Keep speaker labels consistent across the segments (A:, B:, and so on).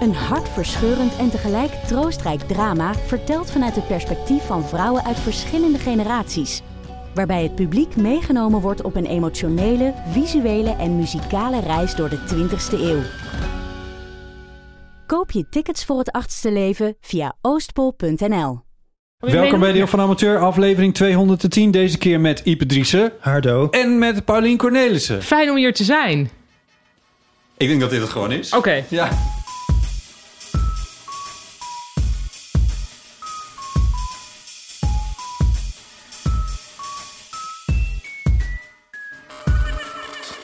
A: Een hartverscheurend en tegelijk troostrijk drama... verteld vanuit het perspectief van vrouwen uit verschillende generaties waarbij het publiek meegenomen wordt op een emotionele, visuele en muzikale reis door de 20ste eeuw. Koop je tickets voor het achtste leven via oostpol.nl.
B: Welkom bij Deel van Amateur, aflevering 210. Deze keer met Ipe Driessen
C: Hardo.
B: en met Paulien Cornelissen.
D: Fijn om hier te zijn.
B: Ik denk dat dit het gewoon is.
D: Oké.
B: Ja.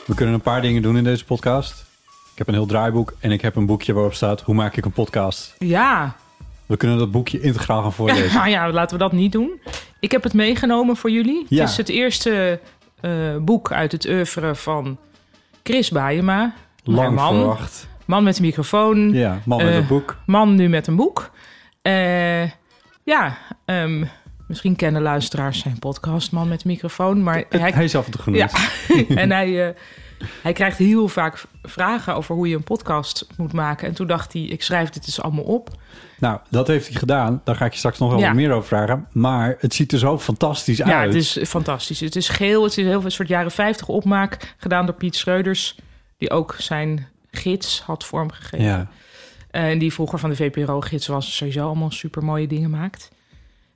B: We kunnen een paar dingen doen in deze podcast. Ik heb een heel draaiboek en ik heb een boekje waarop staat... hoe maak ik een podcast?
D: Ja.
B: We kunnen dat boekje integraal gaan voorlezen.
D: Nou ja, laten we dat niet doen. Ik heb het meegenomen voor jullie.
B: Ja.
D: Het is het eerste eh, boek uit het oeuvre van Chris Baiema. Mijn
B: Lang
D: man.
B: verwacht.
D: Man met een microfoon.
B: Ja, man met
D: Eh,
B: een boek.
D: Man nu met een boek. Eh, ja, ehm, misschien kennen luisteraars zijn podcast Man met een microfoon. Maar
B: Hij,
D: hij,
B: hij is af en toe genoemd.
D: Ja. en hij, eh, hij krijgt heel vaak v- vragen over hoe je een podcast moet maken. En toen dacht hij, ik schrijf dit eens allemaal op.
B: Nou, dat heeft hij gedaan. Daar ga ik je straks nog wel
D: Ja.
B: wat meer over vragen. Maar het ziet er zo fantastisch
D: Ja,
B: uit.
D: het is fantastisch. Het is geel, het is heel veel een soort jaren 50 opmaak. Gedaan door Piet Schreuders, die ook zijn gids had vormgegeven.
B: ja.
D: En die vroeger van de VPRO-gids was, sowieso allemaal super mooie dingen maakt.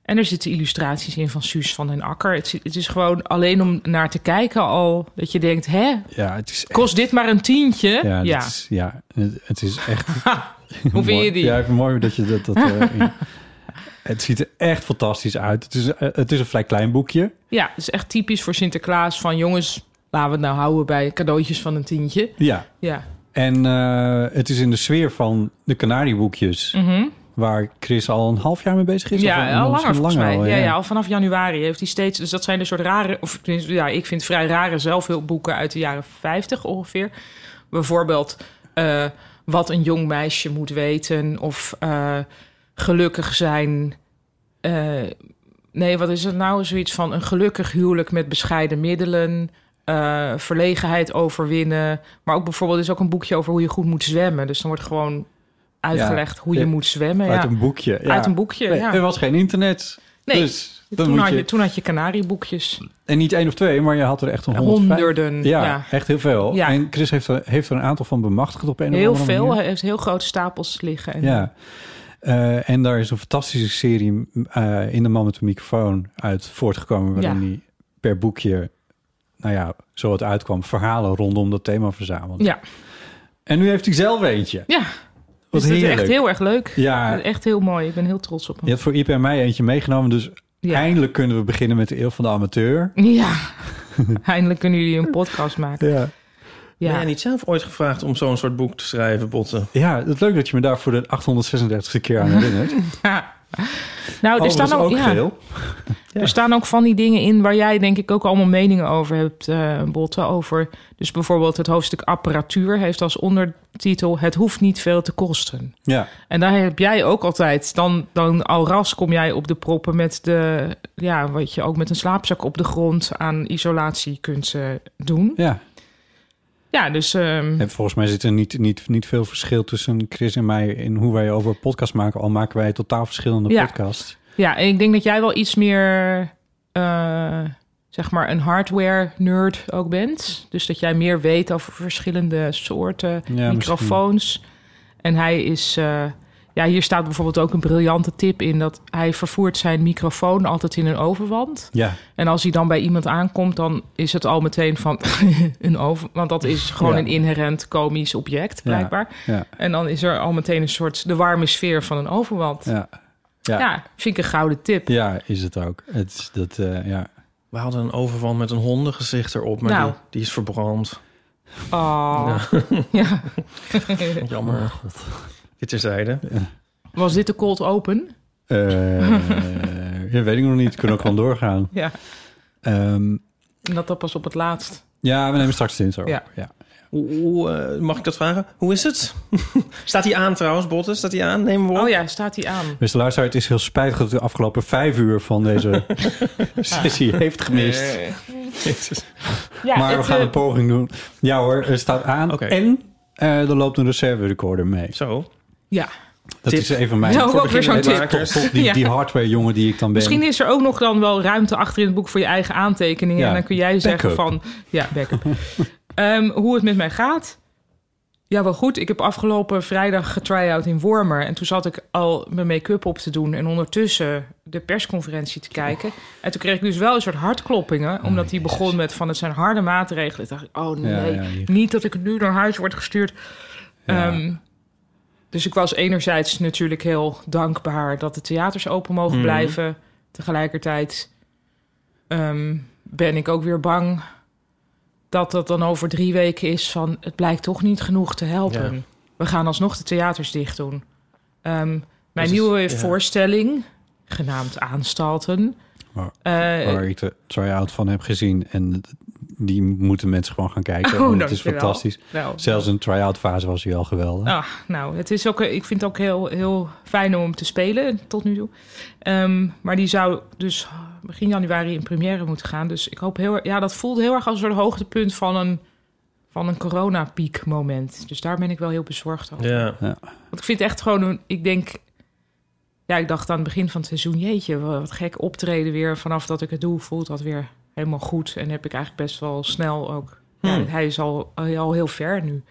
D: En er zitten illustraties in van Suus van den Akker. Het, is- het is gewoon alleen om naar te kijken al dat je denkt, hè,
B: ja, het is echt...
D: kost dit maar een tientje?
B: Ja,
D: Ja,
B: dat Is, ja het, het is echt...
D: hoe vind je die?
B: Ja, even mooi dat je dat... dat eh, in- het ziet er echt fantastisch uit. Het is, eh, het is een vrij klein boekje.
D: Ja, het is echt typisch voor Sinterklaas van jongens, laten we het nou houden bij cadeautjes van een tientje.
B: Ja.
D: Ja,
B: En eh, het is in de sfeer van de Canarieboekjes. Waar Chris al een half jaar mee bezig is. of, een-
D: Mhm. ja al langer
B: misschien
D: volgens mij.
B: al,
D: ja. Ja, al vanaf januari heeft hij steeds... Dus dat zijn de soort rare... Of tenminste, ja, ik vind vrij rare zelfhulpboeken uit de jaren 50 ongeveer. Bijvoorbeeld eh, wat een jong meisje moet weten. Of eh, gelukkig zijn... eh, nee, wat is het nou? Zoiets van een gelukkig huwelijk met bescheiden middelen... eh, verlegenheid overwinnen. Maar ook bijvoorbeeld er is ook een boekje over hoe je goed moet zwemmen. Dus dan wordt gewoon uitgelegd hoe je
B: Ja.
D: moet zwemmen.
B: Uit
D: ja.
B: een boekje. Ja.
D: Uit een boekje,
B: Nee,
D: ja.
B: Er was geen internet.
D: Nee,
B: Dus dan
D: Toen
B: moet
D: had je,
B: je-
D: toen had je kanarieboekjes.
B: En niet één of twee, maar je had er echt een honderd.
D: Honderden.
B: Ja,
D: Ja.
B: echt heel veel.
D: Ja.
B: En Chris heeft er, heeft er een aantal van bemachtigd op een of
D: Heel
B: andere
D: veel.
B: manier.
D: Hij heeft heel grote stapels liggen. En
B: Ja. Eh, en daar is een fantastische serie eh, in de man met de microfoon uit voortgekomen. Waarin
D: Ja.
B: hij per boekje, nou ja, zo het uitkwam, verhalen rondom dat thema verzameld.
D: ja.
B: En nu heeft hij zelf eentje.
D: ja.
B: Wat
D: Dus dat is
B: heerlijk.
D: echt heel erg leuk.
B: Ja,
D: Echt heel mooi. Ik ben heel trots op hem.
B: je hebt voor Iep en mij eentje meegenomen. Dus
D: Ja.
B: eindelijk kunnen we beginnen met de eeuw van de amateur.
D: Ja. Eindelijk kunnen jullie een podcast maken.
B: Ja.
C: Ben
D: Ja.
C: jij niet zelf ooit gevraagd om zo'n soort boek te schrijven, Botten?
B: Ja, het is leuk dat je me daar voor de 836e keer aan herinnert.
D: Ja. Nou, er
B: Overigens
D: Oh, staan ook,
B: Oh, ook
D: ja,
B: geel.
D: er staan ook van die dingen in waar jij denk ik ook allemaal meningen over hebt, eh Botten. Over, dus bijvoorbeeld het hoofdstuk apparatuur heeft als ondertitel... Het hoeft niet veel te kosten.
B: Ja.
D: En daar heb jij ook altijd, dan, dan al ras kom jij op de proppen met de, ja, wat je ook met een slaapzak op de grond aan isolatie kunt eh, doen.
B: Ja,
D: Ja, dus ehm,
B: en volgens mij zit er niet, niet, niet veel verschil tussen Chris en mij in hoe wij over podcast maken. Al maken wij totaal verschillende
D: Ja.
B: podcasts.
D: ja, en ik denk dat jij wel iets meer, eh, zeg maar, een hardware-nerd ook bent. Dus dat jij meer weet over verschillende soorten
B: Ja,
D: microfoons. En hij is, eh, ja, hier staat bijvoorbeeld ook een briljante tip in dat hij vervoert zijn microfoon altijd in een overwand.
B: Ja,
D: En als hij dan bij iemand aankomt, dan is het al meteen van een over. Want dat is gewoon
B: Ja.
D: een inherent komisch object, blijkbaar.
B: ja,
D: En dan is er al meteen een soort de warme sfeer van een overwand. Ja,
B: ja. Ja, ja.
D: vind ik een gouden tip.
B: is het ook. Het is dat, eh, ja.
C: We hadden een overwand met een hondengezicht erop, maar
D: Nou.
C: die, die is verbrand.
D: Oh. Ja.
C: Jammer. Dit terzijde.
D: Was dit de cold open?
B: Eh, ja, weet ik nog niet. Kunnen ook gewoon doorgaan.
D: Ja.
B: Ehm,
D: En dat dan pas op het laatst.
B: ja, we nemen straks het in zo.
D: Ja.
B: ja.
C: Hoe, hoe, eh, mag ik dat vragen? Hoe is het? Staat hij aan trouwens, Botten? Staat hij aan? Neem hem op.
D: Oh ja, staat hij aan.
B: Beste luisteraar, het is heel spijtig dat u de afgelopen vijf uur van deze sessie heeft gemist.
C: Eh, Jezus.
D: Ja,
B: maar we
D: het,
B: gaan
D: eh,
B: een poging doen. Ja hoor, het staat aan.
C: Oké.
B: En eh, er loopt een reserve recorder mee.
C: Zo.
D: ja.
B: Dat
C: Tip.
B: is even mijn...
D: Nou, ook weer zo'n
C: beginnende
D: tip.
C: makers.
B: Tot die,
D: Ja.
B: die hardware jongen die ik dan ben.
D: Misschien is er ook nog dan wel ruimte achter in het boek voor je eigen aantekeningen.
B: Ja,
D: En dan kun jij zeggen
B: backup.
D: van... Ja, backup. Ehm, hoe het met mij gaat? Ja, wel goed. Ik heb afgelopen vrijdag getry-out in Wormer. En toen zat ik al mijn make-up op te doen. En ondertussen de persconferentie te kijken. En toen kreeg ik dus wel een soort hartkloppingen. Omdat die begon met van het zijn harde maatregelen. Toen dacht ik, oh
B: Oh, Ja,
D: nee.
B: ja, hier.
D: Niet dat ik nu naar huis word gestuurd.
B: Ja.
D: Ehm, dus ik was enerzijds natuurlijk heel dankbaar dat de theaters open mogen
C: Mhm.
D: blijven. Tegelijkertijd ehm, ben ik ook weer bang dat dat dan over drie weken is van het blijkt toch niet genoeg te helpen.
C: Ja.
D: We gaan alsnog de theaters dicht doen. Ehm, mijn
C: Dus het-
D: nieuwe
C: ja.
D: voorstelling, genaamd Aanstalten.
B: Waar-
D: eh,
B: Waar Oh, ik de try-out van heb gezien. En die moeten mensen gewoon gaan kijken. want het is
D: Oh, dankjewel.
B: fantastisch.
D: nou,
B: Zelfs een try-out fase was hij al geweldig.
C: Oh.
D: Ah, nou, het is ook, ik vind het ook heel, heel fijn om hem te spelen tot nu toe. Ehm, maar die zou dus begin januari in première moeten gaan. Dus ik hoop heel erg. Ja, dat voelde heel erg als een soort hoogtepunt van een, van een coronapiek moment. Dus daar ben ik wel heel bezorgd over.
C: Ja.
D: Want ik vind het echt gewoon, een- ik denk. Ja, ik dacht aan het begin van het seizoen, jeetje, wat gek optreden weer. Vanaf dat ik het doe, voelt dat weer helemaal goed. En heb ik eigenlijk best wel snel ook. Ja,
C: Hmm.
D: hij is al, al heel ver nu.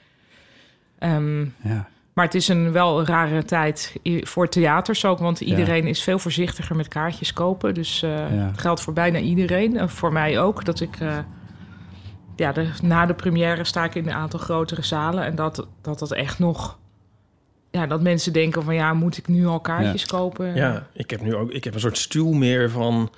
D: Ehm,
B: Ja.
D: maar het is een, wel een rare tijd i- voor theaters ook. Want iedereen is veel voorzichtiger met kaartjes kopen. Dus eh,
B: Ja.
D: het geldt voor bijna iedereen. En voor mij ook. Dat ik. eh, ja, de, na de première sta ik in een aantal grotere zalen. En dat dat, dat echt nog. Ja, dat mensen denken van ja, moet ik nu al kaartjes kopen?
C: ja, ik heb nu ook ik heb een soort stuw meer van...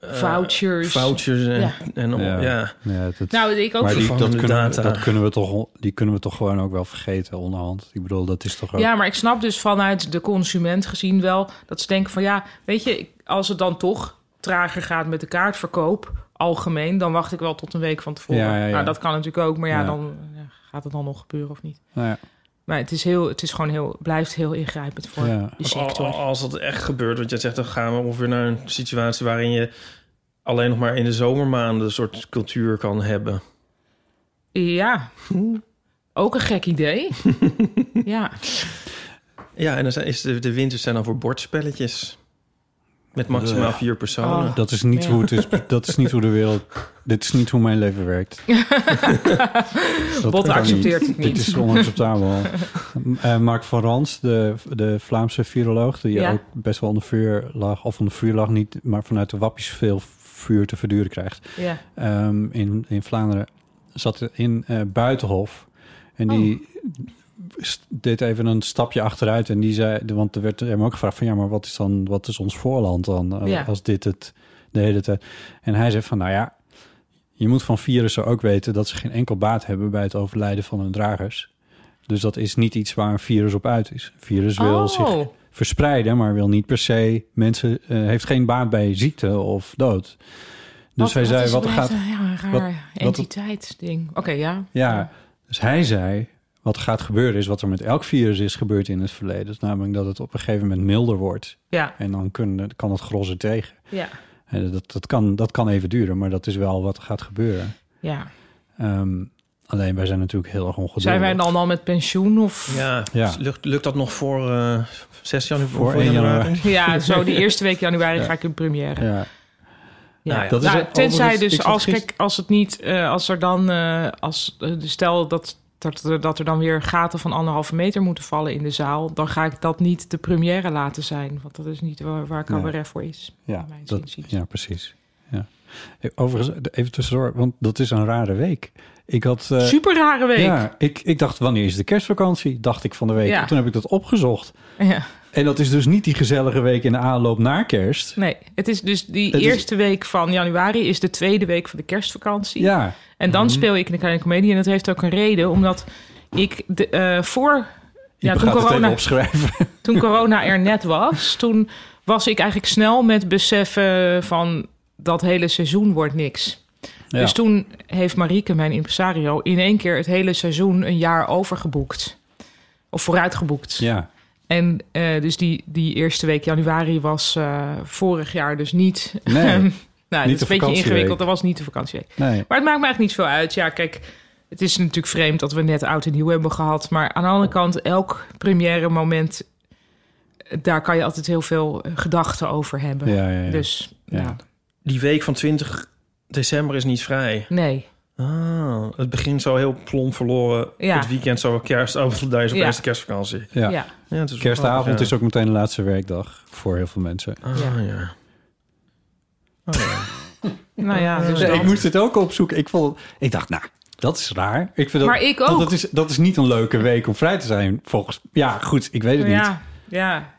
C: eh,
D: Vouchers.
C: Vouchers en...
D: Ja.
C: en
B: Ja.
C: ja.
B: Ja, dat-
D: Nou, ik ook.
B: maar die, dat
C: vervangende
B: kunnen, we,
C: data.
B: dat kunnen we toch, die kunnen we toch gewoon ook wel vergeten onderhand. Ik bedoel, dat is toch ook...
D: Ja, maar ik snap dus vanuit de consument gezien wel dat ze denken van ja, weet je, ik- als het dan toch trager gaat met de kaartverkoop algemeen, dan wacht ik wel tot een week van tevoren.
B: Ja, ja, ja.
D: Nou, dat kan natuurlijk ook, maar ja,
B: Ja.
D: dan ja, gaat het dan nog gebeuren of niet.
B: Nou ja,
D: Maar het is heel, het is gewoon heel, blijft heel ingrijpend voor
B: Ja.
D: de
C: Want al-
D: sector.
C: al- Als dat echt gebeurt, want jij zegt, dan gaan we ongeveer naar een situatie waarin je alleen nog maar in de zomermaanden een soort cultuur kan hebben.
D: Ja, ook een gek idee. ja,
C: Ja, en dan zijn, is de, de winters zijn dan voor bordspelletjes. Met maximaal vier personen.
D: Oh.
B: dat, is niet
D: Ja.
B: Hoe het is, dat is niet hoe de wereld... Dit is niet hoe mijn leven werkt. Dat
D: Botte
B: kan
D: accepteert het niet.
B: Dit is onacceptabel. Eh Mark van Rans, de, de Vlaamse viroloog... die
D: Ja.
B: ook best wel onder vuur lag... of onder vuur lag niet, maar vanuit de wappies veel vuur te verduren krijgt...
D: ja.
B: ehm, in, in Vlaanderen zat er in eh, Buitenhof. En die
D: Oh.
B: st- deed even een stapje achteruit. En die zei, de- want er werd hem ook gevraagd van... ja, maar wat is, dan, wat is ons voorland dan eh,
D: Ja.
B: als dit het de hele tijd... En hij zei van, nou ja, je moet van virussen ook weten... dat ze geen enkel baat hebben bij het overlijden van hun dragers. Dus dat is niet iets waar een virus op uit is. Een virus wil zich dus
D: Oh,
B: verspreiden, maar wil niet per se mensen... eh, heeft geen baat bij ziekte of dood. Dus hij zei,
D: is
B: wat
D: het
B: gaat...
D: met een- Ja, een
B: wat-
D: raar
B: wat-
D: entiteitsding. Oké, ja.
B: Ja, dus hij zei... wat er gaat gebeuren is wat er met elk virus is gebeurd in het verleden. Dus namelijk dat het op een gegeven moment milder wordt.
D: Ja,
B: En dan kunnen, kan het gros er tegen.
D: ja,
B: En dat, dat, kan, dat kan even duren, maar dat is wel wat er gaat gebeuren.
D: ja.
B: Ehm, alleen wij zijn natuurlijk heel erg ongeduldig.
D: Zijn wij dan al met pensioen of...
C: Ja,
B: Ja.
C: dus Lukt, lukt dat nog voor eh 6 januari?
B: Voor 1 januari.
D: Ja, zo die eerste week januari ga ik in première. Ja.
B: Ja,
C: Nou ja,
B: dat is
D: Nou,
B: het-
D: tenzij
B: overigens, ik
D: dus
B: zat
D: als,
B: gisteren-
D: kijk, als het niet, eh, als er dan, eh, als, eh, dus stel dat, dat, er- dat er dan weer gaten van anderhalve meter moeten vallen in de zaal, dan ga ik dat niet de première laten zijn. Want dat is niet waar, waar cabaret voor is.
B: Ja,
D: mijn
B: dat,
D: zinziens.
B: ja precies. Ja. Eh, Overigens, even tussendoor, want dat is een rare week. Ik had... eh,
D: Super rare week. Ja.
B: Ja, ik, ik dacht, wanneer is de kerstvakantie? Dacht ik van de week.
D: Ja.
B: Toen heb ik dat opgezocht.
D: Ja.
B: En dat is dus niet die gezellige week in de aanloop naar kerst.
D: Nee, het is dus die
B: Het is-
D: eerste week van januari is de tweede week van de kerstvakantie.
B: Ja, Mhm.
D: En dan speel ik in de kleine comedie. En dat heeft ook een reden, omdat ik de, eh, voor...
B: ja
D: toen
B: gaat het even
D: corona,
B: opschrijven.
D: toen corona er net was, toen was ik eigenlijk snel met beseffen van dat hele seizoen wordt niks.
B: Ja.
D: Dus toen heeft Marieke, mijn impresario, in één keer het hele seizoen een jaar overgeboekt. Of vooruitgeboekt.
B: ja.
D: En eh, dus die, die eerste week januari was eh, vorig jaar dus niet.
B: Nee,
D: nou, dat is
B: de
D: een beetje
B: vakantieweek.
D: ingewikkeld. Dat was niet de vakantieweek.
B: Nee.
D: Maar het maakt me eigenlijk niet veel uit. Ja, kijk, het is natuurlijk vreemd dat we net oud en nieuw hebben gehad. Maar aan de andere kant, elk première moment, eh, daar kan je altijd heel veel eh, gedachten over hebben.
B: Ja, ja, ja.
D: Dus
B: Ja.
D: nou,
C: Die week van 20 december is niet vrij.
D: nee.
C: Ah, het begint zo heel plom verloren.
D: Ja.
C: Het weekend zo kerst. Oh, daar is op
D: Ja.
C: eerste kerstvakantie.
B: Ja.
D: ja.
C: Ja, het is
B: Kerstavond is ook meteen de laatste werkdag voor heel veel mensen.
C: Ah, ja.
D: Ja.
C: Oh, ja.
D: Nou ja, dus
B: Nee,
D: dat.
B: ik moest het ook opzoeken. Ik, vond, ik dacht, nou, dat is raar. Ik vind dat,
D: Maar ik
B: want
D: ook.
B: Dat is, dat is niet een leuke week om vrij te zijn, volgens... Ja, goed, ik weet het niet.
D: ja, ja.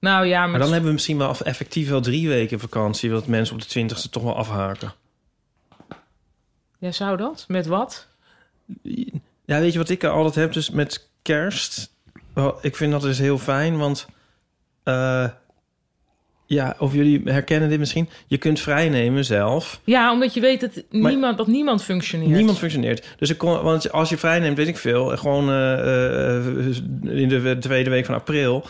D: Nou ja,
C: Maar dan hebben we misschien wel effectief wel drie weken vakantie. Dat mensen op de 20ste toch wel afhaken.
D: ja, zou dat? Met wat?
C: Ja, weet je wat ik altijd heb? Dus met kerst. Wel, ik vind dat dus heel fijn, want... eh, ja, of jullie herkennen dit misschien. Je kunt vrijnemen zelf.
D: Ja, omdat je weet dat niemand, dat niemand functioneert.
C: Niemand functioneert. Dus ik kon, want als je vrijneemt, weet ik veel. Gewoon eh, eh, in de tweede week van april.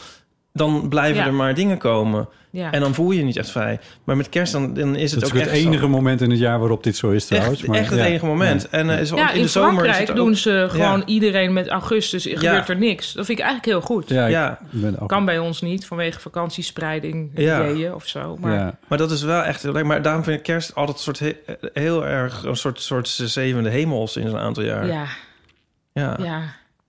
C: Dan blijven
D: Ja.
C: er maar dingen komen.
D: Ja.
C: En dan voel je je niet echt vrij. Maar met kerst dan, dan is het
B: Dat is
C: ook
B: ook
C: echt
B: het enige
C: zo.
B: moment in het jaar waarop dit zo is trouwens.
C: Echt,
B: maar
C: echt het
B: ja.
C: enige moment. En eh, is,
D: Ja,
C: in,
D: in
C: de zomer is
D: Frankrijk
C: het ook-
D: doen ze gewoon
C: Ja.
D: iedereen met augustus. Er
C: Ja.
D: gebeurt er niks. Dat vind ik eigenlijk heel goed.
B: Ja, ik
C: Ja.
B: ben ook...
D: Kan bij ons niet vanwege vakantiespreiding
C: Ja.
D: ideeën of zo. Maar ja.
B: ja.
C: Maar dat is wel echt heel leuk. Maar daarom vind ik kerst altijd een soort he- heel erg een soort, soort zevende hemels in een aantal jaar.
D: Ja,
C: ja. ja.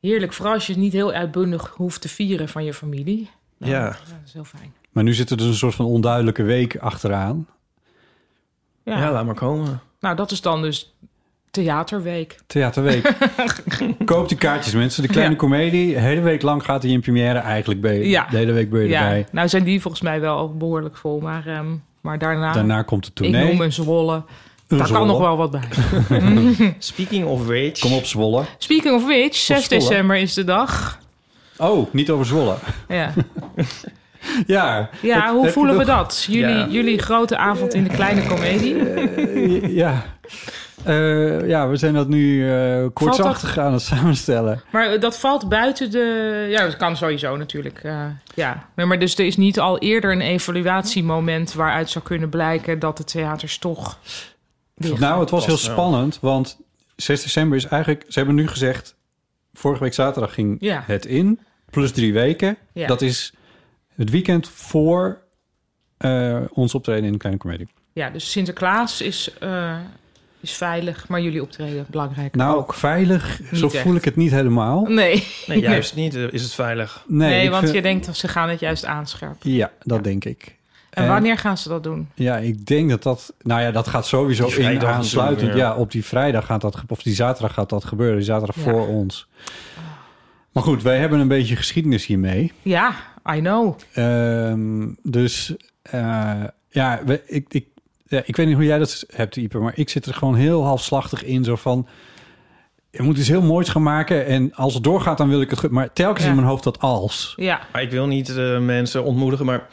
D: heerlijk. Vooral als je het niet heel uitbundig hoeft te vieren van je familie. Nou,
C: Ja.
D: Dat is heel fijn.
B: Maar nu zit er dus een soort van onduidelijke week achteraan.
D: Ja.
C: laat maar komen.
D: Nou, dat is dan dus theaterweek.
B: Theaterweek. Koop die kaartjes, mensen. De kleine
D: Ja.
B: komedie. De hele week lang gaat hij in première. Eigenlijk ben je,
D: Ja.
B: de hele week ben je
D: Ja,
B: erbij.
D: nou zijn die volgens mij wel behoorlijk vol. Maar, ehm, maar daarna,
B: Daarna komt het
D: ik
B: tournee.
D: noem een Zwolle.
B: Een
D: Daar
B: Zwolle.
D: kan nog wel wat bij.
C: Speaking of which.
B: Kom op, Zwolle.
D: Speaking of which, 6
B: Zwolle.
D: december is de dag.
B: Oh, niet over Zwolle.
D: Ja.
B: Ja,
D: Ja,
B: Heb-
D: hoe
B: heb
D: voelen
B: je
D: we
B: nog-
D: dat? Jullie,
C: Ja.
D: jullie grote avond in de kleine komedie.
B: Eh, ja. Eh, ja, we zijn dat nu eh kortachtig aan het samenstellen.
D: Maar eh, dat valt buiten de... Ja, dat kan sowieso natuurlijk. eh, ja. Nee, maar dus er is niet al eerder een evaluatiemoment... waaruit zou kunnen blijken dat de theaters toch... dicht
B: Nou, het was heel
C: Past wel.
B: spannend, want 6 december is eigenlijk... Ze hebben nu gezegd, vorige week zaterdag ging
D: Ja.
B: het in. Plus drie weken.
D: Ja.
B: Dat is het weekend voor eh, ons optreden in de Kleine Comedie.
D: Ja, dus Sinterklaas is, eh, is veilig, maar jullie optreden belangrijk.
B: Nou, veilig, zo
D: echt.
B: voel ik het niet helemaal. Nee,
D: Nee,
C: Nee, juist niet. eh, Is het veilig?
D: nee,
B: ik
D: want
B: vind-
D: je denkt dat ze gaan het juist aanscherpen.
B: Ja, dat denk ik.
D: En
B: Eh,
D: wanneer gaan ze dat doen?
B: Ja, ik denk dat dat... Nou ja, dat gaat sowieso
C: Die vrijdag
B: in
C: natuurlijk,
B: aansluitend.
C: ja.
B: Ja, op die vrijdag gaat dat... ge- Of die zaterdag gaat dat gebeuren. Die zaterdag
D: Ja.
B: voor ons. Maar goed, wij hebben een beetje geschiedenis hiermee.
D: Ja, I know.
B: Ehm, dus eh, ja, we- ik, ik, ja, ik weet niet hoe jij dat hebt, Ieper. Maar ik zit er gewoon heel halfslachtig in. Zo van... Je moet iets heel moois gaan maken. En als het doorgaat, dan wil ik het... goed- Maar telkens
D: Ja.
B: in mijn hoofd dat als.
D: Ja,
C: Maar ik wil niet eh, mensen ontmoedigen, maar...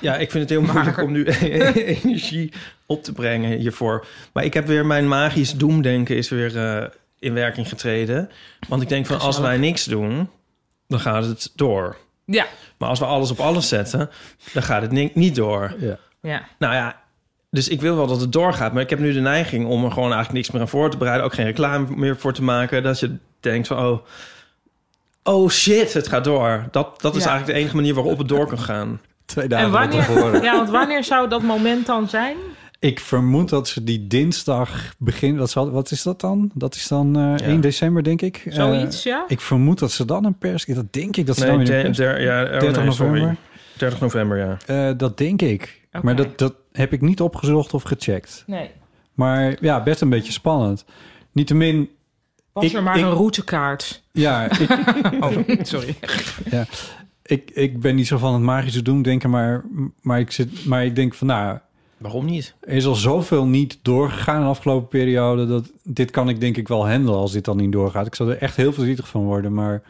C: Ja, ik vind het heel moeilijk om nu energie op te brengen hiervoor. Maar ik heb weer mijn magisch doemdenken is weer eh, in werking getreden. Want ik denk van, als wij niks doen, dan gaat het door.
D: ja,
C: Maar als we alles op alles zetten, dan gaat het ni- niet door.
B: Ja.
D: ja.
C: Nou ja, dus ik wil wel dat het doorgaat. Maar ik heb nu de neiging om er gewoon eigenlijk niks meer aan voor te bereiden. Ook geen reclame meer voor te maken. Dat je denkt van, oh, oh shit, het gaat door. Dat, dat is
D: Ja.
C: eigenlijk de enige manier waarop het door kan gaan.
B: Twee
D: En
B: dagen van tevoren.
D: wanneer, ja, want wanneer zou dat moment dan zijn?
B: Ik vermoed dat ze die dinsdag beginnen. Dat zal, wat is dat dan? Dat is dan eh,
C: Ja.
B: 1 december, denk ik.
D: Zoiets,
B: Eh,
D: ja?
B: ik vermoed dat ze dan een pers... Dat denk ik dat ze dan weer een
C: de-
B: pers-
C: der- ja, oh,
B: 30
C: nee, sorry.
B: november.
C: 30 november, ja.
B: Eh, dat denk ik.
D: Oké.
B: Maar dat, dat heb ik niet opgezocht of gecheckt.
D: Nee.
B: Maar ja, best een beetje spannend. Niettemin,
D: Was
B: Ik-
D: er maar
B: ik-
D: een routekaart.
B: ja, ik,
D: Oh, sorry.
B: ja, ik, ik ben niet zo van het magische doen denken, maar, maar, ik, zit, maar ik denk van nou,
C: Waarom niet?
B: er is al zoveel niet doorgegaan in de afgelopen periode. Dat dit kan ik denk ik wel handelen als dit dan niet doorgaat. Ik zou er echt heel verdrietig van worden, maar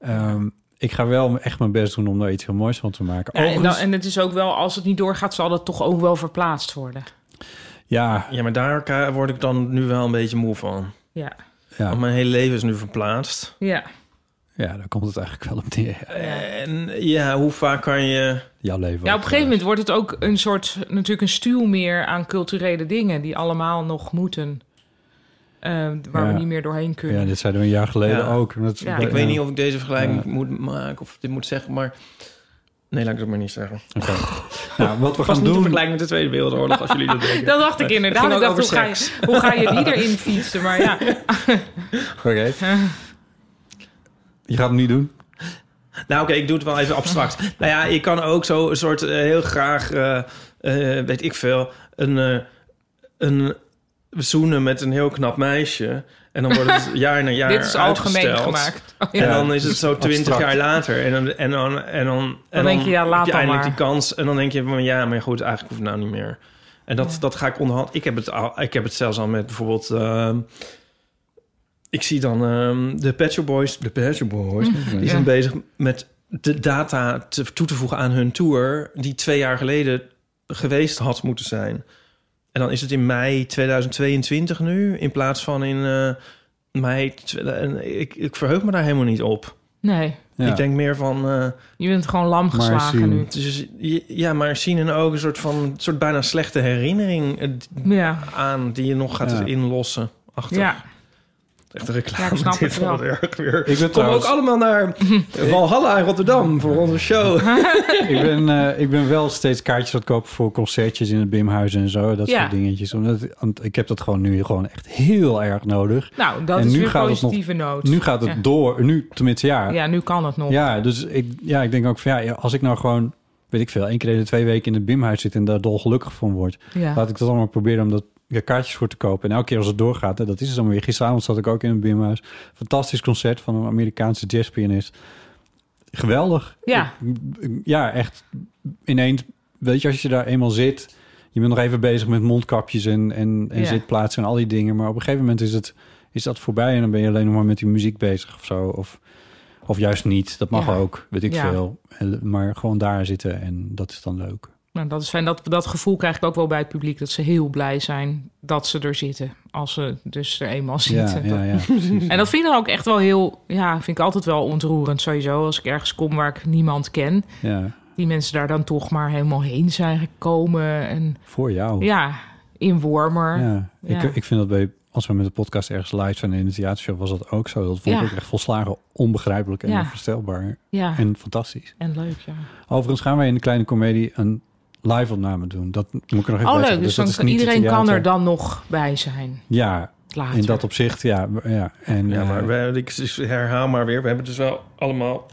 B: ehm, ik ga wel echt mijn best doen om daar iets heel moois van te maken.
D: Ja, en,
B: Overigens-
D: dan, en het is ook wel, als het niet doorgaat, zal dat toch ook wel verplaatst worden.
B: ja,
C: Ja, maar daar ka- word ik dan nu wel een beetje moe van.
D: Ja,
B: ja,
C: Want mijn hele leven is nu verplaatst.
D: ja.
B: ja, daar komt het eigenlijk wel op neer.
C: En ja, hoe vaak kan je...
B: Jouw leven.
D: ja op een gegeven moment wordt het ook een soort, natuurlijk een stuw meer aan culturele dingen die allemaal nog moeten. eh, waar
B: Ja.
D: we niet meer doorheen kunnen.
B: Ja, dit zeiden we een jaar geleden
C: Ja.
B: ook. En dat-
D: Ja.
C: Ik
D: Ja.
C: weet niet of ik deze vergelijking
B: Ja.
C: moet maken of dit moet zeggen, maar... Nee, laat ik het maar niet zeggen. Het
B: Oké. Nou, wat we
C: was
B: gaan
C: niet te
B: doen...
C: vergelijken met de Tweede Wereldoorlog, als jullie dat denken.
D: Dat dacht ik inderdaad.
C: Het
D: Ik
C: ging ook
D: dacht, hoe ga,
C: over
D: je, hoe ga je die erin fietsen? Maar ja,
B: Oké. Je gaat hem niet doen?
C: Nou, oké, ik doe het wel even abstract. nou ja, je kan ook zo een soort eh, heel graag, eh, eh, weet ik veel, een, eh, een zoenen met een heel knap meisje. En dan wordt het jaar na jaar
D: dit is algemeen
C: uitgesteld.
D: gemaakt. Oh, ja.
C: En
B: Ja,
C: dan is het zo twintig
B: abstract.
C: jaar later. En dan, en dan, en dan, en dan
D: denk je, ja, laat
C: heb je
D: dan
C: eindelijk
D: maar.
C: die kans. En dan denk je, van, ja, maar goed, eigenlijk hoeft het nou niet meer. En dat, dat ga ik onderhand. Ik heb, het al, ik heb het zelfs al met bijvoorbeeld... ehm, ik zie dan ehm, de Pet Shop Boys. De Pet Shop Boys. Die zijn
D: Mm-hmm. Ja.
C: bezig met de data te, toe te voegen aan hun tour... die twee jaar geleden geweest had moeten zijn. En dan is het in mei 2022 nu... in plaats van in eh, mei... tw- en ik, ik verheug me daar helemaal niet op.
D: Nee,
B: Ja.
C: Ik denk meer van... eh,
D: je bent gewoon lam
B: Maar
D: geslagen
B: zien.
D: nu.
C: dus, je- ja, maar zien en ook een soort van... een soort bijna slechte herinnering eh, d-
D: Ja,
C: aan... die je nog gaat
B: Ja.
C: inlossen. Achter.
D: ja.
C: Echt een reclame.
D: Ja, ik snap
C: Dit
D: het wel.
C: wordt erg weer.
B: Ik ben
C: Kom
B: trouwens-
C: ook allemaal naar Walhalla in Rotterdam voor onze show.
B: ik, ben, eh, ik ben wel steeds kaartjes aan het kopen voor concertjes in het Bimhuis en zo. Dat
D: Ja.
B: soort dingetjes. Omdat, want ik heb dat gewoon nu gewoon echt heel erg nodig.
D: Nou, dat
B: En
D: is
B: nu
D: weer
B: gaat het nog-
D: positieve noot.
B: Nu gaat het
D: Ja.
B: door. Nu tenminste, ja. Ja,
D: Ja, nu kan het nog.
B: dus ik, ja, ik denk ook van ja, als ik nou gewoon, weet ik veel... één keer in de twee weken in het Bimhuis zit en daar dolgelukkig van word...
D: Ja.
B: Laat ik dat allemaal proberen om dat ja, kaartjes voor te kopen. En elke keer als het doorgaat, hè, dat is het dan weer. Gisteravond zat ik ook in een bimhuis. Fantastisch concert van een Amerikaanse jazzpianist. Geweldig.
D: Ja.
B: Ik- ik- ja, echt ineens. Weet je, als je daar eenmaal zit, je bent nog even bezig met mondkapjes en, en, en
D: Ja.
B: zitplaatsen en al die dingen. Maar op een gegeven moment is, het, is dat voorbij en dan ben je alleen nog maar met die muziek bezig of zo. Of, of juist niet. Dat mag
D: Ja.
B: ook, weet ik
D: Ja.
B: veel. En- Maar gewoon daar zitten en dat is dan leuk.
D: Nou, dat is fijn. Dat, dat gevoel krijg ik ook wel bij het publiek. Dat ze heel blij zijn dat ze er zitten. Als ze dus er eenmaal
B: Ja,
D: zitten.
B: ja, ja, precies.
D: En dat vind ik dan ook echt wel heel... Ja, vind ik altijd wel ontroerend sowieso. Als ik ergens kom waar ik niemand ken.
B: ja.
D: Die mensen daar dan toch maar helemaal heen zijn gekomen. En
B: Voor jou.
D: ja, in Wormer.
B: Ja,
D: Ja.
B: Ik, ik vind dat bij, als we met de podcast ergens live zijn in de theatershow, was dat ook zo. Dat vond
D: Ja.
B: ik echt volslagen onbegrijpelijk en
D: Ja.
B: onvoorstelbaar.
D: Ja, en,
B: En fantastisch.
D: leuk, ja.
B: Overigens gaan wij in de kleine comedie een live opname doen. Dat moet ik er nog even bij
D: oh, leuk.
B: zeggen.
D: Dus
B: dat
D: dan
B: is
D: kan-
B: niet het
D: iedereen kan er
B: theater.
D: dan nog bij zijn.
B: Ja,
D: Later.
B: in dat opzicht, ja. ja. En,
C: Ja,
B: eh,
C: maar we, ik herhaal maar weer. We hebben dus wel allemaal...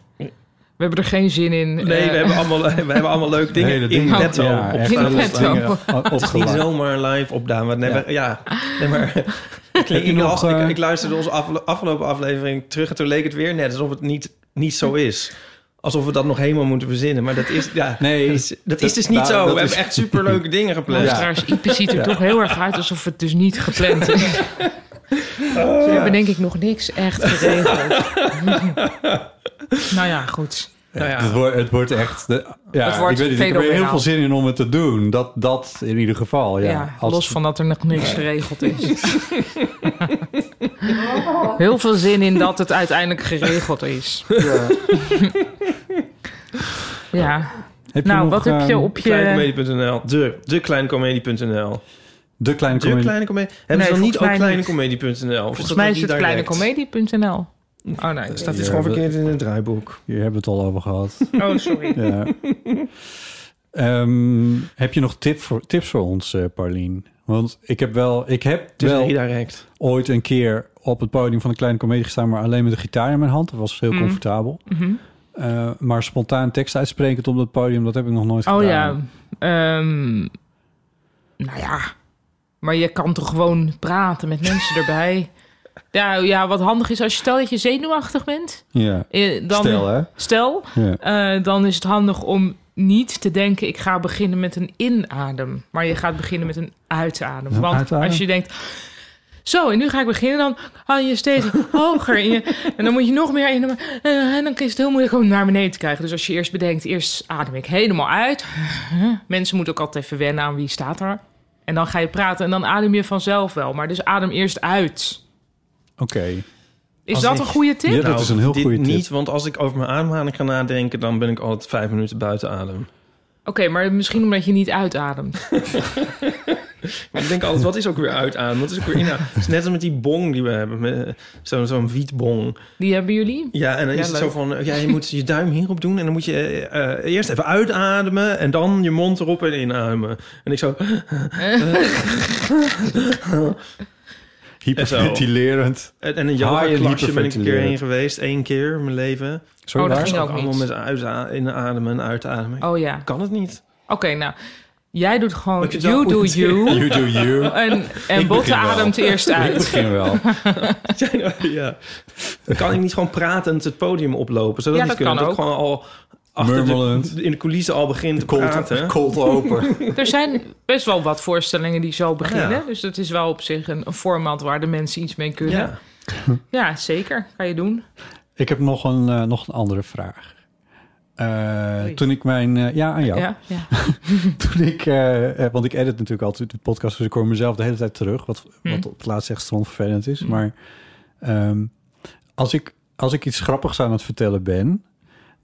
D: We hebben er geen zin in.
C: Nee,
D: eh,
C: we, hebben allemaal, we hebben allemaal leuke dingen
B: hele
C: in
B: dingen.
C: netto.
B: Ja,
C: op
B: echt
D: In
C: staan.
B: hele
D: netto.
B: dingen
C: Niet
B: opgeladen.
C: zomaar live opdaan. Maar nee,
B: Ja.
C: maar- ja. nee, maar... ik,
B: je
C: ik,
B: nog,
C: las- ik,
B: eh,
C: ik luisterde onze afle- afgelopen aflevering terug... en toen leek het weer net alsof het niet, niet zo is. Alsof we dat nog helemaal moeten verzinnen. Maar dat is, ja,
B: Nee,
C: dat, is, dat is dus
B: dat-
C: niet
B: dat
C: zo. We
B: is-
C: hebben echt superleuke dingen gepland.
D: Luisteraars, Ipe ziet er toch heel erg uit alsof het dus niet gepland is. Ze hebben denk ik nog niks echt geregeld. nou ja, goed.
C: Nou ja.
B: eh, Het, wordt, het wordt echt... De, ja,
D: Het wordt
B: ik weet niet, ik heb er heel
D: fenomenaal.
B: veel zin in om het te doen. Dat, dat in ieder geval, ja.
D: Ja,
B: Als-
D: los van dat er nog niks geregeld is. Heel veel zin in dat het uiteindelijk geregeld is. Ja.
B: Heb je
D: Nou,
B: nog,
D: wat heb je
B: eh,
D: op je...
C: Kleinecomedie.nl. De, de kleinecomedie.nl.
B: De kleine
C: De
B: comedie.
C: kleine comedie. Hebben
D: Nee,
C: ze dan niet ook
D: volgens mij niet.
C: kleinecomedie.nl? Of
D: Volgens mij is het
C: dat niet direct?
D: kleinecomedie.nl. Oh nee.
C: Staat
B: Ja,
C: iets gewoon
B: dat-
C: verkeerd in het draaiboek.
B: Hier hebben we het al over gehad.
D: Oh, sorry.
B: ja. Ehm, heb je nog tip voor, tips voor ons, eh Paulien? Want ik heb wel, ik heb
C: Het is
B: wel
C: redirect.
B: ooit een keer op het podium van een kleine comedie gestaan, maar alleen met de gitaar in mijn hand. Dat was heel
D: Mm.
B: comfortabel.
D: Mhm.
B: Eh, maar spontaan tekst uitsprekend op dat podium, dat heb ik nog nooit
D: Oh ja.
B: gedaan.
D: ehm, nou ja. Maar je kan toch gewoon praten met mensen erbij. Ja, ja, wat handig is als je stel dat je zenuwachtig bent.
B: Ja.
D: eh, Dan,
B: Stel, hè?
D: Stel,
B: Ja.
D: eh, dan is het handig om niet te denken... ik ga beginnen met een inadem. Maar je gaat beginnen met een uitadem.
B: Een
D: Want
B: uitadem?
D: als je denkt... Zo, en nu ga ik beginnen. Dan haal je steeds hoger. in je- en dan moet je nog meer inademen. Eh, En dan is het heel moeilijk om naar beneden te krijgen. Dus als je eerst bedenkt, eerst adem ik helemaal uit. Mensen moeten ook altijd even wennen aan wie staat er. En dan ga je praten en dan adem je vanzelf wel. Maar dus adem eerst uit.
B: Oké.
D: Is
C: Als
D: dat
C: ik-
D: een goede tip?
B: Ja, dat is een heel
C: Nou, dit
B: goede tip.
C: niet, want als ik over mijn ademhaling ga nadenken... dan ben ik altijd vijf minuten buiten adem.
D: Oké, maar misschien omdat je niet uitademt.
C: Maar ik denk altijd, wat is ook weer uitademen? Wat is ook weer inademen? Het is net als met die bong die we hebben. met eh, Zo'n zo'n wietbong.
D: Die hebben jullie?
C: Ja, en dan
D: Ja,
C: is het
D: leuk.
C: zo van... eh, Ja, je moet je duim hierop doen. En dan moet je eh, eh, eerst even uitademen... en dan je mond erop en inademen. En ik zo...
B: Hyperventilerend.
C: En en een
B: Haaien die
C: yoga-klasje ben ik een keer
B: hyperventileren.
C: heen geweest. één keer in mijn leven.
B: Sorry,
D: Oh, dat
B: waar?
D: ging ook
C: allemaal
D: niet.
C: met uit- inademen en uitademen.
D: Oh ja.
C: Ik kan het niet.
D: Oké, nou. Jij doet gewoon
C: Moet je het wel
D: you do
C: goed
D: you.
B: You do you.
D: En, en Botte
B: begin wel.
D: ademt eerst
B: Ik
D: uit.
B: begin wel.
C: ja. Dan kan ik niet gewoon pratend het podium oplopen. Zou dat
D: Ja,
C: niet
D: dat kan
C: kunnen? Dat ik gewoon al achter
B: Murmelend.
C: de, in de coulissen al begin te praten.
B: cold open.
D: Er zijn best wel wat voorstellingen die
B: Ah,
D: zo beginnen.
C: Ja.
D: Dus dat is wel op zich een, een format waar de mensen iets mee kunnen. Ja,
C: Ja.
D: zeker. Kan je doen.
B: Ik heb nog een, eh, nog een andere vraag. Eh,
D: Oei.
B: toen ik mijn... eh, ja, aan jou.
D: Ja, ja.
B: Toen ik... eh, eh, want ik edit natuurlijk altijd de podcast, dus ik hoor mezelf de hele tijd terug. Wat,
D: Hm.
B: wat op het laatst echt vervelend is. Maar ehm, als, ik, als ik iets grappigs aan het vertellen ben...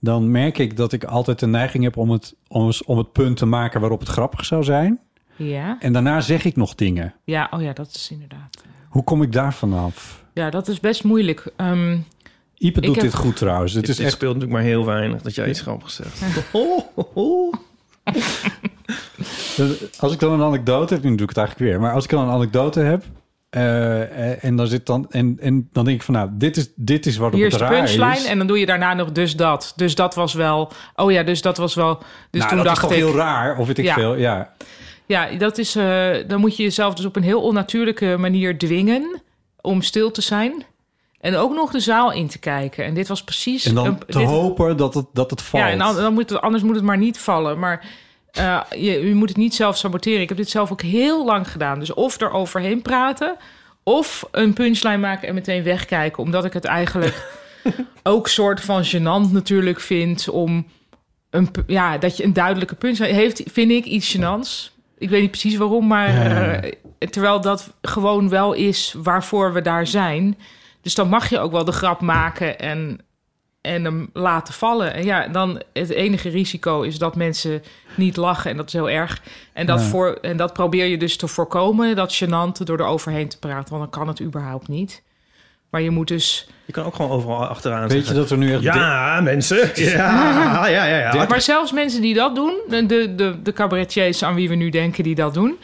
B: dan merk ik dat ik altijd de neiging heb om het, om, eens- om het punt te maken waarop het grappig zou zijn.
D: Ja.
B: En daarna zeg ik nog dingen.
D: ja, oh ja, dat is inderdaad.
B: Hoe kom ik daar vanaf?
D: Ja, dat is best moeilijk. Ehm,
B: Ipe
D: Ik
B: doet
D: heb-
B: dit goed trouwens. Het
C: Het
B: is echt
C: speelt natuurlijk maar heel weinig dat jij iets grappigs zegt.
B: Dus Als ik dan een anekdote heb, nu doe ik het eigenlijk weer. Maar als ik dan een anekdote heb. eh, en dan zit dan en, en dan denk ik van nou dit is dit is wat
D: hier
B: het
D: is de
B: raar is.
D: punchline en dan doe je daarna nog dus dat. Dus dat was wel... Oh ja, dus dat was wel... Dus
B: nou,
D: toen
B: dat
D: dacht
B: is toch
D: ik...
B: heel raar of weet ik
D: Ja.
B: veel. Ja,
D: Ja, dat is, eh, dan moet je jezelf dus op een heel onnatuurlijke manier dwingen om stil te zijn. En ook nog de zaal in te kijken. En dit was precies...
B: en dan
D: een-
B: te
D: dit-
B: hopen dat het dat het valt.
D: Ja, en dan, dan moet het, anders moet het maar niet vallen. Maar eh, je, je moet het niet zelf saboteren. Ik heb dit zelf ook heel lang gedaan. Dus of er overheen praten... of een punchline maken en meteen wegkijken. Omdat ik het eigenlijk ook soort van gênant natuurlijk vind... om een, pu- ja, dat je een duidelijke punchline heeft... vind ik iets gênants. Ik weet niet precies waarom, maar... eh, terwijl dat gewoon wel is waarvoor we daar zijn... Dus dan mag je ook wel de grap maken en, en hem laten vallen. En ja, dan het enige risico is dat mensen niet lachen en dat is heel erg. En dat,
B: Ja.
D: voor, en dat probeer je dus te voorkomen, dat gênante, door er overheen te praten. Want dan kan het überhaupt niet. Maar je moet dus...
C: Je kan ook gewoon overal achteraan
B: Weet je
C: zeggen,
B: dat er nu echt di-
C: Ja, mensen. Ja, ja, ja. ja.
D: Maar zelfs mensen die dat doen, de, de, de cabaretiers aan wie we nu denken die dat doen...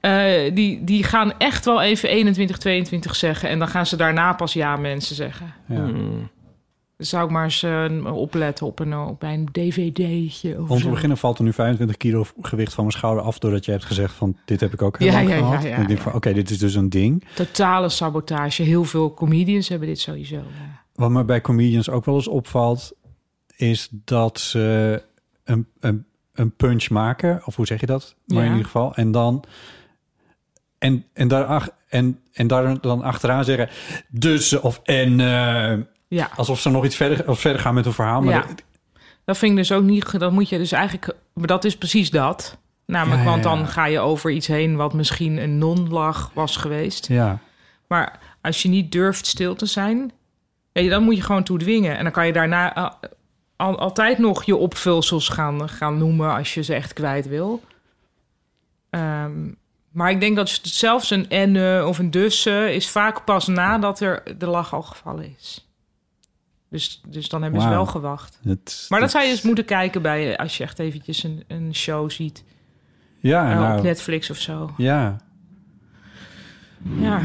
D: eh, die, die gaan echt wel even 21, 22 zeggen. En dan gaan ze daarna pas ja mensen zeggen. Hmm.
B: ja.
D: Zou ik maar eens eh, opletten op een, op een dvd'tje of
B: Om te
D: zo.
B: beginnen valt er nu 25 kilo gewicht van mijn schouder af doordat je hebt gezegd van dit heb ik ook
D: Ja,
B: heel lang
D: ja, ja,
B: gehad.
D: ja,
B: En ik denk
D: ja.
B: van oké, dit is dus een ding.
D: Totale sabotage. Heel veel comedians hebben dit sowieso. ja.
B: Wat me bij comedians ook wel eens opvalt, is dat ze een, een, een punch maken, of hoe zeg je dat? Maar
D: Ja.
B: in ieder geval. En dan. En, en, daar, ach- en, en daar dan achteraan zeggen. Dus of en. eh,
D: Ja,
B: alsof ze nog iets verder, of verder gaan met hun verhaal. Maar
D: Ja.
B: dat-
D: dat vind ik dus ook niet. ge- Dat moet je dus eigenlijk. Maar dat is precies dat. Namelijk,
B: Ja, ja,
D: want
B: ja.
D: dan ga je over iets heen wat misschien een non-lach was geweest.
B: ja.
D: Maar als je niet durft stil te zijn, weet je, dan moet je gewoon toe dwingen. En dan kan je daarna eh, al- altijd nog je opvulsels gaan, gaan noemen als je ze echt kwijt wil. Ehm, maar ik denk dat s- zelfs een en eh, of een dus eh, is vaak pas nadat er de lach al gevallen is. Dus, dus dan hebben ze
B: Wauw.
D: wel gewacht.
B: Het,
D: Maar dat zou je
B: is
D: eens moeten kijken bij eh, als je echt eventjes een, een show ziet
B: Ja,
D: eh,
B: nou,
D: op Netflix of zo.
B: ja.
D: Ja,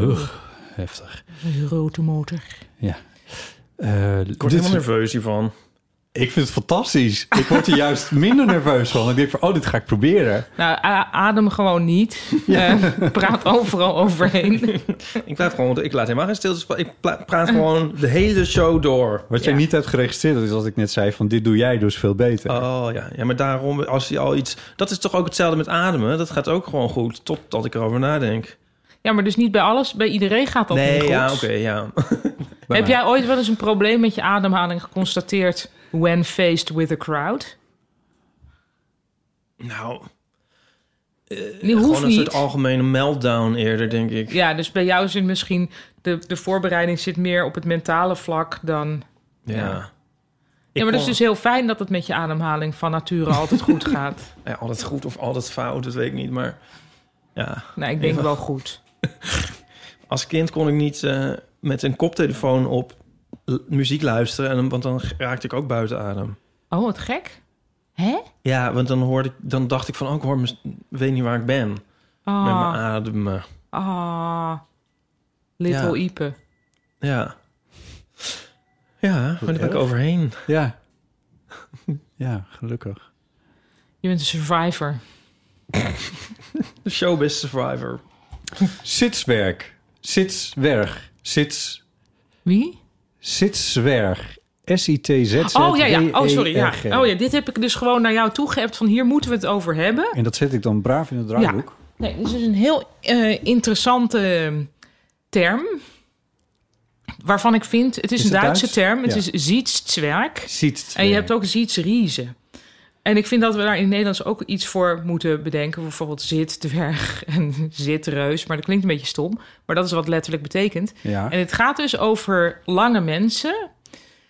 B: Ugh, heftig.
D: een grote motor.
B: Eh,
C: Ik word
B: dit-
C: helemaal nerveus hiervan.
B: Ik vind het fantastisch. Ik word er juist minder nerveus van. Ik denk van, oh, dit ga ik proberen.
D: Nou, a- adem gewoon niet. Eh, praat overal overheen.
C: Ik praat gewoon, ik laat helemaal geen stilte. spa- Ik pla- praat gewoon de hele show door.
B: Wat jij
D: Ja.
B: niet hebt geregistreerd, dat is wat ik net zei, van dit doe jij dus veel beter.
C: Oh ja. ja, maar daarom, als je al iets. Dat is toch ook hetzelfde met ademen? Dat gaat ook gewoon goed, totdat ik erover nadenk.
D: Ja, maar dus niet bij alles. Bij iedereen gaat dat niet
C: nee,
D: goed.
C: ja, oké, ja.
B: Bij
D: Heb
B: mij.
D: jij ooit wel eens een probleem met je ademhaling geconstateerd... when faced with a crowd?
C: Eh, Nou,
D: Die
C: gewoon
D: hoeft
C: een soort
D: niet.
C: algemene meltdown eerder, denk ik.
D: Ja, dus bij jou zit misschien... De, de voorbereiding zit meer op het mentale vlak dan...
C: Ja.
D: Ja. ja,
C: Ik
D: maar dat is
C: kon-
D: dus heel fijn dat het met je ademhaling van nature altijd goed gaat.
C: ja, altijd goed of altijd fout, dat weet ik niet. Maar ja,
D: Nou, ik denk wel goed.
C: als kind kon ik niet eh, met een koptelefoon op l- muziek luisteren, en, dan- want dan raakte ik ook buiten adem.
D: Oh, wat gek. Hè?
C: Ja, want dan, hoorde ik, dan dacht ik van, oh, ik hoor mez- weet niet waar ik ben met mijn
D: Ah,
C: ademen.
D: ah. Little
C: Ja.
D: Ipe.
C: Ja. Ja, maar daar ben ik
B: erg.
C: overheen.
B: Ja. ja, gelukkig.
D: Je bent een survivor.
C: De showbiz survivor.
B: Sitswerk. Sitswerg. Sits...
D: Wie?
B: Sitswerg. S-I-T-Z.
D: Oh ja, ja. Oh, sorry. Ja. Oh ja, dit heb ik dus gewoon naar jou toegeëpt van hier moeten we het over hebben.
B: En dat zet ik dan braaf in het draaiboek.
D: Nee, dit is dus een heel eh, interessante term. Waarvan ik vind, het is,
B: Is
D: een
B: het
D: Duitse
B: Duits?
D: term. Het
B: Ja.
D: is zietswerk.
B: Sitswerk.
D: En je hebt ook zietsriezen. En ik vind dat we daar in het Nederlands ook iets voor moeten bedenken. Bijvoorbeeld zitdwerg en zitreus. Maar dat klinkt een beetje stom. Maar dat is wat letterlijk betekent.
B: Ja.
D: En het gaat dus over lange mensen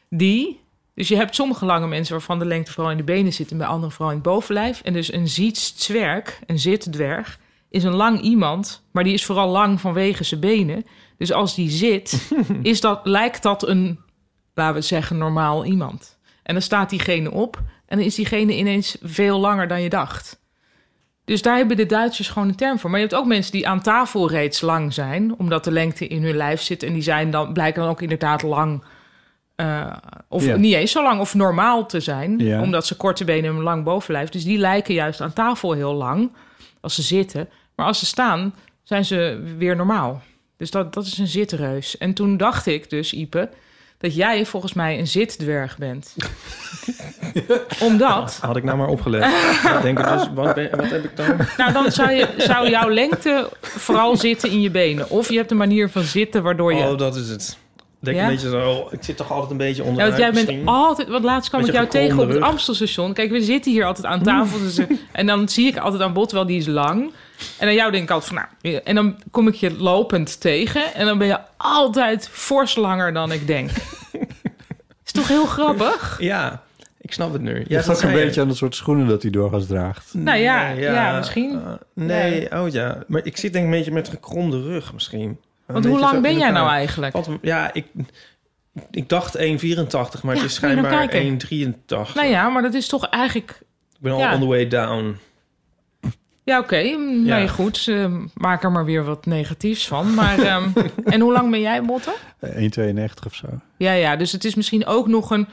D: die... Dus je hebt sommige lange mensen waarvan de lengte vooral in de benen zit... en bij anderen vooral in het bovenlijf. En dus een zietszwerg, een zitdwerg, is een lang iemand... maar die is vooral lang vanwege zijn benen. Dus als die zit, is dat, lijkt dat een, laten we zeggen, normaal iemand. En dan staat diegene op en dan is diegene ineens veel langer dan je dacht... Dus daar hebben de Duitsers gewoon een term voor. Maar je hebt ook mensen die aan tafel reeds lang zijn, omdat de lengte in hun lijf zit. En die zijn dan, blijken dan ook inderdaad lang. eh, of
B: Ja.
D: niet eens zo lang, of normaal te zijn.
B: Ja.
D: Omdat ze korte benen hebben een lang bovenlijf. Dus die lijken juist aan tafel heel lang als ze zitten. Maar als ze staan, zijn ze weer normaal. Dus dat, dat is een zitreus. En toen dacht ik dus, Ipe, dat jij volgens mij een zitdwerg bent. omdat.
C: Had ik nou maar opgelegd. ik denk het dus, wat, ben- wat heb ik dan?
D: Nou, dan zou, je, zou jouw lengte vooral zitten in je benen. Of je hebt een manier van zitten waardoor je...
C: Oh, dat is het. Denk
D: Ja?
C: een beetje zo, ik zit toch altijd een beetje
D: Ja,
C: onderuit
D: want jij bent
C: misschien?
D: altijd... Want laatst kwam ik
C: Beetje
D: jou tegen op het
C: gekromde rug.
D: Amstelstation. Kijk, we zitten hier altijd aan tafel. dus, eh, en dan zie ik altijd aan bod, wel die is lang. En aan jou denk ik altijd van... Nou, en dan kom ik je lopend tegen. En dan ben je altijd fors langer dan ik denk. is toch heel grappig?
C: Ja, ik snap het nu.
B: Je
C: Ja,
B: hebt ook een
C: zei je.
B: beetje aan het soort schoenen dat hij doorgaans draagt.
D: Nou ja,
C: Nee,
D: ja, misschien.
C: Eh, nee, oh ja. Maar ik zit denk ik een beetje met gekromde rug misschien.
D: Want hoe lang ben jij nou eigenlijk?
C: eigenlijk? Ja, ik, ik dacht 1,84, maar
D: Ja,
C: het is
D: moet je nou
C: schijnbaar 1,83.
D: kijken. Nou ja, maar dat is toch eigenlijk
C: Ik ben al
D: ja.
C: on the way down.
D: Ja, oké. Mm,
C: Ja.
D: Nee, goed. Eh, maak er maar weer wat negatiefs van. Maar, ehm, en hoe lang ben jij, Botte?
B: Eh, 1,92 of zo.
D: Ja, ja. Dus het is misschien ook nog een...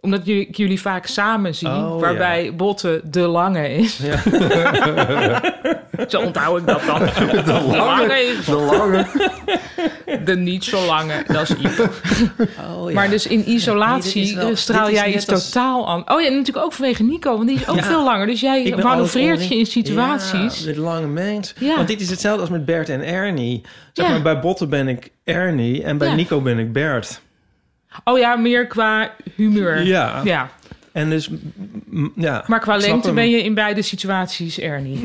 D: Omdat jullie, ik jullie vaak samen zie,
C: Oh,
D: waarbij Botte de lange is.
C: Ja.
D: zo onthoud ik dat dan. De lange is
B: De lange.
D: de niet zo lange. Dat is Ipe.
C: Oh,
D: Maar dus in isolatie
C: Nee, dit is wel-
D: eh, straal
C: dit is
D: jij
C: net
D: iets
C: als-
D: totaal anders. Oh ja, en natuurlijk ook vanwege Nico, want die is ook
C: Ja.
D: veel langer. Dus jij manoeuvreert je in situaties.
C: Ja, met lange mens.
D: Ja.
C: Want dit is hetzelfde als met Bert en Ernie. Zeg
D: Ja.
C: maar, bij Botten ben ik Ernie en bij
D: Ja.
C: Nico ben ik Bert.
D: Oh ja, meer qua humeur.
C: Ja.
D: ja.
C: En dus, m- m- ja.
D: Maar qua
C: Ik snap
D: lengte
C: hem.
D: ben je in beide situaties Ernie.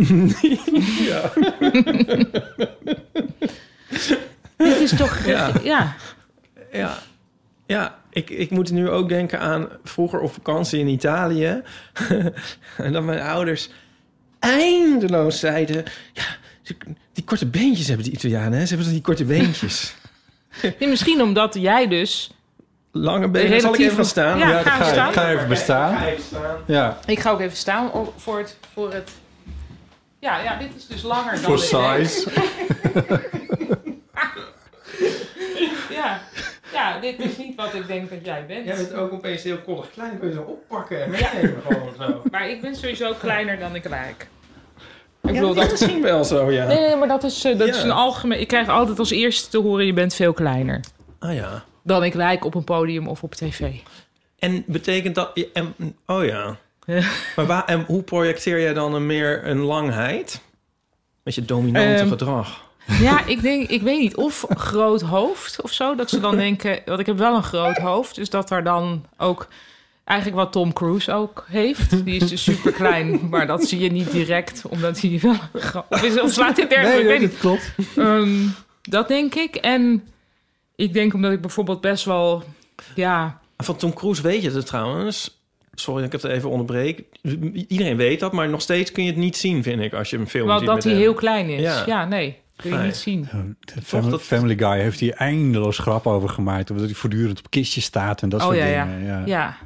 D: Dit is toch... Ja.
C: Ja.
D: ja.
C: Ja, ja ik, ik moet nu ook denken aan vroeger op vakantie in Italië. en dan mijn ouders eindeloos zeiden... Ja, die, die korte beentjes hebben die Italianen, hè? Ze hebben toch die korte beentjes.
D: Nee, misschien omdat jij dus...
C: Lange benen, zal ik
D: Relatief-
C: even gaan staan?
D: Ja, ga
B: dan
D: even
B: ga,
D: staan.
B: je- ga je even bestaan.
C: even staan.
B: Ja.
D: Ik ga ook even staan o- voor het... Voor het ja, ja, dit is dus langer dan...
B: Voor
D: ik denk.
B: size.
D: Ja. ja, ja, dit is niet wat ik denk dat jij bent.
C: Jij bent ook opeens heel koddig klein, kun je zo oppakken en meenemen gewoon zo.
D: Maar ik ben sowieso kleiner dan ik lijk.
C: Ik
D: bedoel, dat-
C: is misschien wel zo, ja.
D: Nee, nee, maar dat is, eh, dat
C: Ja.
D: is een algemeen... Ik krijg altijd als eerste te horen, je bent veel kleiner
C: Ah ja.
D: dan ik lijk op een podium of op tv.
C: En betekent dat... ja, En, oh ja.
D: Ja.
C: Maar waar, en hoe projecteer jij dan een meer een langheid? Met je dominante
D: Ehm,
C: gedrag.
D: Ja, ik denk, ik weet niet, of een groot hoofd of zo. Dat ze dan denken, want ik heb wel een groot hoofd. Dus dat er dan ook eigenlijk wat Tom Cruise ook heeft. Die is dus super klein, maar dat zie je niet direct, omdat hij wel een gro- Of, is, of slaat dit ergens? ik weet niet.
B: dat klopt.
D: Ehm, dat denk ik. En ik denk omdat ik bijvoorbeeld best wel, ja,
C: Van Tom Cruise weet je het trouwens. Sorry dat ik het even onderbreek. Iedereen weet dat, maar nog steeds kun je het niet zien, vind ik, als je een film
D: wel
C: ziet
D: dat
C: met
D: hij
C: hem.
D: heel klein is.
C: Ja.
D: Ja, nee, kun je
C: Nee.
D: niet zien.
B: Family,
C: dat-
B: Family Guy heeft hier eindeloos grap over gemaakt. Omdat hij voortdurend op kistjes staat en dat
D: Oh,
B: soort
D: ja, ja.
B: dingen. Ja.
D: Ja.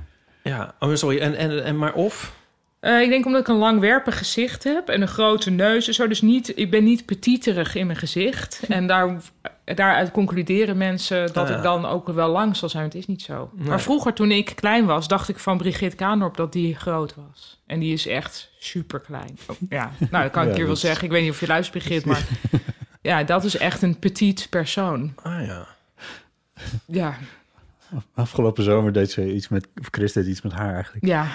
C: Ja, oh, sorry. En, en, en maar of?
D: Eh, ik denk omdat ik een langwerpig gezicht heb en een grote neus en zo. Dus niet, ik ben niet petiterig in mijn gezicht.
B: Hm.
D: En daar, daaruit concluderen mensen dat
C: Ah, ja.
D: ik dan ook wel lang zal zijn. Het is niet zo.
C: Nee.
D: Maar vroeger, toen ik klein was, dacht ik van Brigitte Kaandorp dat die groot was. En die is echt super klein. ja, nou, dat kan
B: Oh. Ja,
D: ik hier wel
B: dat is-
D: zeggen. Ik weet niet of je luistert, Brigitte, maar... Ja, dat is echt een petit persoon.
C: Ah ja.
D: Ja,
B: Afgelopen zomer deed ze iets met, of Chris deed iets met haar eigenlijk.
D: ja.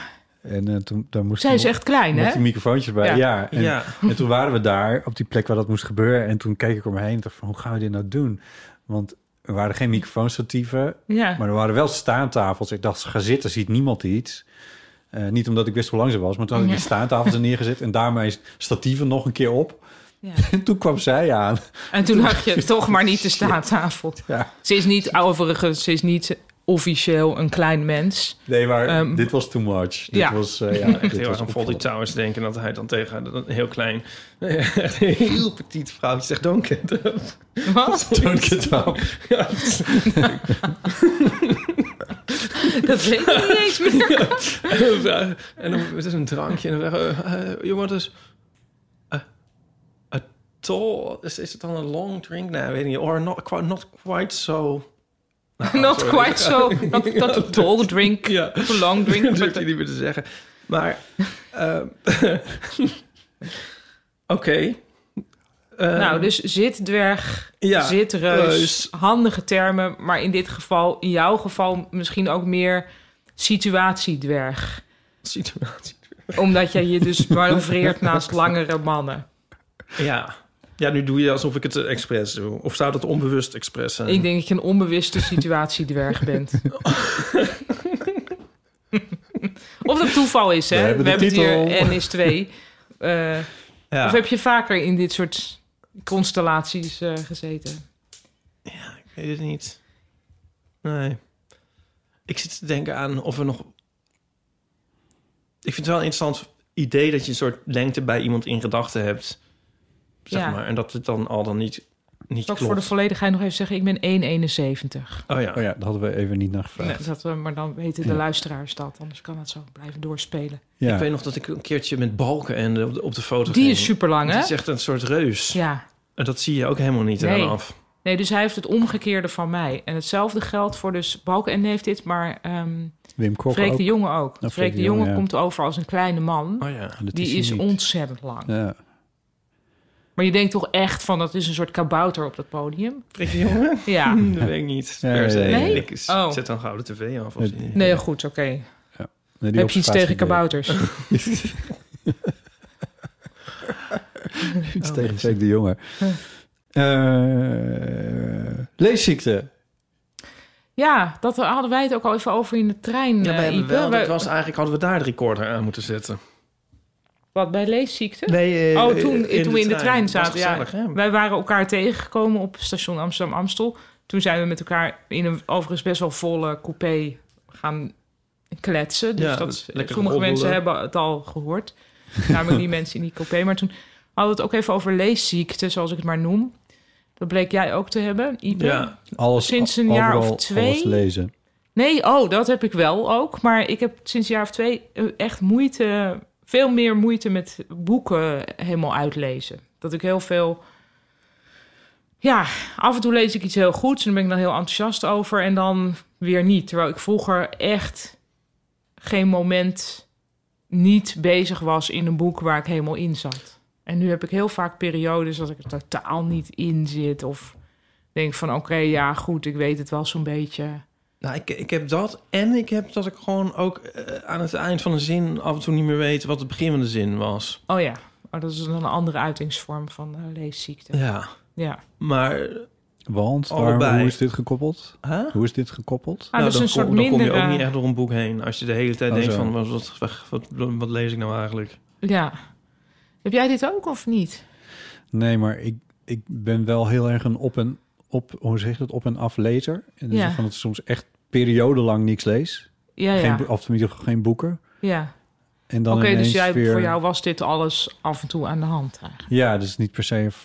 B: En eh, toen daar moest
D: Zij is
B: toen-
D: echt klein,
B: Met
D: hè?
B: die microfoontjes bij. Ja.
D: Ja.
B: en,
C: ja.
B: en toen waren we daar op die plek waar dat moest gebeuren. En toen keek ik om me heen en dacht van, hoe gaan we dit nou doen? Want er waren geen microfoonstatieven,
D: Ja.
B: maar er waren wel staantafels. Ik dacht, ga zitten, ziet niemand iets. Eh, niet omdat ik wist hoe lang ze was, maar toen had ik die staantafels er neergezet. En daarmee statieven nog een keer op.
D: ja.
B: En toen kwam zij aan.
D: En toen lag je toch maar niet te staattafel.
B: Ja.
D: Ze is niet, overigens, ze is niet officieel een klein mens.
B: Nee, maar
D: Ehm,
B: dit was too much. Dit
D: ja.
B: was, eh, ja,
C: Echt
B: dit
C: heel
B: was
C: erg aan Fawlty
B: opvallend.
C: Towers denken dat hij dan tegen een heel klein, echt een heel petit vrouwtje zegt: Don't get up.
D: Wat?
B: Don't get up.
C: Ja,
D: Dat weet ik niet eens meer.
C: en dan het is een drankje en dan zeggen we, eh, eh, jongen, dus a eh, tall is, is het dan een long drink? Nee, weet ik niet. Or not quite, not quite so. Nou,
D: Not
C: sorry.
D: quite so. Not, not a tall drink.
C: Ja.
D: Not a long drink.
C: Dat durf
D: but
C: je
D: a-
C: niet meer te zeggen. Maar, ehm, oké. Ehm,
D: nou, dus zit dwerg,
C: ja, Eh,
D: zit reus,
C: reus.
D: Handige termen. Maar in dit geval, in jouw geval, misschien ook meer situatiedwerg.
C: situatie.
D: Omdat jij je dus manoeuvreert naast langere mannen.
C: Ja. Ja, nu doe je alsof ik het eh, expres doe. Of zou dat onbewust expres zijn?
D: Ik denk dat je een onbewuste situatiedwerg bent. of dat toeval is, hè?
B: We hebben de titel.
D: het hier N is 2. Eh,
C: ja.
D: Of heb je vaker in dit soort constellaties eh, gezeten?
C: Ik weet het niet. Nee. Ik zit te denken aan of we nog... Ik vind het wel een interessant idee dat je een soort lengte bij iemand in gedachten hebt. Zeg
D: Ja.
C: maar. En dat het dan al dan niet, niet
D: Zal ik
C: klopt.
D: voor de volledigheid nog even zeggen, ik ben 1,71.
C: Oh ja.
B: Oh ja, daar hadden we even niet naar gevraagd.
D: Dus dat, eh, maar dan weten de
B: Ja.
D: luisteraars dat, anders kan dat zo blijven doorspelen.
B: Ja.
C: Ik weet nog dat ik een keertje met balken en eh, op de, op de foto
D: Die
C: ging.
D: is super lang,
C: Die
D: hè?
C: is echt een soort reus.
D: Ja.
C: En dat zie je ook helemaal niet
D: Nee.
C: aan af.
D: Nee, dus hij heeft het omgekeerde van mij. En hetzelfde geldt voor dus Balken en heeft dit, maar ehm
B: Wim Kok
D: Freek
B: ook.
D: de Jonge ook.
B: Freek
D: Freek
B: de
D: de
B: Jonge,
D: Jonge
B: ja.
D: komt over als een kleine man.
C: Oh ja.
B: Ah, Dat
D: Die
B: hij
D: is
B: niet.
D: ontzettend lang.
B: Ja.
D: Maar je denkt toch echt van dat is een soort kabouter op dat podium?
C: Prik je jongen?
D: Ja.
C: Dat weet ik niet.
B: Ja,
C: per se.
B: ja, ja, ja.
C: Ik s-
D: Oh.
C: zet dan gouden tv af. Of
B: Nee.
D: Nee, goed, oké.
B: Nee, die
D: Heb je iets
B: observatie
D: tegen
B: deed.
D: kabouters?
B: Iets
C: Oh,
B: tegen
C: mensen.
B: Freek de Jonge. Eh, leesziekte.
D: Ja, dat hadden wij het ook al even over in de trein.
C: Ja,
D: eh,
C: wij hebben
D: Ipe.
C: wel,
D: Wij-
C: dat was eigenlijk hadden we daar de recorder aan moeten zetten.
D: Wat, bij leesziekte?
B: eh,
C: Nee,
D: Oh, toen, toen we in de trein
C: Dat was
D: zaten. Ja.
C: gezellig, hè?
D: Wij waren elkaar tegengekomen op station Amsterdam-Amstel. Toen zijn we met elkaar in een overigens best wel volle coupé gaan kletsen. Dus
C: Ja,
D: dat,
C: dus lekker
D: sommige
C: roddelen.
D: mensen hebben het al gehoord. Namelijk die mensen in die coupé. Maar toen hadden we het ook even over leesziekte, zoals ik het maar noem. Dat bleek jij ook te hebben, Ipe.
C: Ja,
B: Alles,
D: Sinds een jaar
B: overal
D: of twee?
B: Alles lezen.
D: Nee, oh, dat heb ik wel ook. Maar ik heb sinds een jaar of twee eh, echt moeite, veel meer moeite met boeken helemaal uitlezen. Dat ik heel veel ja, af en toe lees ik iets heel goeds en daar ben ik dan heel enthousiast over. En dan weer niet. Terwijl ik vroeger echt geen moment niet bezig was in een boek waar ik helemaal in zat. En nu heb ik heel vaak periodes dat ik er totaal niet in zit. Of denk van oké, ja goed, ik weet het wel zo'n beetje.
C: Nou, ik, ik heb dat en ik heb dat ik gewoon ook eh, aan het eind van een zin af en toe niet meer weet wat het begin van de zin was.
D: Oh ja, oh, dat is dan een andere uitingsvorm van eh, leesziekte.
C: Ja,
D: Ja. Ah,
C: maar...
B: Want
C: Allebei.
B: waar, hoe is dit gekoppeld?
C: Huh? Nou,
B: Hoe is dit gekoppeld?
D: Ah, dat is
C: dan,
D: een soort
C: kom, dan kom je
D: minder...
C: ook niet
D: eh,
C: echt door een boek heen. Als je de hele tijd
B: Oh,
C: denkt
B: zo.
C: van, wat, wat, wat, wat lees ik nou eigenlijk?
D: Ja. Heb jij dit ook of niet?
B: Nee, maar ik, ik ben wel heel erg een op en op, hoe zeg je dat, op en aflezer. En dus
D: Ja.
B: van dat ik soms echt periodenlang niks lees.
D: Ja, ja.
B: Geen, bo- of in ieder geval geen boeken.
D: ja.
B: En dan
D: Oké,
B: ineens
D: dus jij,
B: weer...
D: voor jou was dit alles af en toe aan de hand eigenlijk.
B: Ja, dus niet per se v-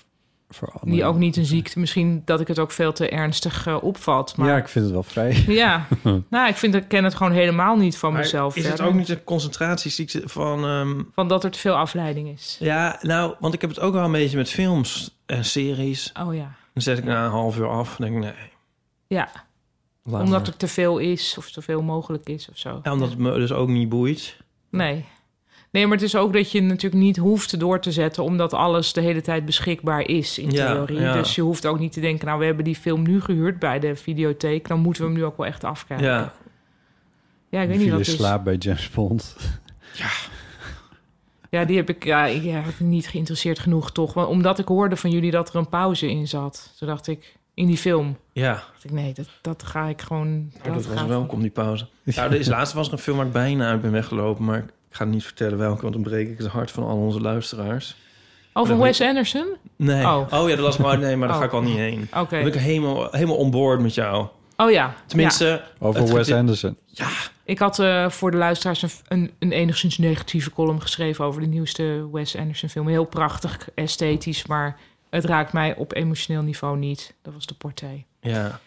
B: voor anderen.
D: Die ook niet een ziekte. Misschien dat ik het ook veel te ernstig eh, opvat. Maar
B: Ja,
D: ja,
B: ik vind het wel vrij.
D: nou, ik vind ik ken het gewoon helemaal niet van
C: Maar
D: mezelf.
C: is het
D: verder.
C: ook niet een concentratieziekte van... ehm,
D: Van dat er te veel afleiding is.
C: ja, nou, want ik heb het ook wel een beetje met films en series.
D: Oh ja.
C: Dan zet ik na een half uur af en denk ik, nee.
D: Ja,
C: laat
D: omdat
C: maar.
D: er te veel is of te veel mogelijk is of zo.
C: Ja, omdat het me dus ook niet boeit.
D: Nee. Nee, maar het is ook dat je natuurlijk niet hoeft door te zetten... omdat alles de hele tijd beschikbaar is in
C: Ja,
D: theorie.
C: ja.
D: Dus je hoeft ook niet te denken... nou, we hebben die film nu gehuurd bij de videotheek... dan moeten we hem nu ook wel echt
C: Ja,
D: afkijken. Ja, ik weet
B: Ik
D: niet
B: viel
D: wat
B: in
D: het is.
B: slaap bij James Bond.
D: Ja, die heb ik ja, ik ja, niet geïnteresseerd genoeg toch. Want omdat ik hoorde van jullie dat er een pauze in zat... toen dacht ik, in die film...
C: ja.
D: dacht ik, nee, dat, dat ga ik gewoon...
C: Oh, dat was
D: gaat-
C: welkom, die pauze. Nou, er is laatst was er een film waar ik bijna uit ben weggelopen... maar ik ga niet vertellen welke, want dan breek ik het hart van al onze luisteraars.
D: Oh, van
C: Dat-
D: Wes Anderson?
C: Nee.
D: Oh.
C: Oh, ja, dat was maar... Nee, maar daar
D: Oh.
C: ga ik al niet heen.
D: Oké.
C: Dan ben ik helemaal, helemaal onboord met jou.
D: Oh ja.
C: Tenminste...
B: Over
C: het
B: Wes
C: gete-
B: Anderson.
D: Ik had eh, voor de luisteraars een, een, een enigszins negatieve column geschreven over de nieuwste Wes Anderson film. Heel prachtig, esthetisch, maar het raakt mij op emotioneel niveau niet. Dat was de portée.
C: Ja.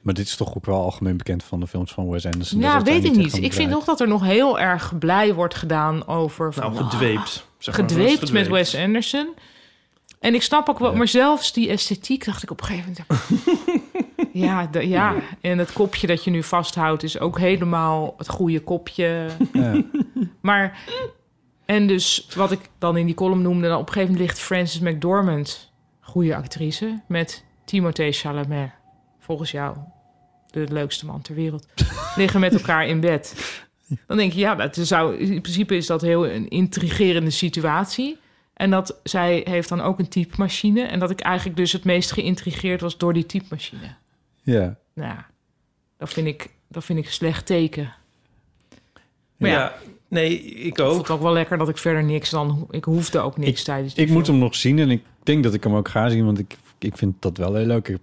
B: Maar dit is toch ook wel algemeen bekend van de films van Wes Anderson.
D: ja,
B: dat het daar
D: weet ik
B: echt
D: niet.
B: aan
D: Ik vind
B: draait.
D: nog dat er nog heel erg blij wordt gedaan over... van,
C: Nou,
D: "Ah,
C: gedweept. zeg maar.
D: gedweept
C: Dat is
D: met Wes Anderson. En ik snap ook wel,
B: Ja.
D: maar zelfs die esthetiek dacht ik op een gegeven moment... ja, de- ja, en het kopje dat je nu vasthoudt is ook helemaal het goede kopje.
B: Ja.
D: Maar, en dus wat ik dan in die column noemde, dan op een gegeven moment ligt Frances McDormand, goede actrice, met Timothée Chalamet, volgens jou de leukste man ter wereld, liggen met elkaar in bed. Dan denk je, ja, dat zou, in principe is dat heel een intrigerende situatie. En dat zij heeft dan ook een typemachine. En dat ik eigenlijk dus het meest geïntrigeerd was door die typemachine.
B: ja.
D: Nou, ja, dat vind ik, dat vind ik een slecht teken. Maar
C: Ja.
D: ja, Oh,
C: Nee, ik
D: ik
C: ook.
D: vond het ook wel lekker dat ik verder niks dan... Ik hoefde ook niks tijdens die
B: Ik moet
D: film.
B: hem nog zien en ik denk dat ik hem ook ga zien, want ik, ik vind dat wel heel leuk. Ik-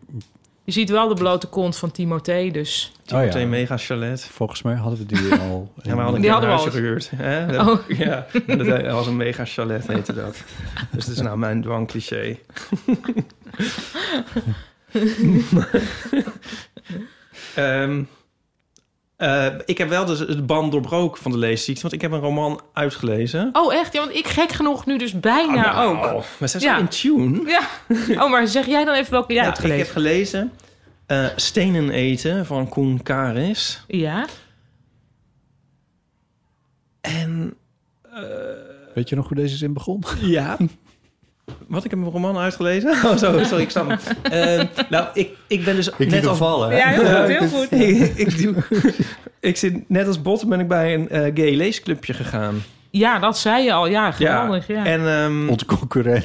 D: Je ziet wel de blote kont van Timothée, dus...
B: Oh
C: Meteen
B: ja,
C: mega chalet.
B: volgens mij hadden we die al.
C: Ja, we hadden
D: Die
C: een
D: hadden we al
C: keer een huisje gehuurd. Hè? Dat,
D: Oh.
C: Ja, dat he- was een mega chalet, heette dat. Dus dat is nou mijn dwangcliché. Ehm eh, ik heb wel dus het band doorbroken van de leesziekte, want ik heb een roman uitgelezen.
D: Oh, echt? Ja, want ik gek genoeg nu dus bijna
C: Oh,
D: ook.
C: nou, We zijn zo
D: Ja.
C: in tune.
D: Ja. Oh, maar zeg jij dan even welke jij
C: Ja,
D: hebt
C: ik
D: gelezen.
C: heb gelezen eh, Stenen eten van Koen Karis.
D: Ja?
C: En
B: Weet je nog hoe deze zin begon?
C: Ja. Wat, ik heb een roman uitgelezen? Oh, zo, sorry, ik snap hem. Eh, nou, ik, ik ben dus net als...
B: vallen.
D: Ja, heel goed, heel goed.
C: ik, ik, doe- ik zit net als bot ben ik bij een eh, gay leesclubje gegaan.
D: Ja, dat zei je al. Ja, geweldig. Ja. Mhm,
C: En ehm,
B: Onze concurrent.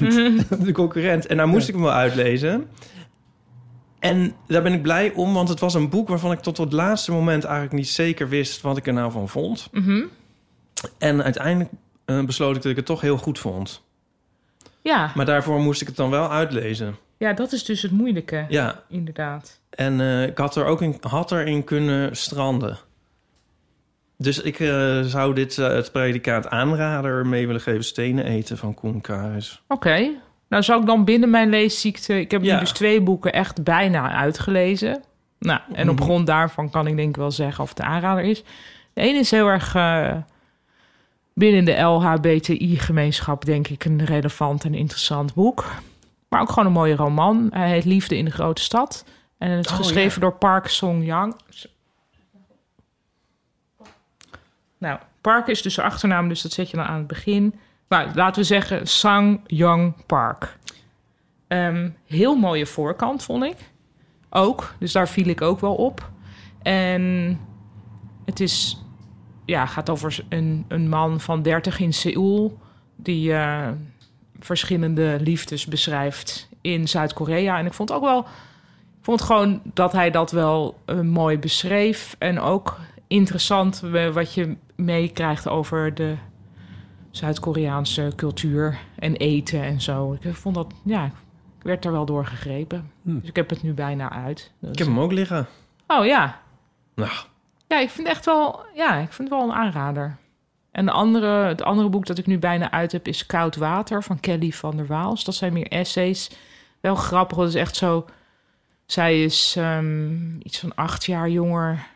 C: de concurrent. En daar moest ik hem wel uitlezen. En daar ben ik blij om, want het was een boek waarvan ik tot het laatste moment eigenlijk niet zeker wist wat ik er nou van vond.
D: Mhm.
C: En uiteindelijk eh, besloot ik dat ik het toch heel goed vond.
D: ja.
C: Maar daarvoor moest ik het dan wel uitlezen.
D: ja, dat is dus het moeilijke.
C: Ja,
D: Inderdaad.
C: En eh, ik had er ook in, had erin kunnen stranden. Dus ik eh, zou dit eh, het predicaat aanrader mee willen geven. Stenen eten van Koen Karis.
D: Oké. Nou, zou ik dan binnen mijn leesziekte... Ik heb nu
C: Ja.
D: dus twee boeken echt bijna uitgelezen. Nou, en op
C: Mhm.
D: grond daarvan kan ik denk ik wel zeggen of het een aanrader is. De ene is heel erg eh, binnen de LHBTI-gemeenschap, denk ik, een relevant en interessant boek. Maar ook gewoon een mooie roman. Hij heet Liefde in de Grote Stad. En het is
C: Oh,
D: geschreven
C: ja.
D: door Park Song-yang. Nou, Park is dus de achternaam, dus dat zet je dan aan het begin. Nou, laten we zeggen Sang-yang Park. Ehm, heel mooie voorkant, vond ik. Ook, dus daar viel ik ook wel op. En het is, ja, gaat over een, een man van 30 in Seoul... die eh, verschillende liefdes beschrijft in Zuid-Korea. En ik vond ook wel, ik vond gewoon dat hij dat wel eh, mooi beschreef. En ook interessant eh, wat je meekrijgt over de Zuid-Koreaanse cultuur en eten en zo. Ik vond dat, ja, ik werd er wel door gegrepen.
B: Hmm.
D: Dus ik heb het nu bijna uit. Dus-
C: Ik heb hem ook liggen.
D: Oh ja.
C: Nou,
D: Ja, ik vind echt wel, ja, ik vind het wel een aanrader. En de andere, het andere boek dat ik nu bijna uit heb is Koud Water van Kelly van der Waals. Dat zijn meer essays. Wel grappig, dat is echt zo. Zij is ehm, iets van acht jaar jonger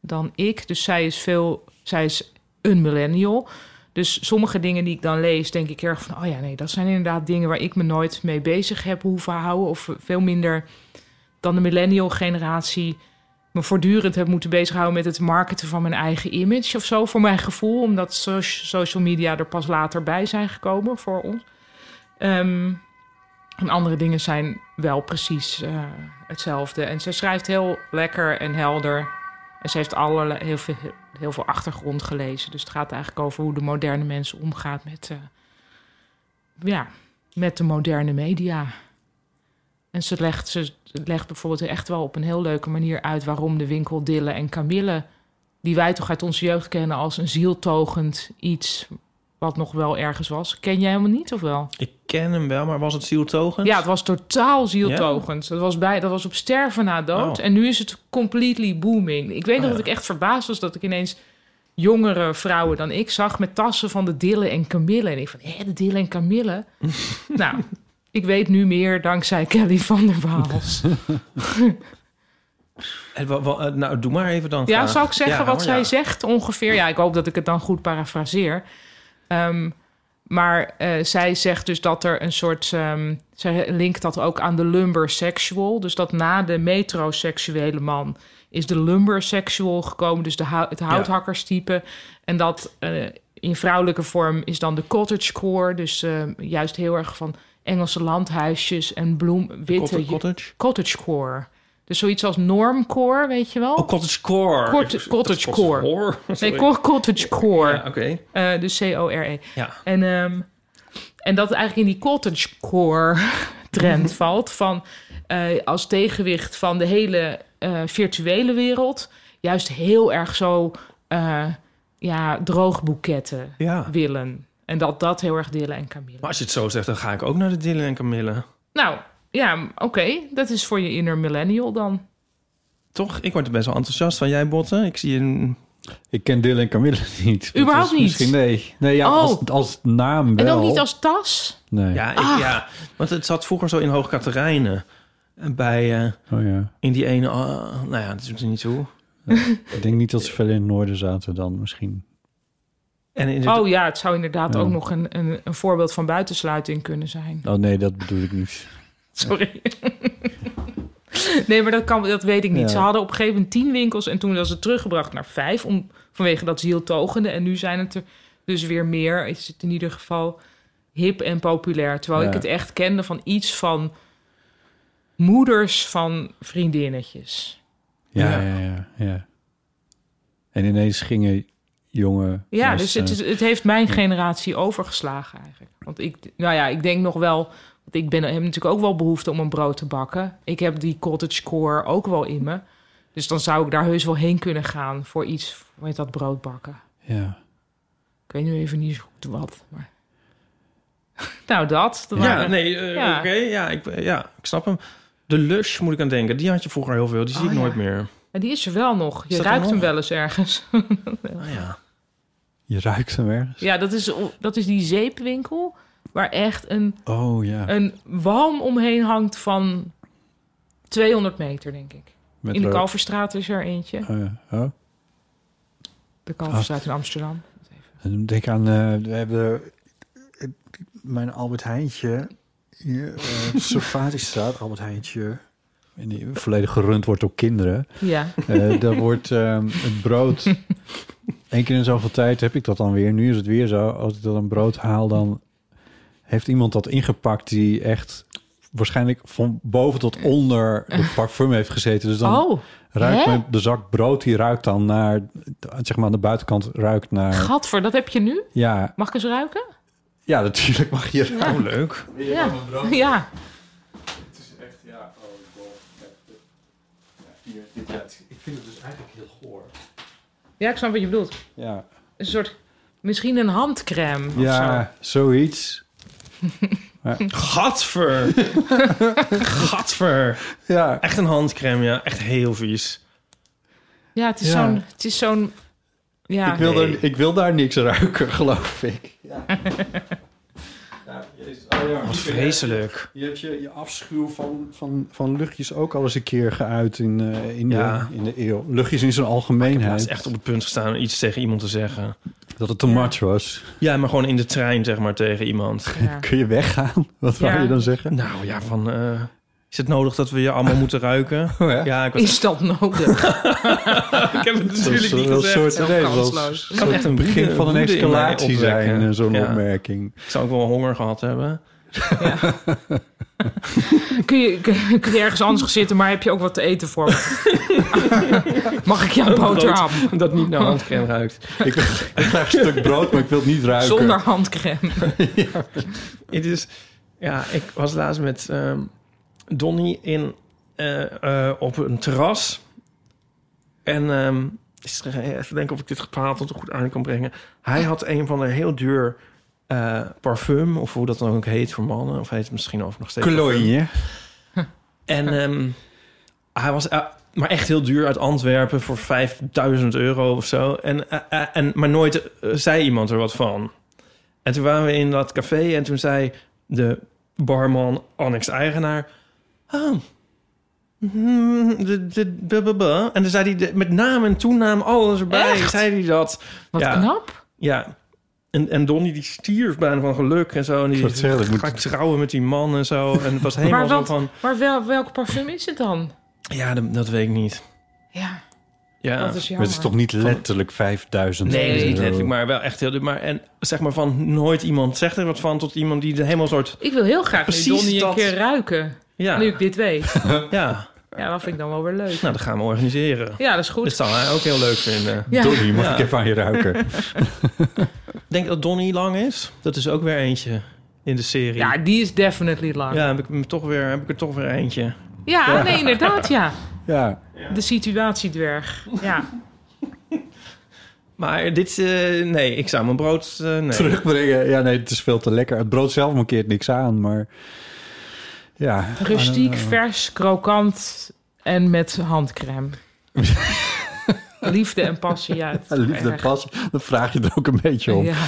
D: dan ik. Dus zij is veel, zij is een millennial. Dus sommige dingen die ik dan lees, denk ik erg van: oh ja, nee, dat zijn inderdaad dingen waar ik me nooit mee bezig heb hoeven houden. Of veel minder dan de millennial-generatie me voortdurend heb moeten bezighouden met het marketen van mijn eigen image of zo, voor mijn gevoel, omdat so- social media er pas later bij zijn gekomen voor ons. Ehm, en andere dingen zijn wel precies eh, hetzelfde. En ze schrijft heel lekker en helder. En ze heeft allerlei, heel, veel, heel veel achtergrond gelezen. Dus het gaat eigenlijk over hoe de moderne mens omgaat met, eh, ja, met de moderne media. En ze legt, ze legt bijvoorbeeld echt wel op een heel leuke manier uit waarom de winkel Dille en Camille, die wij toch uit onze jeugd kennen als een zieltogend iets wat nog wel ergens was, ken jij helemaal niet of wel?
C: ik ken hem wel, maar was het zieltogend?
D: Ja, het was totaal zieltogend. Dat, was bij, dat was op sterven na dood.
C: Oh.
D: En nu is het completely booming. Ik weet nog
C: Oh,
D: dat
C: ja.
D: ik echt verbaasd was dat ik ineens jongere vrouwen dan ik zag met tassen van de Dille en Camille. En ik van, hé, de Dille en Camille? nou, ik weet nu meer dankzij Kelly van der Waals.
C: En wa- wa- eh, nou, doe maar even dan.
D: Ja,
C: graag.
D: zou ik zeggen
C: Ja,
D: wat
C: hoor,
D: zij
C: ja.
D: zegt ongeveer? Ja, ik hoop dat ik het dan goed parafraseer. Ehm, maar eh, zij zegt dus dat er een soort... ehm, zij linkt dat ook aan de lumbersexual. Dus dat na de metroseksuele man is de lumbersexual gekomen. Dus de hou- het houthakkerstype. En dat eh, in vrouwelijke vorm is dan de cottagecore. Dus eh, juist heel erg van Engelse landhuisjes en bloem, witte...
C: Cottage. cottage.
D: cottagecore. Dus zoiets als normcore, weet je wel?
C: Oh, cottage core.
D: Cort-
C: Ik-
D: cottage
C: cottage
D: core.
C: core.
D: Nee,
C: Sorry.
D: cor- cottage core.
C: Ja, Oké,
D: Eh, dus C-O-R-E.
C: ja.
D: En, ehm, en dat het eigenlijk in die cottage core trend valt. Van, eh, als tegenwicht van de hele eh, virtuele wereld. Juist heel erg zo eh, ja, droogboeketten
C: ja.
D: willen. En dat dat heel erg Dille en Camille.
C: Maar als je het zo zegt, dan ga ik ook naar de Dylan en Camille.
D: Nou, ja, m- oké. Dat is voor je inner millennial dan.
C: Toch? Ik word er best wel enthousiast van. Jij, Botten? Ik zie een...
B: Ik ken Dylan en Camille niet. Dat
D: Überhaupt
B: is
D: niet?
B: Misschien nee. Nee, ja,
D: Oh.
B: als, als naam wel.
D: En ook niet als tas.
B: Nee.
C: Ja, ik,
D: Ah.
C: ja, want het zat vroeger zo in Hoog Katerijnen. En Bij, eh,
B: Oh, ja.
C: in die ene... ah, nou ja, dat doet er niet toe.
B: Ik denk niet dat ze verder in het noorden zaten dan misschien.
C: En in de,
D: Oh ja, het zou inderdaad
B: Ja.
D: ook nog een, een, een voorbeeld van buitensluiting kunnen zijn.
B: Oh nee, dat bedoel ik niet.
D: Sorry. nee, maar dat, kan, dat weet ik niet.
B: Ja.
D: Ze hadden op een gegeven moment tien winkels en toen was het teruggebracht naar vijf om, vanwege dat zieltogende. En nu zijn het er dus weer meer. Is het in ieder geval hip en populair. Terwijl
B: Ja.
D: ik het echt kende van iets van moeders van vriendinnetjes.
B: Ja, ja,
C: Ja.
B: ja. ja. En ineens gingen jonge...
D: Ja,
B: mensen-
D: dus het,
C: eh,
D: is, het heeft mijn generatie overgeslagen eigenlijk. Want ik, nou ja, ik denk nog wel. Want ik ben, heb natuurlijk ook wel behoefte om een brood te bakken. Ik heb die cottagecore ook wel in me. Dus dan zou ik daar heus wel heen kunnen gaan voor iets met dat brood bakken.
B: Ja.
D: Ik weet nu even niet zo goed wat. Maar... nou, dat. dat
C: ja,
D: waren-
C: nee, eh,
D: Ja.
C: oké. ja, ik, ja, ik snap hem. De Lush moet ik aan denken. Die had je vroeger heel veel. Die zie
D: Oh,
C: ik nooit
D: ja.
C: meer.
D: Maar die is er wel nog. Je
C: Is dat er
D: ruikt hem
C: nog?
D: wel eens ergens.
C: Ah, ja.
B: Je ruikt hem ergens.
D: ja, dat is, dat is die zeepwinkel. Waar echt een,
B: Oh ja.
D: een walm omheen hangt van 200 meter, denk ik.
B: Met
D: In de
B: rood.
D: Kalverstraat is er eentje.
B: Oh, ja. oh. Ah.
D: De Kalverstraat in Amsterdam.
B: En dan Denk aan, eh, we hebben mijn Albert eh, Heijntje hier, Straat, Albert Heintje. En die volledig gerund wordt door kinderen.
D: Ja.
B: Eh, daar wordt ehm, het brood. Eén keer in zoveel tijd heb ik dat dan weer. Nu is het weer zo. Als ik dan een brood haal, dan heeft iemand dat ingepakt die echt waarschijnlijk van boven tot onder de parfum heeft gezeten. Dus dan
D: oh,
B: ruikt
D: hè?
B: mijn- de zak brood die ruikt dan naar, zeg maar aan de buitenkant ruikt naar.
D: gadver, dat heb je nu?
B: Ja,
D: Mag ik eens ruiken?
B: ja, natuurlijk mag je.
D: Ja.
C: Oh, leuk.
D: Ja. Ja.
B: oh, Ik vind het dus eigenlijk heel goor.
D: ja, ik snap wat je bedoelt.
B: Ja,
D: Een soort, misschien een handcrème of
B: ja zoiets.
C: Gadver. Gadver.
B: Ja,
C: Echt een handcreme, ja. Echt heel vies.
D: zo. Ja, het is
B: Ja.
D: zo'n... Het is zo'n ja.
B: ik, wil
C: nee.
B: daar, ik wil daar niks ruiken, geloof ik. Ja. Ah,
C: Wat vreselijk.
B: Je hebt je, je afschuw van, van, van luchtjes ook al eens een keer geuit in, eh, in,
C: Ja.
B: de, in de eeuw. Luchtjes in zijn
C: Hij
B: algemeenheid.
C: is echt op het punt gestaan om iets tegen iemand te zeggen.
B: Dat het te much was.
C: Ja, maar gewoon in de trein, zeg maar, tegen iemand.
D: Ja.
B: Kun je weggaan? Wat
D: Ja.
B: wou je dan zeggen?
C: Nou ja, van... eh, is het nodig dat we je allemaal moeten ruiken?
B: ja.
C: Ja, ik, was,
D: Is dat nodig?
C: ik heb
B: Dat
C: het natuurlijk
B: is
C: niet
B: wel een
C: gezegd.
D: Heel
B: soort nee, dat was
D: kansloos.
B: een soort
C: Echt een
B: begin
C: woede-
B: van een
C: woede in mij
B: escalatie zijn,
C: opwekken.
B: eh, zo'n
C: Ja.
B: opmerking.
C: Ik zou ook wel honger gehad hebben.
D: kun, je, kun, kun je ergens anders gaan zitten, maar heb je ook wat te eten voor me? Mag ik jou een boterham?
C: Dat niet naar handcreme ruikt.
B: Ik, wil- ik krijg een stuk brood, maar ik wil het niet ruiken.
D: Zonder handcrème.
C: Het is, ja, ik was laatst met ehm Donnie in, eh, eh, op een terras. En ehm, is er- even denken of ik dit verhaal tot goed aan kan brengen. Hij had een van de heel duur eh, parfum, of hoe dat dan ook heet voor mannen. Of heet het misschien ook nog steeds parfum.
B: Cologne.
C: En ehm, hij was eh, maar echt heel duur uit Antwerpen voor 5000 euro of zo. En, eh, eh, en, maar nooit eh, zei iemand er wat van. En toen waren we in dat café en toen zei de barman, Annex eigenaar... Oh, hmm, de, de, bu- bu- bu." En dan zei hij de- met naam en toenaam alles erbij.
D: Echt?
C: Zei hij dat.
D: Wat
C: Ja.
D: knap.
C: Ja. En, en Donnie die stierf bijna van geluk en zo. En
B: Ik
C: die
B: zou het zeggen, dat moet-
C: ga ik trouwen met die man en zo. En het was helemaal
D: Maar
C: zo
D: wat-
C: van...
D: Maar wel, welk parfum is het dan?
C: Ja, dat, dat weet ik niet.
D: Ja,
C: Ja.
D: dat is
B: Maar
D: jammer.
B: het is toch niet letterlijk 5000
C: Nee, dat is niet
B: euro?
C: letterlijk, maar wel echt heel... duur. Maar en zeg maar van nooit iemand zegt er wat van... tot iemand die er helemaal soort...
D: Ik wil heel graag die
C: Precies
D: Donnie een
C: dat.
D: keer ruiken.
C: Ja,
D: Nu ik dit weet.
C: ja.
D: Ja, dat vind ik dan wel weer leuk.
C: nou, dat gaan we organiseren.
D: Ja, dat is goed.
C: Dat zal hij ook heel leuk vinden.
D: Ja.
B: Donnie, mag
C: Ja.
B: ik even aan je ruiken?
C: Ik denk dat Donnie lang is. Dat is ook weer eentje in de serie.
D: ja, die is definitely lang. Ja,
C: Ja, heb ik, hem toch weer, heb ik er toch weer eentje.
D: nee, inderdaad, ja.
B: Ja.
D: De situatiedwerg. Ja.
C: Maar dit... eh, nee, ik zou mijn brood... eh, nee.
B: terugbrengen. Ja, nee, het is veel te lekker. Het brood zelf mankeert niks aan, maar... Ja.
D: Rustiek, vers, krokant en met handcrème. Liefde en passie, ja. het is
B: Liefde
D: erg.
B: pas, dan vraag je er ook een beetje om.
D: Ja.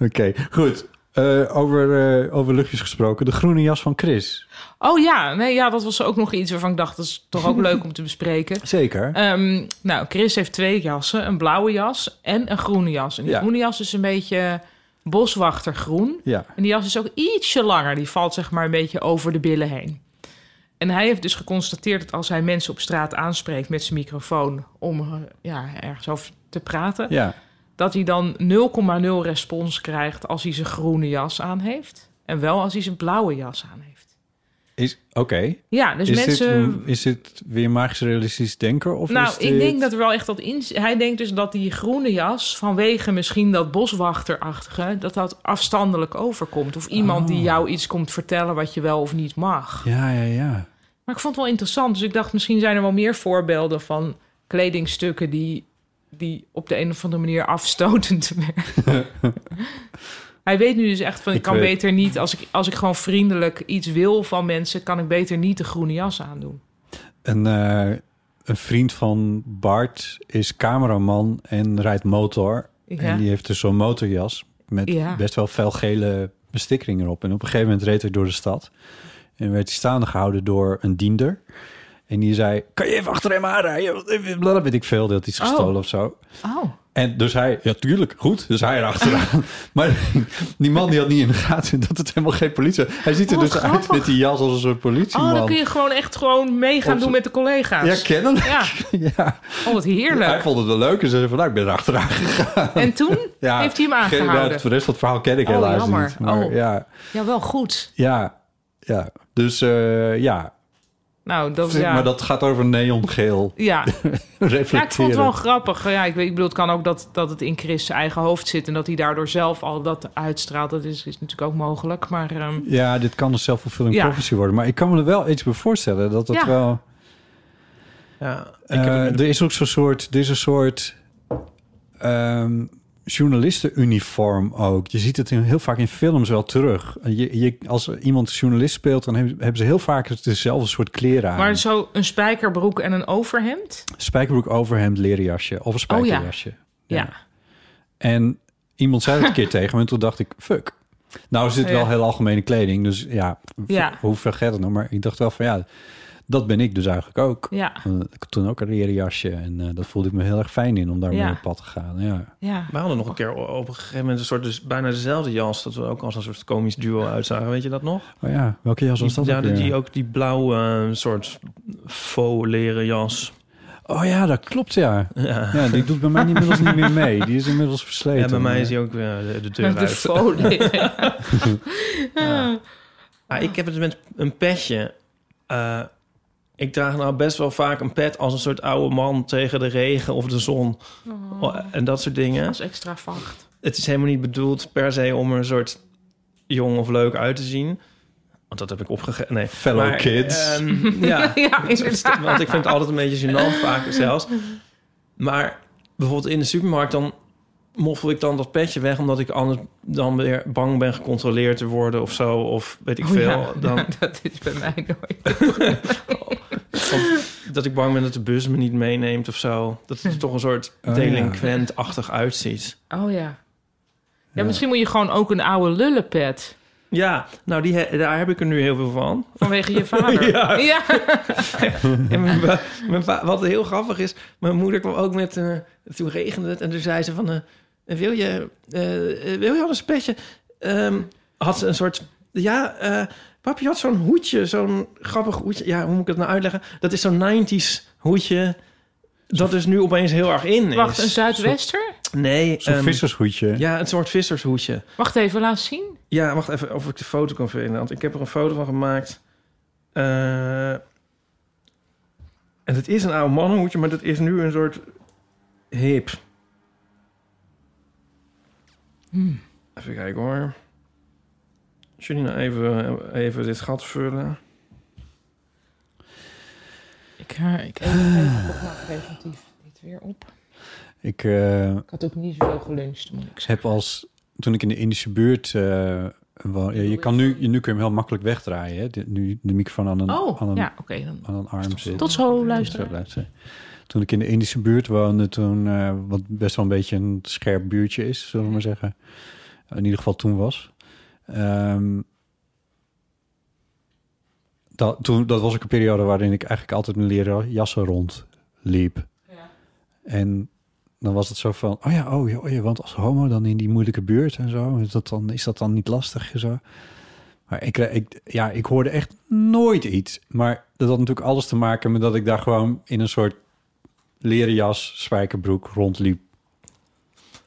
B: Oké, goed. Eh, over, eh, over luchtjes gesproken. De groene jas van Chris.
D: Oh ja, nee, ja, dat was ook nog iets waarvan ik dacht... dat is toch ook leuk om te bespreken.
B: Zeker.
D: Ehm, nou, Chris heeft twee jassen. Een blauwe jas en een groene jas. En die
B: Ja.
D: groene jas is een beetje boswachtergroen.
B: ja.
D: En die jas is ook ietsje langer. Die valt zeg maar een beetje over de billen heen. En hij heeft dus geconstateerd dat als hij mensen op straat aanspreekt met zijn microfoon om eh, ja, ergens over te praten,
B: Ja.
D: dat hij dan 0,0 respons krijgt als hij zijn groene jas aan heeft. En wel als hij zijn blauwe jas aan heeft.
B: Is, Oké.
D: Ja, dus
B: is,
D: mensen.
B: dit, is dit weer magisch realistisch denken? Of
D: nou,
B: is
D: ik
B: dit-
D: denk dat er wel echt dat in. Hij denkt dus dat die groene jas, vanwege misschien dat boswachterachtige, dat dat afstandelijk overkomt. Of iemand die
B: Oh.
D: jou iets komt vertellen wat je wel of niet mag.
B: Ja, ja, ja.
D: Maar ik vond het wel interessant. Dus ik dacht, misschien zijn er wel meer voorbeelden van kledingstukken die, die op de een of andere manier afstotend werken. Hij weet nu dus echt van, ik,
B: Ik
D: kan
B: weet-
D: beter niet, als ik, als ik gewoon vriendelijk iets wil van mensen, kan ik beter niet de groene jas aandoen.
B: Een, eh, een vriend van Bart is cameraman en rijdt motor.
D: Ja.
B: En die heeft dus zo'n motorjas met
D: Ja.
B: best wel fel gele bestikkering erop. En op een gegeven moment reed hij door de stad. En werd hij staande gehouden door een diender. En die zei, kan je even achter hem aanrijden? Want, eh, Blablabla, weet ik veel, dat hij is
D: Oh.
B: gestolen of zo.
D: Oh,
B: En dus hij, ja tuurlijk, goed, dus hij erachteraan. maar die man die had niet in de gaten dat het helemaal geen politie was. Hij ziet er
D: Oh,
B: dus uit
D: grappig.
B: met die jas als een soort
D: Oh,
B: politieman.
D: dan kun je gewoon echt gewoon meegaan
B: Op-
D: doen met de collega's.
B: Ja, kennelijk.
D: Ja,
B: Ja.
D: oh, wat
B: Hij
D: heerlijk.
B: vond het wel leuk en ze zei van, nou, ik ben erachteraan gegaan.
D: En toen
B: Ja,
D: heeft hij hem
B: Geen- nou,
D: aangehouden.
B: Voor de rest van het verhaal ken ik
D: Oh,
B: helaas
D: jammer.
B: niet. Maar
D: Oh.
B: ja,
D: Ja, wel goed.
B: ja, ja. Dus eh, ja.
D: Nou, dat ja.
B: maar dat gaat over neongeel
D: ja.
B: reflecteren.
D: Ja, ik vond het wel grappig. Ja, ik, weet- ik bedoel, het kan ook dat, dat het in Chris' zijn eigen hoofd zit... en dat hij daardoor zelf al dat uitstraalt. Dat is, is natuurlijk ook mogelijk, maar... ehm,
B: Ja, dit kan een zelfvervulling
D: Ja.
B: prophecy worden. Maar ik kan me er wel iets bij voorstellen dat dat
D: Ja.
B: wel...
C: Ja, ik
B: Eh,
C: heb het met-
B: er is ook zo'n soort, er is een soort ehm, journalistenuniform ook. Je ziet het in, heel vaak in films wel terug. Je, je, als er iemand journalist speelt, dan hebben hebben ze heel vaak dezelfde soort kleren aan.
D: Maar zo een spijkerbroek en een overhemd?
B: Spijkerbroek, overhemd, leren jasje of een
D: Oh, ja.
B: spijkerjasje.
D: Ja.
B: En iemand zei het een keer tegen me en toen dacht ik, fuck. Nou is dit
D: Oh Ja.
B: wel heel algemene kleding, dus ja,
D: Ja.
B: ja. hoe vergeet het nou? Maar ik dacht wel van ja, dat ben ik dus eigenlijk ook.
D: Ja,
B: Eh, Ik had toen ook een leren jasje en eh, dat voelde ik me heel erg fijn in om daarmee
D: Ja.
B: op pad te gaan. Ja.
D: ja.
C: We hadden nog een keer o- op een gegeven moment een soort, dus bijna dezelfde jas, dat we ook als een soort komisch duo uitzagen. Weet je dat nog?
B: Oh ja, welke jas was dat?
C: ja,
B: ook weer?
C: die ook die blauwe eh, soort faux leren jas.
B: Oh ja, dat klopt ja.
C: Ja.
B: Ja, die doet bij mij inmiddels niet meer mee. Die is inmiddels versleten.
C: Ja, bij mij is die ook weer eh, de, de deur
D: de
C: uit.
D: folie.
C: Ja. Ah, ik heb het met een petje. Eh, ik draag nou best wel vaak een pet als een soort oude man tegen de regen of de zon. Oh, En dat soort dingen.
D: Als extra vacht.
C: Het is helemaal niet bedoeld per se om er een soort jong of leuk uit te zien. Want dat heb ik opgegeven. Nee.
B: Fellow
C: Maar,
B: kids.
C: ehm, ja.
D: Ja, inderdaad.
C: Want ik vind het altijd een beetje gênant vaak zelfs. Maar bijvoorbeeld in de supermarkt dan moffel ik dan dat petje weg... omdat ik anders dan weer bang ben gecontroleerd te worden of zo. Of weet ik
D: Oh,
C: veel.
D: ja.
C: Dan,
D: Dat is bij mij nooit.
C: Of dat ik bang ben dat de bus me niet meeneemt of zo. Dat het er toch een soort
B: Oh,
C: delinquent-achtig uitziet.
D: Oh ja. ja. misschien moet je gewoon ook een oude lullenpet.
C: Ja, nou die he- daar heb ik er nu heel veel van.
D: Vanwege je vader.
C: Ja.
D: ja.
C: En mijn va- mijn va- wat heel grappig is, mijn moeder kwam ook met... eh, toen regende het en toen zei ze van... eh, wil, je, eh, eh, wil je al een petje? Ehm, had ze een soort... Ja, eh papi had zo'n hoedje, zo'n grappig hoedje. Ja, hoe moet ik het nou uitleggen? Dat is zo'n 90s hoedje... Dat is nu opeens heel erg in. Is.
D: Wacht, een Zuidwester?
C: Nee,
B: Zo'n
C: ehm,
B: vissersgoedje.
C: Ja, een soort vissershoedje.
D: Wacht even, laat zien.
C: Ja, wacht even of ik de foto kan vinden. Want ik heb er een foto van gemaakt. Eh, en het is een oude mannenhoedje, maar dat is nu een soort hip.
B: Hmm.
C: Even kijken hoor. Als jullie nou even, even dit gat vullen.
D: Ik, eh, ik eet nog even op, maar preventief niet weer op.
B: Ik eh,
D: Ik had ook niet zoveel geluncht, moet ik zeggen.
B: heb als, toen ik in de Indische buurt eh, woon- ja, je kan nu, je, nu kun je hem heel makkelijk wegdraaien. Hè? De- nu de microfoon aan een, aan een,
D: Oh, ja, oké. dan.
B: aan een arm zit.
D: Tot zo,
B: Zo
D: luisteren.
B: blijft ze. Toen ik in de Indische buurt woonde, toen, eh, wat best wel een beetje een scherp buurtje is, zullen we maar zeggen. In ieder geval toen was. Ehm, dat, toen, dat was ook een periode waarin ik eigenlijk altijd mijn leren jassen rondliep. En dan was het zo van, oh ja, oh ja, oh ja, want als homo dan in die moeilijke buurt en zo, is dat dan, is dat dan niet lastig en zo. Maar ik, eh, ik, ja, ik hoorde echt nooit iets. Maar dat had natuurlijk alles te maken met dat ik daar gewoon in een soort leren jas, spijkerbroek rondliep.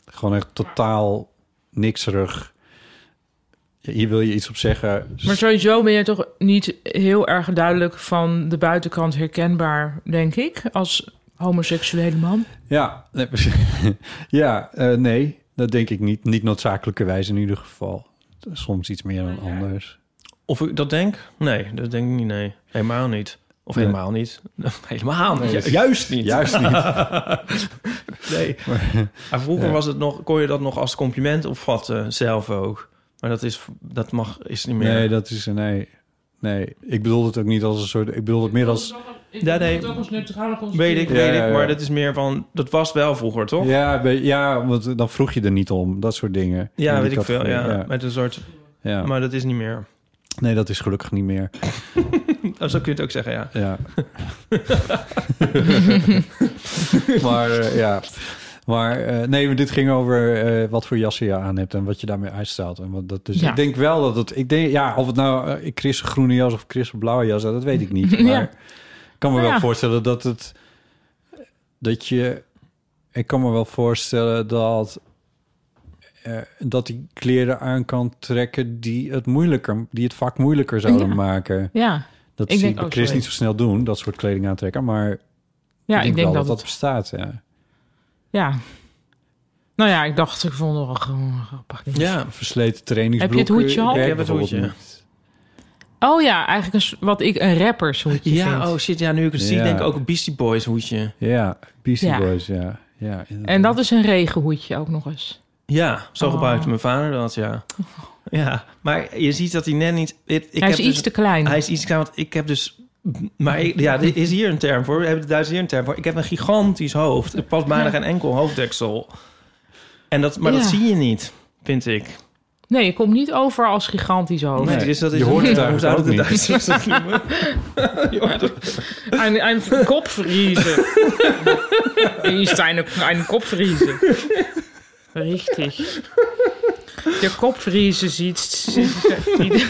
B: Gewoon echt totaal nikserig. Ja, hier wil je iets op zeggen.
D: Maar sowieso ben je toch niet heel erg duidelijk van de buitenkant herkenbaar, denk ik, als homoseksuele man.
B: Ja, nee, precies. ja eh, nee, dat denk ik niet. Niet noodzakelijkerwijs in ieder geval. Soms iets meer dan anders.
C: Of ik dat denk? Nee, dat denk ik niet, nee. Helemaal niet. Of
B: Nee.
C: helemaal niet. Helemaal niet.
B: Nee.
C: Ju- Juist niet.
B: Juist niet.
C: Nee. Maar vroeger was het nog, kon je dat nog als compliment opvatten, zelf ook. Maar dat, is, dat mag, is niet meer.
B: Nee, dat is nee. Nee, ik bedoel het ook niet als een soort. Ik bedoel het meer als.
C: Ja, nee.
D: ook als neutrale
C: weet ik,
D: Ja.
C: weet
B: ja,
C: ik.
B: ja.
C: Maar dat is meer van, dat was wel vroeger, toch? Ja,
B: Ja, be- ja, want dan vroeg je er niet om. Dat soort dingen. In die
C: weet ik veel.
B: categorie,
C: Ja, Met een soort,
B: ja.
C: maar dat is niet meer.
B: Nee, dat is gelukkig niet meer.
C: Oh, zo kun je het ook zeggen, ja.
B: Ja. maar eh, ja. Maar eh, nee, maar dit ging over eh, wat voor jassen je aan hebt en wat je daarmee uitstraalt. En wat dat, dus
D: Ja.
B: ik denk wel dat het... Ik denk, ja, of het nou eh, Chris een groene jas of Chris een blauwe jas, dat weet ik niet. Maar
D: Ja.
B: ik kan me
D: Nou
B: wel
D: ja.
B: voorstellen dat het... Dat je... Ik kan me wel voorstellen dat... eh, dat die kleren aan kan trekken die het moeilijker, die het vak moeilijker zouden
D: Ja.
B: maken.
D: Ja,
B: Dat
D: Ik
B: zie
D: denk
B: ik bij
D: ook,
B: Chris
D: sorry.
B: niet zo snel doen, dat soort kleding aantrekken. Maar
D: ja ik denk,
B: wel
D: dat,
B: dat dat
D: het-
B: bestaat, ja.
D: Ja. Nou ja, ik dacht, ik vond het wel gewoon grappig.
C: Ja,
B: versleten trainingsbroek.
D: Heb je het hoedje al?
B: werkt
C: Ik heb het
B: bijvoorbeeld
C: hoedje.
B: niet.
D: Oh ja, eigenlijk een, s- wat ik een rappershoedje vind.
C: ja oh shit, ja, nu ik het zie,
B: Ja.
C: denk ik ook een Beastie Boys hoedje.
B: Ja, Beastie
D: Ja.
B: Boys, ja. ja
D: En dat is een regenhoedje ook nog eens.
C: Ja, zo
D: Oh.
C: gebruikte mijn vader dat, ja. Ja, maar je ziet dat hij net niet... Ik, ik
D: hij
C: heb
D: is iets
C: dus-
D: te klein.
C: Hij is iets klein, want ik heb dus... Maar ik- ja, dit is hier een term voor. We hebben de Duitsers hier een term voor. Ik heb een gigantisch hoofd. Het past bijna geen enkel hoofddeksel. En dat, maar
D: Ja.
C: dat zie je niet, vind ik.
D: Nee, je komt niet over als gigantisch hoofd.
C: Nee, dus dat is
B: je hoort het eigenlijk
C: zouden de
B: ook niet.
C: Duitsers dat noemen? Je hoort het-
D: Ein, ein Kopfriese. ist eine, ein Kopfriese. Richtig. Der Kopfriese sieht, sieht,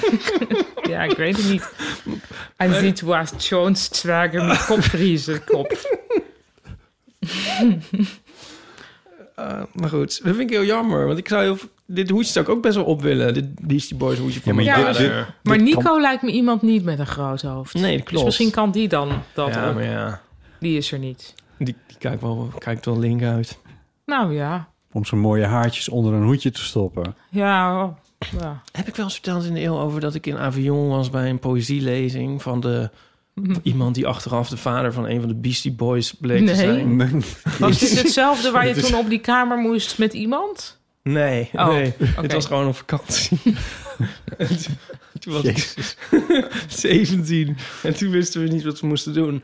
D: Ja, ik weet het niet. Een situationszwerger met Kopfriese. Kopf.
C: Eh, maar goed, dat vind ik heel jammer. Want ik zou heel, dit hoedje zou ik ook best wel op willen. Dit Beastie Boys hoedje van
B: Ja, maar
C: mijn
D: je-
C: vader.
B: dit-
D: Maar
B: Dit
D: Nico
B: kan-
D: lijkt me iemand niet met een groot hoofd.
C: Nee, dat
D: Dus
C: klopt.
D: misschien kan die dan dat
C: ja,
D: ook.
C: maar ja.
D: Die is er niet.
C: Die, die kijkt, wel, kijkt wel link uit.
D: Nou ja.
B: Om zijn mooie haartjes onder een hoedje te stoppen.
D: Ja. oh, ja.
C: Heb ik wel eens verteld in de eeuw over dat ik in Avignon was bij een poëzielezing van de...
D: Mhm.
C: Iemand die achteraf de vader van een van de Beastie Boys bleek
D: Nee.
C: te zijn.
D: Was dit hetzelfde waar je
C: Dit is-
D: toen op die kamer moest met iemand?
C: Nee,
D: Oh,
C: nee. Het
D: oké.
C: was gewoon op vakantie. En toen- toen was ik 17 en toen wisten we niet wat we moesten doen.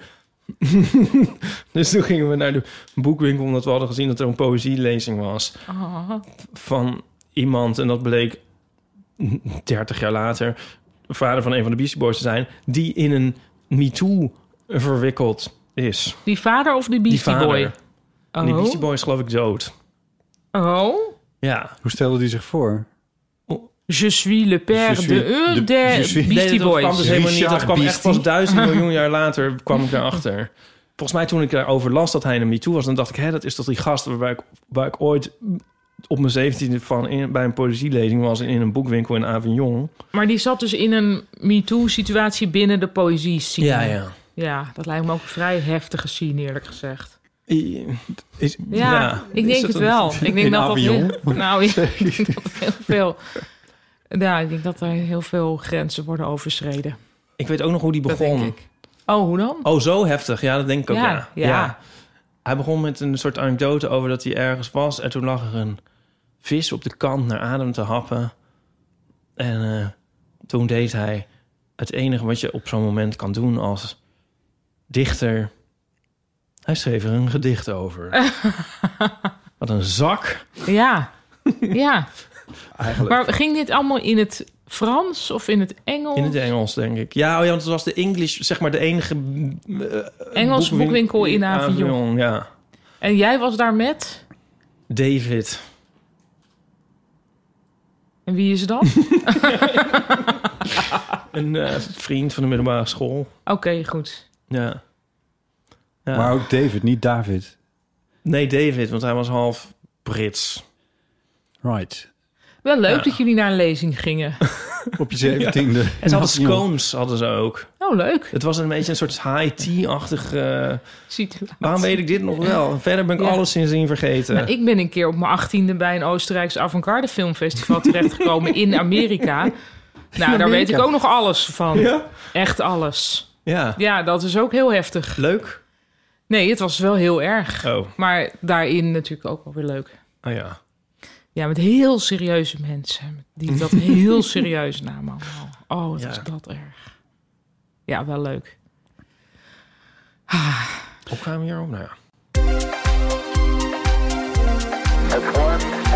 C: dus toen gingen we naar de boekwinkel omdat we hadden gezien dat er een poëzielezing was
D: Ah.
C: van iemand en dat bleek 30 jaar later de vader van een van de Beastie Boys te zijn die in een MeToo verwikkeld is.
D: Die vader of die Beastie
C: die vader.
D: Boy?
C: En
D: Oh.
C: die Beastie Boy is geloof ik dood.
D: oh.
C: Ja.
B: Hoe stelde hij zich voor?
D: Je suis le père
B: Je suis
D: de un
B: de-
D: des
B: je suis-
D: Beastie
C: nee, dat
D: Boys.
C: kwam dus helemaal niet. Dat
B: Richard
C: kwam echt
B: Beastie.
C: pas duizend miljoen jaar later kwam ik daarachter. Volgens mij toen ik daarover las dat hij in een MeToo was... dan dacht ik, hè, dat is toch die gast waar ik, waar ik ooit op mijn zeventiende van in, bij een poëzielezing was... in een boekwinkel in Avignon.
D: Maar die zat dus in een MeToo-situatie binnen de poëzie scene. Ja, dat lijkt me ook een vrij heftige scene, eerlijk gezegd.
C: I-
B: Is,
D: Ja, ik
C: is
D: denk
C: dat
D: het
C: een-
D: wel. Ik denk
B: In
D: dat dat
B: Avignon?
D: heel- Nou, ja, ik denk dat dat heel veel... Ja, ik denk dat er heel veel grenzen worden overschreden.
C: Ik weet ook nog hoe die
D: Dat denk
C: begon.
D: ik. Oh, hoe dan?
C: Oh, zo heftig. Ja, dat denk ik ook, ja.
D: Ja, ja.
C: Hij begon met een soort anekdote over dat hij ergens was... en toen lag er een vis op de kant naar adem te happen. En eh, toen deed hij het enige wat je op zo'n moment kan doen als dichter. Hij schreef er een gedicht over. wat een zak.
D: Ja, ja.
C: Eigenlijk.
D: Maar ging dit allemaal in het Frans of in het Engels?
C: In het E- Engels, denk ik. Ja, oh ja, want het was de English, zeg maar de enige... eh,
D: Engels boekwinkel in Avignon.
C: Ja.
D: En jij was daar met?
C: David.
D: En wie is dat?
C: Een eh, vriend van de middelbare school.
D: Oké, goed.
C: Ja. ja.
B: Maar ook David, niet David.
C: Nee, David, want hij was half Brits.
B: Right.
D: Wel leuk
C: Ja.
D: dat jullie naar een lezing gingen.
B: Op je zeventiende.
C: En ze hadden scones, hadden ze ook.
D: Oh, leuk.
C: Het was een beetje een soort high tea-achtig... eh,
D: Ziet u.
C: waarom weet ik dit nog wel? Verder ben ik
D: Ja.
C: alles sindsdien vergeten.
D: Nou, ik ben een keer op mijn achttiende bij een Oostenrijks avant-garde filmfestival terechtgekomen in Amerika. Nou, daar weet ik ook nog alles van.
C: Ja?
D: Echt alles.
C: Ja.
D: Ja, dat is ook heel heftig.
C: Leuk?
D: Nee, het was wel heel erg.
C: Oh,
D: Maar daarin natuurlijk ook wel weer leuk.
C: oh ja.
D: Ja, met heel serieuze mensen. Die dat heel serieus namen allemaal. Oh, wat
C: Ja.
D: was dat erg. Ja, wel leuk.
C: Hoe kwamen we hierop? Nou ja.
E: That's one small step for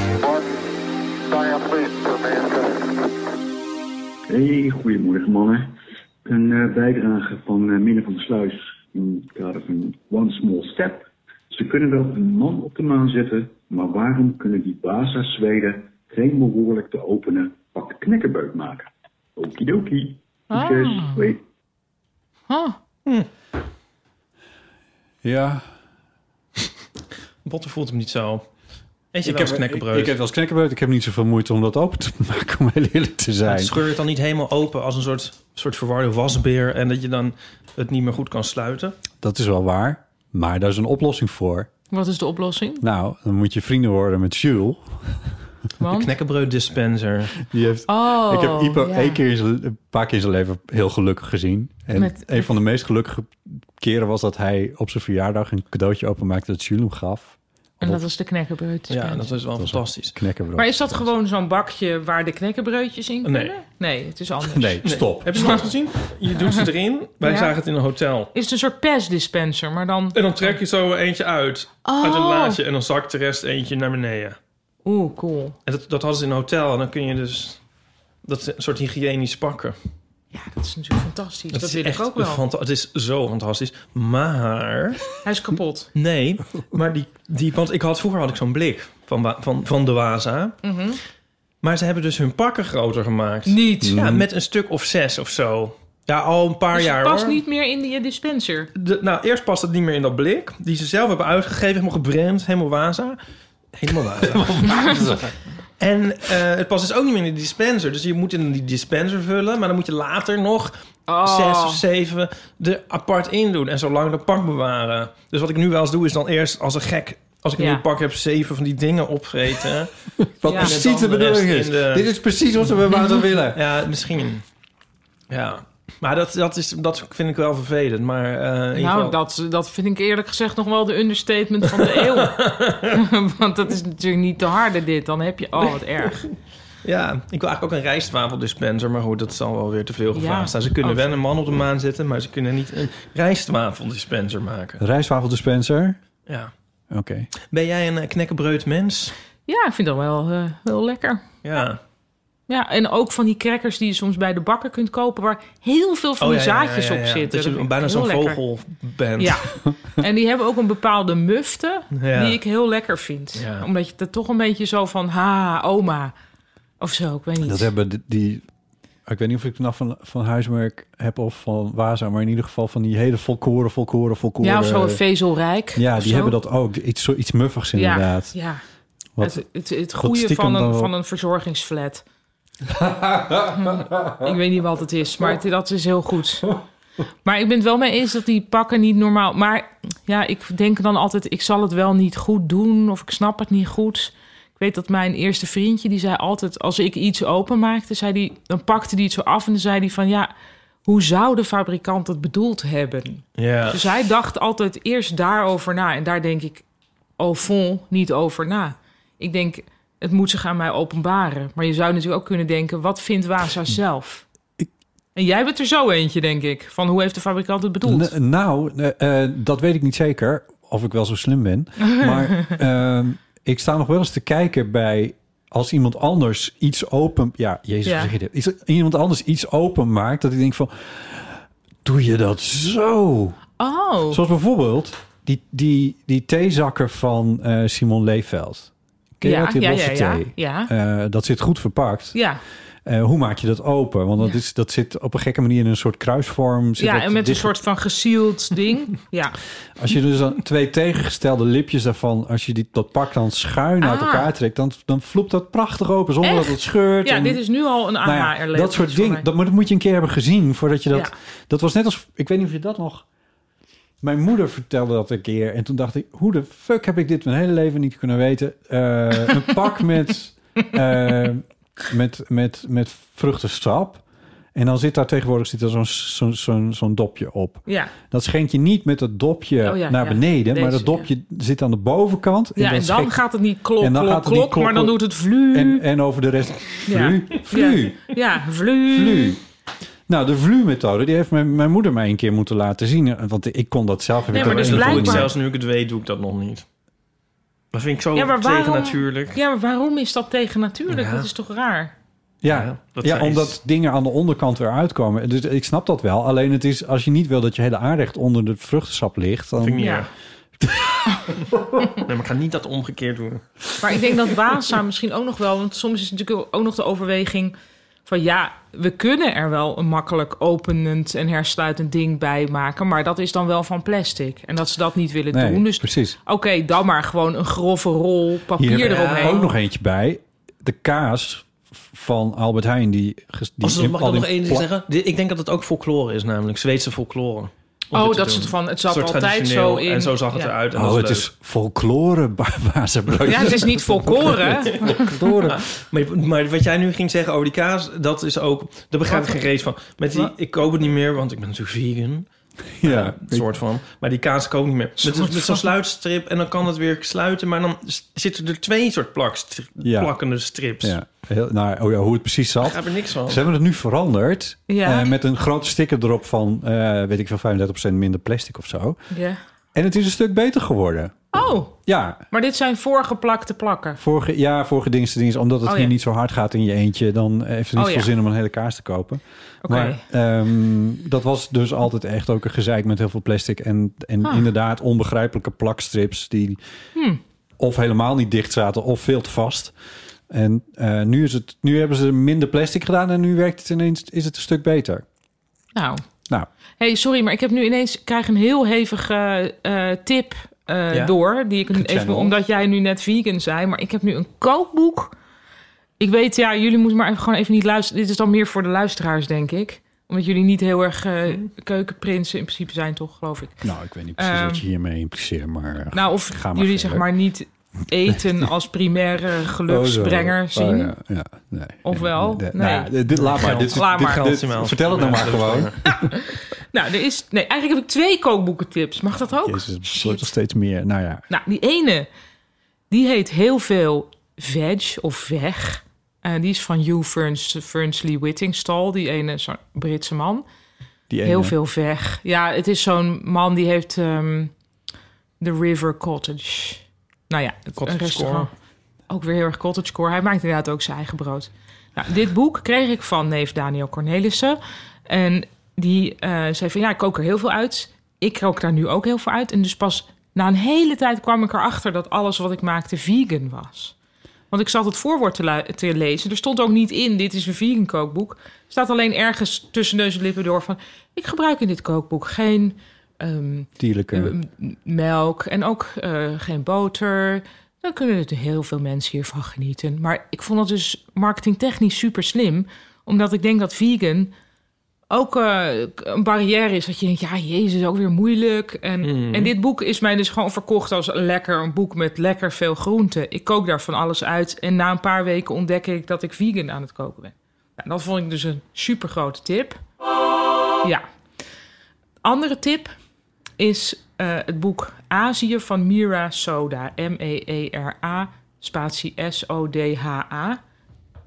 E: man, one giant leap for mankind.
F: Hey, goedemorgen mannen. Een eh, bijdrage van eh Minne van der Sluis. in het kader van One Small Step. Ze kunnen wel een man op de maan zetten, maar waarom kunnen die Baza Zweden geen behoorlijk te openen pak knikkenbeuk maken? Okidoki. Succes.
D: Ah.
F: Hoi.
D: Huh.
B: Ja,
C: Botten voelt hem niet zo. Eet je
B: ik
C: wel
B: heb, ik, ik
C: eens
B: heb
C: knekkenbreuk?
B: wel eens knekkenbreuk. Ik heb niet zoveel moeite om dat open te maken, om heel eerlijk te zijn.
C: Het scheur je het dan niet helemaal open als een soort, soort verwarde wasbeer... en dat je dan het niet meer goed kan sluiten?
B: Dat is wel waar, maar daar is een oplossing voor.
D: Wat is de oplossing?
B: Nou, dan moet je vrienden worden met Jules.
D: Want?
C: Knekkenbreuk dispenser.
B: Die heeft,
D: Oh,
B: ik heb Ipo
D: ja.
B: één keer in zijn- een paar keer in zijn leven heel gelukkig gezien. En
D: Met-
B: een van de meest gelukkige keren was dat hij op zijn verjaardag een cadeautje openmaakte dat Jules hem gaf.
D: En dat was de knekkenbreuk. dus
C: Ja, dat is wel fantastisch.
B: Knekkenbreuk.
D: Maar is dat gewoon zo'n bakje waar de knekkenbreutjes in kunnen?
C: Nee.
D: Nee, het is anders.
B: Nee, stop.
C: Heb je het nog gezien? Je doet ze erin. Wij
D: Ja.
C: zagen het in een hotel.
D: Is het een soort pestdispenser, maar dan...
C: En dan trek je zo eentje uit. Uit
D: Oh.
C: een laadje. En dan zakt de rest eentje naar beneden.
D: Oeh, cool.
C: En dat, dat hadden ze in een hotel. En dan kun je dus... Dat is een soort hygiënisch pakken.
D: Ja, dat is natuurlijk fantastisch. Dat,
C: is
D: wil ik
C: echt
D: ook wel.
C: fanta- het is zo fantastisch. Maar...
D: Hij is kapot.
C: Nee, maar die, die want ik had vroeger had ik zo'n blik van, wa- van, van de Waza.
D: Mhm.
C: Maar ze hebben dus hun pakken groter gemaakt.
D: Niet.
C: Ja, met een stuk of zes of zo. Ja, al een paar
D: Dus het
C: jaar
D: past
C: hoor.
D: niet meer in die dispenser.
C: De- nou, eerst past het niet meer in dat blik. Die ze zelf hebben uitgegeven, helemaal gebrand, helemaal Waza. Helemaal Waza. en eh, het past dus ook niet meer in de dispenser. Dus je moet in die dispenser vullen. Maar dan moet je later nog
D: Oh.
C: zes of zeven er apart in doen. En zo lang dat pak bewaren. Dus wat ik nu wel eens doe, is dan eerst als een gek... Als ik een
D: Ja.
C: nieuw pak heb, zeven van die dingen opgeten.
B: Wat
D: Ja.
C: En
B: precies de
C: dan de
B: bedoeling
C: rest
B: is.
C: in de-
B: Dit is precies wat we bij Wouter willen.
C: ja, misschien. Ja. Maar dat, dat, is, dat vind ik wel vervelend. Maar eh, in ieder geval-
D: Nou, dat, dat vind ik eerlijk gezegd nog wel de understatement van de eeuw. Want dat is natuurlijk niet te harde dit. Dan heb je... Oh, wat erg.
C: Ja, ik wil eigenlijk ook een rijstwafeldispenser. Maar goed, dat zal wel weer te veel gevraagd
D: Ja.
C: zijn. Ze kunnen
D: Oh,
C: wel een man op de maan zetten, maar ze kunnen niet een rijstwafeldispenser maken.
B: Rijstwafeldispenser.
C: Ja.
B: Oké.
C: Ben jij een eh, knekkenbreud mens?
D: Ja, ik vind dat wel, eh, wel lekker.
C: Ja. Oh,
D: Ja, en ook van die crackers die je soms bij de bakker kunt kopen... waar heel veel van die
C: Oh, ja, ja, ja,
D: zaadjes
C: ja, ja.
D: op zitten.
C: Dat je
D: vind ik
C: bijna
D: heel
C: zo'n
D: lekker.
C: vogel bent.
D: Ja, en die hebben ook een bepaalde mufte
C: Ja.
D: die ik heel lekker vind.
C: Ja.
D: Omdat je dat toch een beetje zo van, ha, oma. Of zo, ik weet niet.
B: Dat hebben die- die... Ik weet niet of ik het nou van, van huismerk heb of van Waza, maar in ieder geval van die hele volkoren, volkoren, volkoren.
D: ja, of
C: eh,
D: zo een vezelrijk.
B: Ja,
D: of
B: die
D: zo.
B: hebben dat ook. Iets, zo, iets muffigs inderdaad.
D: Ja, ja.
B: Wat-
D: het, het, het goede
B: stiekem
D: van
B: dan
D: een,
B: wel-
D: van een verzorgingsflat. Hm, ik weet niet wat het is, maar het- dat is heel goed. Maar ik ben het wel mee eens dat die pakken niet normaal... Maar ja, ik denk dan altijd, ik zal het wel niet goed doen... of ik snap het niet goed. Ik weet dat mijn eerste vriendje, die zei altijd... als ik iets openmaakte, zei die, dan pakte die het zo af... en dan zei die van, ja, hoe zou de fabrikant het bedoeld hebben?
C: Ja.
D: Dus hij dacht altijd eerst daarover na. En daar denk ik au fond niet over na. Ik denk, het moet zich aan mij openbaren. Maar je zou natuurlijk ook kunnen denken, wat vindt Waza zelf? En jij bent er zo eentje, denk ik. Van hoe heeft de fabrikant het bedoeld?
B: N- nou, eh, eh, dat weet ik niet zeker. Of ik wel zo slim ben. Maar ehm, ik sta nog wel eens te kijken bij... Als iemand anders iets open... Ja, jezus,
D: Ja.
B: hoe zeg je dit? Iets, iemand anders iets open maakt... dat ik denk van... Doe je dat zo?
D: Oh,
B: Zoals bijvoorbeeld die, die, die theezakker van eh, Simon Leefveld. Ken je
D: Ja,
B: dat, die
D: ja,
B: losse
D: ja, ja,
B: thee?
D: ja.
B: Eh, dat zit goed verpakt.
D: ja.
B: Eh, hoe maak je dat open? Want dat,
D: Ja.
B: is, dat zit op een gekke manier in een soort kruisvorm. Zit
D: Ja,
B: dat
D: en met een
B: dicht-
D: soort van gesield ding. Ja.
B: Als je dus dan twee tegengestelde lipjes daarvan... als je die, dat pak dan schuin uit
D: Ah.
B: elkaar trekt... dan, dan floept dat prachtig open zonder dat
D: Echt?
B: het scheurt.
D: ja,
B: en-
D: dit is nu al een
B: nou ja,
D: aha erleven
B: dat soort dingen. Dat, maar dat moet je een keer hebben gezien voordat je dat...
D: Ja.
B: Dat was net als... Ik weet niet of je dat nog... Mijn moeder vertelde dat een keer. En toen dacht ik, hoe de fuck heb ik dit mijn hele leven niet kunnen weten? Eh, een pak met, eh, met, met, met vruchtensap. En dan zit daar tegenwoordig zit er zo'n zo'n zo'n zo'n dopje op.
D: Ja,
B: Dat schenk je niet met dat dopje
D: Oh ja,
B: naar
D: ja.
B: beneden. maar
D: Deze,
B: dat dopje zit aan de bovenkant.
D: ja en dan
B: schenk-
D: gaat het niet klok,
B: en dan
D: klok,
B: gaat het niet
D: klok,
B: klok,
D: maar dan
B: klok.
D: doet het vlu.
B: en, en over de rest... Vlu, vlu.
D: Ja, vlu.
B: Vlu. Nou, de Vlu-methode, die heeft mijn, mijn moeder mij een keer moeten laten zien. eh, Want ik kon dat zelf. heb
D: Nee,
B: ik
D: maar
B: dat
D: dus
C: En
B: op een
C: dat
B: of
C: doe
B: andere
D: blijkbaar-
C: ik zelfs nu ik het weet, doe ik dat nog niet. Dat vind ik zo
D: Ja, maar waarom-
C: tegen natuurlijk.
D: Ja, maar waarom is dat tegen natuurlijk?
C: Ja.
D: Dat is toch raar?
B: Ja,
C: Ja,
B: ja,
C: dat zij is-
B: omdat dingen aan de onderkant weer uitkomen. Dus ik snap dat wel. Alleen het is, als je niet wil dat je hele aardrecht onder de vruchtensap ligt...
C: Vind ik
B: Dan,
C: niet
D: Ja.
C: erg. nee, maar ik ga niet dat omgekeerd doen.
D: Maar ik denk dat Waza misschien ook nog wel... want soms is natuurlijk ook nog de overweging van... ja, we kunnen er wel een makkelijk openend en hersluitend ding bij maken... maar dat is dan wel van plastic. En dat ze dat niet willen
B: nee,
D: doen. Dus
B: precies.
D: oké, dan maar gewoon een grove rol papier
B: Hier heb ik
D: eromheen.
B: ook nog eentje bij. De kaas van Albert Heijn. Die, ges- die
C: Als dat,
B: in-
C: mag ik
B: al
C: dat nog
B: in
C: één ding
B: pla-
C: zeggen? Dit- Ik denk dat het ook folklore is, namelijk Zweedse folklore. Om dit
D: Oh,
C: te
D: dat
C: doen.
D: ze van het
C: Een
D: zat
C: soort
D: altijd zo
C: traditioneel
D: in.
C: En zo zag het
D: Ja.
C: eruit. En dat
B: Oh,
C: is
B: het
C: leuk.
B: is folklore, Barbazenbroodje.
D: Ja, het is niet volkoren.
B: folklore.
C: Maar, maar wat jij nu ging zeggen over die kaas, dat is ook... Daar begrijp ik geen reet van. Met die, ik koop het niet meer, want ik ben natuurlijk vegan.
B: Ja,
C: Een soort van. Maar die kaas koop ik niet meer. Met, met zo'n sluitstrip en dan kan het weer sluiten. Maar dan s- zitten er twee soort plakstri-
B: Ja.
C: plakkende strips.
B: ja. Heel, nou, oh ja, hoe het precies
C: Ik
B: zat.
C: begrijp er niks
B: Ze
C: van.
B: hebben het nu veranderd.
D: Ja.
B: eh, met een grote sticker erop van, eh, weet ik veel, 35% minder plastic of zo.
D: Ja.
B: En het is een stuk beter geworden.
D: Oh,
B: Ja,
D: maar dit zijn voorgeplakte plakken.
B: Vorige, ja, vorige dienst, omdat het
D: Oh,
B: hier
D: ja.
B: niet zo hard gaat in je eentje, dan heeft het niet
D: Oh,
B: veel
D: ja.
B: zin om een hele kaas te kopen.
D: Oké.
B: Maar ehm, dat was dus altijd echt ook een gezeik met heel veel plastic en, en
D: Ah. Hmm.
B: inderdaad onbegrijpelijke plakstrips die of helemaal niet dicht zaten of veel te vast. En eh, nu, is het, nu hebben ze minder plastic gedaan en nu werkt het ineens, is het een stuk beter.
D: Nou,
B: Nou,
D: hey, sorry, maar ik heb nu ineens ik krijg een heel hevige eh, tip eh,
C: Ja.
D: door. Die ik even,
B: Gechanneld.
D: omdat jij nu net vegan zei, maar ik heb nu een kookboek. Ik weet, ja, jullie moeten maar even, gewoon even niet luisteren. Dit is dan meer voor de luisteraars, denk ik. Omdat jullie niet heel erg eh, keukenprinsen in principe zijn, toch, geloof ik.
B: nou ik weet niet precies
D: Ehm.
B: wat je hiermee impliceert, maar... eh,
D: Nou, of
B: Ga maar
D: jullie zeg
B: verder.
D: maar niet eten als primaire geluksbrenger
B: Oh, zo.
D: zien.
B: Oh, ja, ja, nee.
D: Of wel?
B: Nee.
D: Nee.
B: Nou, dit, laat maar. Dit,
D: Laat
B: dit-
D: maar.
B: dit-
C: Geldt
B: vertel het nou maar gewoon.
D: Nou, er is. Nee, eigenlijk heb ik twee kookboekentips. Mag dat ook?
B: Jezus, het
D: Shit.
B: wordt nog steeds meer. Nou ja,
D: Nou, die ene, die heet heel veel Veg of Weg. En die is van Hugh Ferns, Fernsley Whittingstall, die ene zo'n Britse man.
B: die
D: Heel
B: ene.
D: veel Veg. Ja, het is zo'n man die heeft ehm The River Cottage. Nou ja, het, een
C: Cottage
D: restaurant. Ook weer heel erg cottagecore. Hij maakt inderdaad ook zijn eigen brood. Nou, dit boek kreeg ik van neef Daniel Cornelissen. En die eh, zei van, ja, ik kook er heel veel uit. Ik kook daar nu ook heel veel uit. En dus pas na een hele tijd kwam ik erachter... dat alles wat ik maakte vegan was. Want ik zat het voorwoord te, lu- te lezen. Er stond ook niet in, dit is een vegan kookboek. Er staat alleen ergens tussen neus en lippen door van... ik gebruik in dit kookboek geen... ehm,
B: Dierlijke.
D: M- m- melk en ook eh, geen boter. Dan kunnen er heel veel mensen hiervan genieten. Maar ik vond dat dus marketingtechnisch super slim. Omdat ik denk dat vegan ook eh, k- een barrière is. Dat je denkt, ja, jezus, ook weer moeilijk. En, en dit boek is mij dus gewoon verkocht als lekker. Een boek met lekker veel groenten. Ik kook daar van alles uit. En na een paar weken ontdek ik dat ik vegan aan het koken ben. Nou, dat vond ik dus een super grote tip. Ja. Andere tip is eh, het boek Azië van Mira Soda. E M-E-E-R-A, spatie S-O-D-H-A.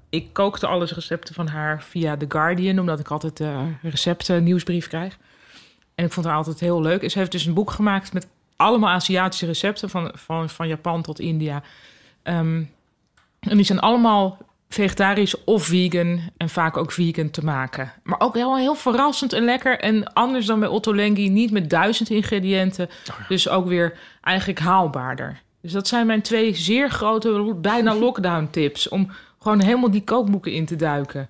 D: Ik kookte alles recepten van haar via The Guardian, omdat ik altijd de recepten eh, nieuwsbrief krijg. En ik vond haar altijd heel leuk. En Ze heeft dus een boek gemaakt met allemaal Aziatische recepten, van, van, van Japan tot India. Ehm, en die zijn allemaal vegetarisch of vegan en vaak ook vegan te maken. Maar ook heel, heel verrassend en lekker. En anders dan bij Otto Lengi, niet met duizend ingrediënten.
B: Oh
D: Dus ook weer eigenlijk haalbaarder. Dus dat zijn mijn twee zeer grote, bijna lockdown tips... om gewoon helemaal die kookboeken in te duiken.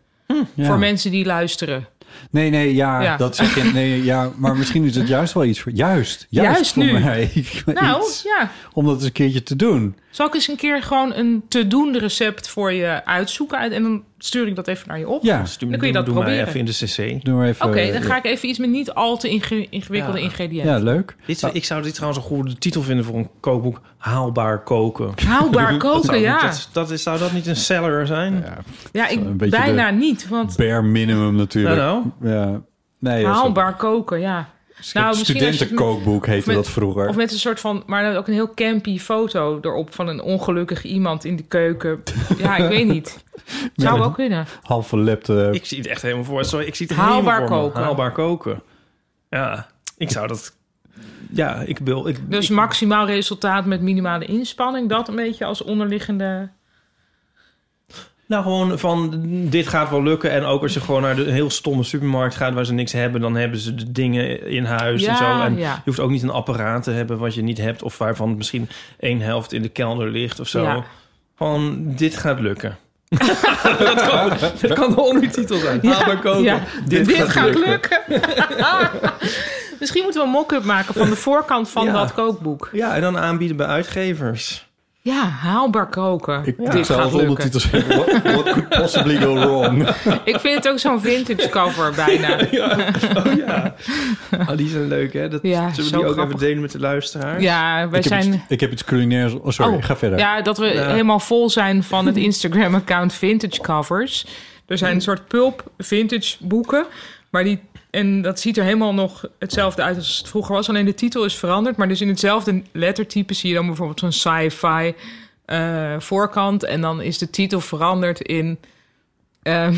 B: Ja.
D: Voor mensen die luisteren.
B: Nee, nee, ja,
D: Ja.
B: dat zeg je. Nee, ja, maar misschien is het juist wel iets voor. Juist, juist,
D: Juist
B: voor
D: nu.
B: mij.
D: Nou,
B: Iets
D: ja.
B: Om dat eens een keertje te doen.
D: Zal ik eens een keer gewoon een te doen recept voor je uitzoeken? En dan stuur ik dat even naar je op.
B: Ja,
C: Stuur me-
D: Dan kun je
C: doe-
D: dat
C: doe maar
D: proberen.
C: even in de cc.
B: doe maar even.
D: Oké, dan ga ik even iets met niet al te inge- ingewikkelde
C: Ja.
D: ingrediënten.
B: Ja, leuk.
C: Dit,
D: Nou.
C: ik zou dit trouwens een goede titel vinden voor een kookboek. Haalbaar koken.
D: Haalbaar koken,
C: Zou,
D: ja.
C: dat, dat is, zou dat niet een seller zijn?
D: Ja,
B: Zo, een
D: ik,
B: beetje
D: bijna niet, want
B: Bare minimum natuurlijk.
C: Nou,
B: Ja. Nee, ja, zo-
D: haalbaar koken, ja.
B: Een
D: Nou, misschien als je het-
B: studentenkookboek heette
D: met-
B: dat vroeger.
D: Of met een soort van, maar dan ook een heel campy foto erop van een ongelukkig iemand in de keuken. Ja, ik weet niet. Zou
B: Ja.
D: wel kunnen.
B: Half verlepte.
C: ik zie het echt helemaal voor. Sorry, ik zie het
D: Haalbaar
C: helemaal voor me.
D: koken.
C: Haalbaar koken. Ja, ik zou dat... Ja, ik wil... Ik,
D: Dus
C: ik-
D: maximaal resultaat met minimale inspanning. Dat een beetje als onderliggende
C: Nou, gewoon van dit gaat wel lukken. En ook als je gewoon naar de heel stomme supermarkt gaat waar ze niks hebben, dan hebben ze de dingen in huis en
D: Ja,
C: zo. En
D: ja.
C: je hoeft ook niet een apparaat te hebben wat je niet hebt, of waarvan misschien één helft in de kelder ligt of zo.
D: Ja.
C: Van dit gaat lukken. dat, kan, dat kan de ondertitel zijn. Ga maar kopen.
D: Ja,
C: Oh, Dit, gaat, lukken.
D: Misschien moeten we een mock-up maken van de voorkant van
C: Ja.
D: dat kookboek.
C: Ja, en dan aanbieden bij uitgevers.
D: Ja, haalbaar koken.
G: Ik zou
D: Dit gaat
G: als
D: lukken.
G: ondertitel zeggen, what, what could possibly go wrong?
D: Ik vind het ook zo'n vintage cover bijna.
C: Ah, die zijn leuk, hè? Dat,
D: Ja,
C: zullen
D: zo
C: we die ook
D: grappig.
C: even delen met de luisteraar?
D: Ja, wij
B: Ik heb,
D: zijn...
B: iets, ik heb iets culinairs... Oh, sorry,
D: Oh,
B: ga verder.
D: Ja, dat we helemaal vol zijn van het Instagram-account Vintage Covers. Er zijn een soort pulp vintage boeken. Maar die, en dat ziet er helemaal nog hetzelfde uit als het vroeger was. Alleen de titel is veranderd. Maar dus in hetzelfde lettertype zie je dan bijvoorbeeld zo'n sci-fi eh, voorkant. En dan is de titel veranderd in... ehm,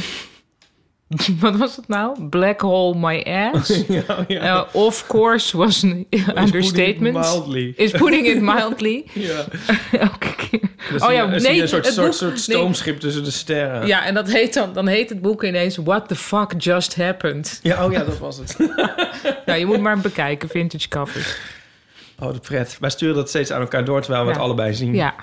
D: wat was het nou? Black Hole My Ass.
C: Ja, ja.
D: Eh, of course was een understatement.
C: Mildly.
D: Is putting it mildly.
C: Ja.
D: Elke keer.
C: Dat is
D: Oh ja,
C: een, dat is
D: nee,
C: een soort,
D: het
C: soort,
D: boek-
C: soort
D: nee.
C: stoomschip tussen de sterren.
D: Ja, en dat heet dan, dan heet het boek ineens What the fuck just happened.
C: Ja, oh ja, dat was het.
D: Nou, je moet maar bekijken, vintage covers.
C: Oh, de pret. Wij sturen dat steeds aan elkaar door, terwijl we
D: Ja.
C: het allebei zien.
D: Ja,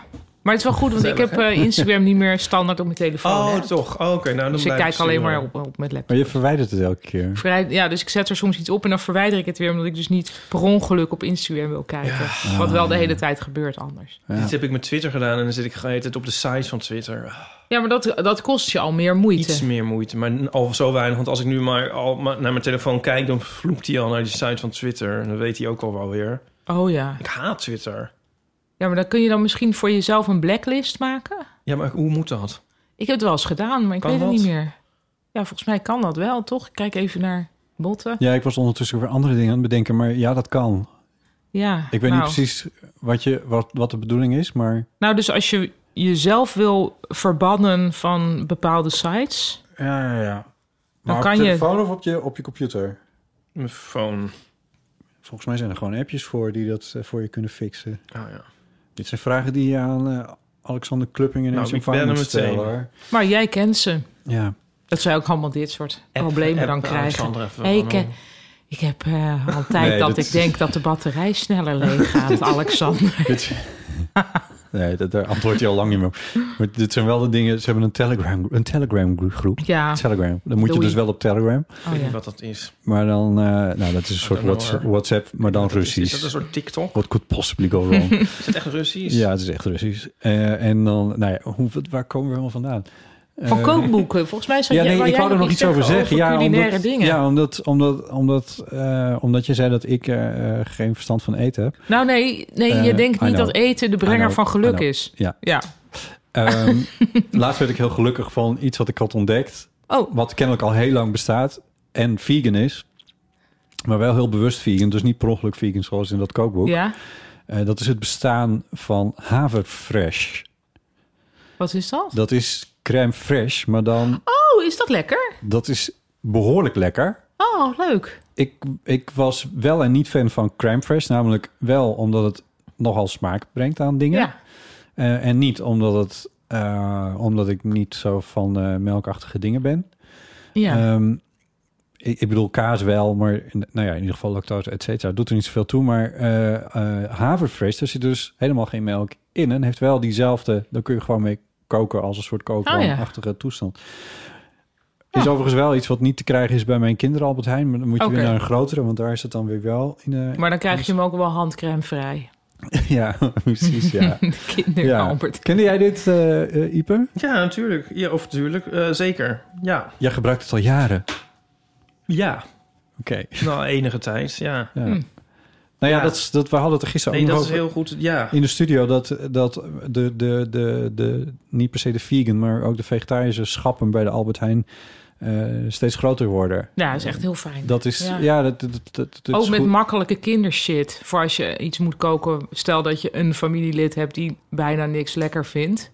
D: maar het is wel goed, want ik heb eh, Instagram niet meer standaard op mijn telefoon.
C: Oh,
D: hè.
C: toch. Oh, Oké, nou dan
D: dus ik
C: blijf
D: kijk alleen maar
C: sturen.
D: op, op mijn laptop.
B: Maar je verwijdert het elke keer.
D: Vrij- Ja, dus ik zet er soms iets op en dan verwijder ik het weer... omdat ik dus niet per ongeluk op Instagram wil kijken. Wat wel de hele tijd gebeurt anders.
C: Dit heb ik met Twitter gedaan en dan zit ik het op de site van Twitter. Ah,
D: Ja, maar dat, dat kost je al meer moeite.
C: Iets meer moeite, maar al zo weinig. Want als ik nu maar al maar naar mijn telefoon kijk, dan vloept hij al naar die site van Twitter. En dan weet hij ook al wel weer.
D: Oh ja.
C: Ik haat Twitter.
D: Ja, maar dan kun je dan misschien voor jezelf een blacklist maken...
C: Ja, maar hoe moet dat?
D: Ik heb het wel eens gedaan, maar ik
C: Kan
D: weet het
C: dat?
D: niet meer. Ja, volgens mij kan dat wel, toch? Ik kijk even naar botten.
B: Ja, ik was ondertussen weer andere dingen aan het bedenken. Maar ja, dat kan.
D: Ja,
B: Ik weet
D: nou.
B: niet precies wat, je, wat, wat de bedoeling is, maar...
D: Nou, dus als je jezelf wil verbannen van bepaalde sites...
B: Ja, ja, ja.
D: Dan op kan je- telefoon
B: of op je, op je computer?
C: Mijn phone.
B: Volgens mij zijn er gewoon appjes voor die dat eh, voor je kunnen fixen.
C: Oh ja.
B: Dit zijn vragen die je aan eh, Alexander Klupping en
C: Nou,
B: zijn
C: ik ben
B: vader moet
C: hem meteen.
B: stellen. hoor.
D: Maar jij kent ze.
B: Ja.
D: Dat zij ook allemaal dit soort problemen dan krijgen. Hey, ik, eh, ik heb eh al tijd
B: Nee,
D: dat
B: dat
D: ik
B: is-
D: denk dat de batterij sneller leeg gaat, Alexander.
B: Dit- nee, dat, daar antwoordt hij al lang niet meer op. Maar dit zijn wel de dingen... Ze hebben een Telegram, een telegram gro- groep.
D: Ja,
B: Telegram. Dan moet je
D: Doei.
B: dus wel op Telegram.
D: oh,
C: weet
D: ja.
C: niet wat dat is.
B: Maar dan... eh, nou, dat is een soort
C: don't know,
B: WhatsApp,
C: hoor.
B: WhatsApp, maar dan
C: Wat is- Is dat een
B: Russisch.
C: soort TikTok?
B: What could possibly go wrong?
C: Is het echt Russisch?
B: Ja, het is echt Russisch. Eh, en dan, nou ja, hoe, wat- waar komen we helemaal vandaan?
D: Van
B: Eh,
D: kookboeken. Volgens mij zou
B: Ja,
D: jij,
B: nee,
D: wou
B: ik
D: jij
B: wou er nog iets over zeggen.
D: over
B: Ja,
D: culinaire
B: omdat,
D: dingen.
B: ja, omdat, omdat, omdat, eh, omdat je zei dat ik eh, eh, geen verstand van eten heb.
D: Nou nee, nee
B: Eh,
D: je denkt
B: I
D: niet
B: know.
D: dat eten de
B: I
D: brenger
B: know,
D: van
B: I
D: geluk
B: know.
D: is.
B: Ja.
D: Ja.
B: Ehm, laatst werd ik heel gelukkig van iets wat ik had ontdekt.
D: Oh,
B: Wat kennelijk al heel lang bestaat. En vegan is. Maar wel heel bewust vegan. Dus niet per ongeluk vegan zoals in dat kookboek.
D: ja.
B: Eh, dat is het bestaan van haverfresh.
D: Wat is dat?
B: Dat is crème fraîche. Maar dan,
D: Oh, is dat lekker?
B: dat is behoorlijk lekker.
D: Oh, leuk.
B: ik, ik was wel en niet fan van crème fresh. Namelijk wel omdat het nogal smaak brengt aan dingen.
D: Ja.
B: Eh, en niet omdat, het, eh, omdat ik niet zo van eh, melkachtige dingen ben.
D: Ja.
B: Ehm, ik, ik bedoel kaas wel, maar in- nou ja, in ieder geval lactose, et cetera. Doet er niet zoveel toe. Maar eh eh, haverfresh, daar zit dus helemaal geen melk in. En heeft wel diezelfde, daar kun je gewoon mee koken als een soort
D: Oh,
B: kookachtige toestand. Is overigens wel iets wat niet te krijgen is bij mijn kinderen Albert Heijn. Maar dan moet je
D: Oké.
B: weer naar een grotere, want daar is het dan weer wel. In, eh,
D: maar dan krijg je hem ook wel handcremevrij.
B: ja, precies, ja.
D: Kinder
B: ja.
D: Albert.
B: Kende jij dit, eh, eh, Ipe?
C: Ja, natuurlijk. Ja, of natuurlijk. Eh, zeker. Ja.
B: Jij gebruikt het al jaren. Oké.
C: Ja. Nou, enige tijd. Ja.
B: Ja.
D: Hmm.
B: Nou ja,
C: Ja.
B: Dat, is- dat, we hadden het er gisteren
C: Nee,
B: ook nog
C: dat is
B: over
C: heel goed. Ja.
B: in de studio. Dat, dat de, de, de, de, niet per se de vegan, maar ook de vegetarische schappen bij de Albert Heijn eh, steeds groter worden.
D: Ja, dat is echt heel fijn.
B: Dat is, ja,
D: Ja.
B: dat, dat, dat, dat is
D: ook met
B: goed.
D: makkelijke kindershit. Voor als je iets moet koken. Stel dat je een familielid hebt die bijna niks lekker vindt.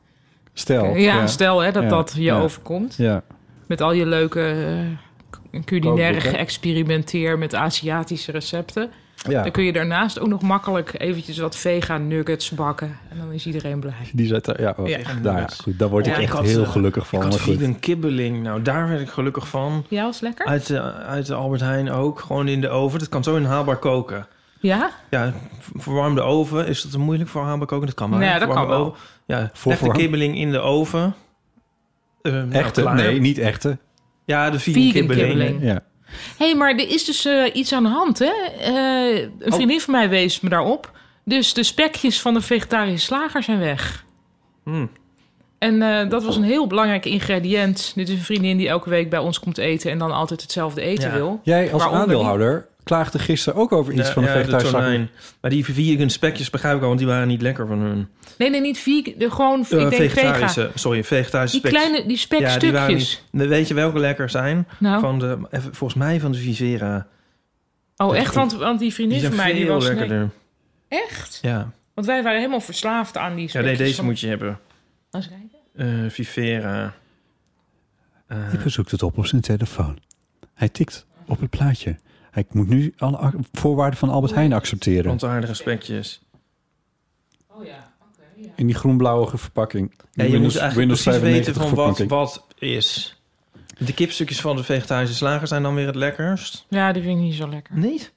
B: Stel.
D: ja, stel hè, dat
B: Ja.
D: dat je
B: Ja.
D: overkomt.
B: Ja.
D: Met al je leuke eh, culinaire
B: Kookboeken.
D: geëxperimenteer met Aziatische recepten.
B: Ja,
D: Dan kun je daarnaast ook nog makkelijk eventjes wat vegan nuggets bakken. En dan is iedereen blij.
B: die zet er... Ja, oh.
D: Ja.
B: Nou ja, goed, daar word ik
C: Ja, ik
B: echt
C: had,
B: heel
C: eh,
B: gelukkig van.
C: ik had
B: maar goed.
C: vegan kibbeling. Nou, daar werd ik gelukkig van.
D: Ja, was lekker?
C: Uit, de- uit de Albert Heijn ook. Gewoon in de oven. Dat kan zo inhaalbaar koken.
D: Ja?
C: Ja, v- verwarmde oven. Is dat te moeilijk voor haalbaar koken? Dat kan maar.
D: Nee, dat
C: Verwarmde
D: kan wel.
C: oven. Ja,
B: Voor
C: leg de
B: verwarm-
C: kibbeling in de oven. Eh, nou,
B: Echte?
C: klaar.
B: nee, niet echte.
C: Ja, de vegan,
D: Vegan
C: kibbeling.
D: kibbeling.
B: Ja.
D: Hé, maar er is dus eh, iets aan de hand, hè? Eh,
C: Oh.
D: een vriendin van mij wees me daarop. Dus de spekjes van de vegetarische slager zijn weg.
C: Hmm.
D: En eh, dat was een heel belangrijk ingrediënt. Dit is een vriendin die elke week bij ons komt eten... en dan altijd hetzelfde eten
C: Ja.
D: wil.
B: Jij als
D: Waaronder die-
B: aandeelhouder klaagde gisteren ook over iets
C: Ja,
B: van de
C: ja,
B: vegetarische slag.
C: tonijn. Maar die vegan spekjes begrijp ik al, want die waren niet lekker van hun.
D: Nee, nee, niet vegan. de- Gewoon, ik
C: Eh,
D: denk
C: vegetarische,
D: vega.
C: sorry, vegetarische
D: Die
C: spekjes.
D: kleine, die
C: ja, die waren
D: spekstukjes.
C: niet. Weet je welke lekker zijn?
D: nou,
C: Van de, even- volgens mij van de Vivera.
D: oh echt, want, want die vriendin
C: Die zijn
D: van mij die
C: veel
D: was... nee,
C: lekkerder.
D: echt?
C: Ja.
D: Want wij waren helemaal verslaafd aan die
C: ja,
D: spekjes.
C: nee, deze
D: van-
C: moet je hebben.
D: Laat eens kijken.
C: Eh, Vivera. Eh,
B: Ipe zoekt het op op zijn telefoon. Hij tikt op het plaatje. Hij moet nu alle ac- voorwaarden van
C: Oh.
B: Albert Heijn accepteren.
C: plantaardige spekjes.
D: Oh ja, oké, ja.
B: In die groenblauwe verpakking.
C: Ja,
B: Die
C: je moet eigenlijk precies
B: 95
C: weten van wat,
B: verpakking.
C: wat is. De kipstukjes van de vegetarische slager zijn dan weer het lekkerst?
D: Ja, die vind ik niet zo lekker.
C: Niet?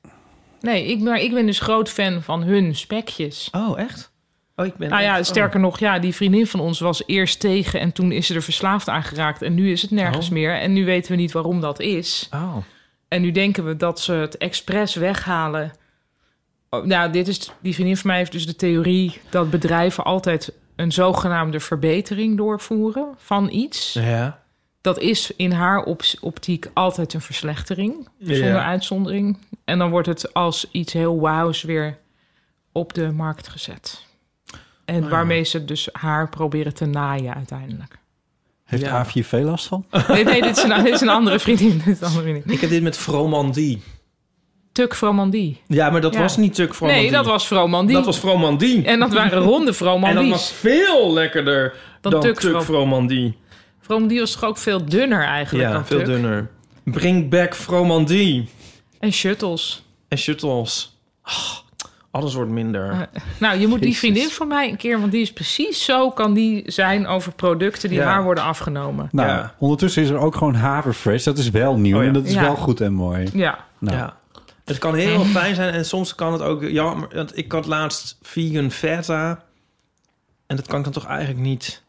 D: Nee, ik, maar ik ben dus groot fan van hun spekjes.
C: Oh, echt? Oh, ik ben
D: Nou ja,
C: echt- oh.
D: sterker nog, ja, die vriendin van ons was eerst tegen en toen is ze er verslaafd aan geraakt. En nu is het nergens
C: Oh.
D: meer. En nu weten we niet waarom dat is.
C: Oh.
D: En nu denken we dat ze het expres weghalen. Oh, nou, dit is, die vriendin van mij heeft dus de theorie dat bedrijven altijd een zogenaamde verbetering doorvoeren van iets.
C: Ja.
D: Dat is in haar ops- optiek altijd een verslechtering. Zonder
C: Ja.
D: uitzondering. En dan wordt het als iets heel wauws weer op de markt gezet. En
C: Ah,
D: waarmee ze dus haar proberen te naaien uiteindelijk.
B: Heeft
C: Ja. Oh,
B: A4 veel last van?
D: Nee, nee dit, is een, dit is een andere vriendin. Dit is een andere vriendin.
C: Ik heb dit met Fromandie.
D: Tuk Fromandie.
C: Ja, maar dat
D: Ja.
C: was niet Tuk Fromandie.
D: Nee, dat was Fromandie.
C: Dat was Fromandie.
D: En dat waren ronde
C: En dat
D: Fromandies.
C: was veel lekkerder
D: Dan
C: dan,
D: Tuk
C: Tuk,
D: Fro-
C: Fromandie.
D: Fromandie was toch ook veel dunner eigenlijk
C: Ja,
D: dan
C: veel
D: Tuk.
C: dunner. Bring back Fromandie.
D: En shuttles.
C: En shuttles. Ah, alles wordt minder.
D: Eh, Nou, je moet die
B: Jezus.
D: vriendin van mij een keer... want die is precies zo, kan die zijn over producten die
C: Ja.
D: haar worden afgenomen.
B: Nou,
C: Ja.
B: ondertussen is er ook gewoon haverfresh. Dat is wel nieuw
C: Oh ja.
B: en dat is
D: Ja.
B: wel goed en mooi.
D: Ja.
B: Nou.
C: Ja. Het kan heel fijn zijn en soms kan het ook jammer. Want ik had laatst vegan feta. En dat kan ik dan toch eigenlijk niet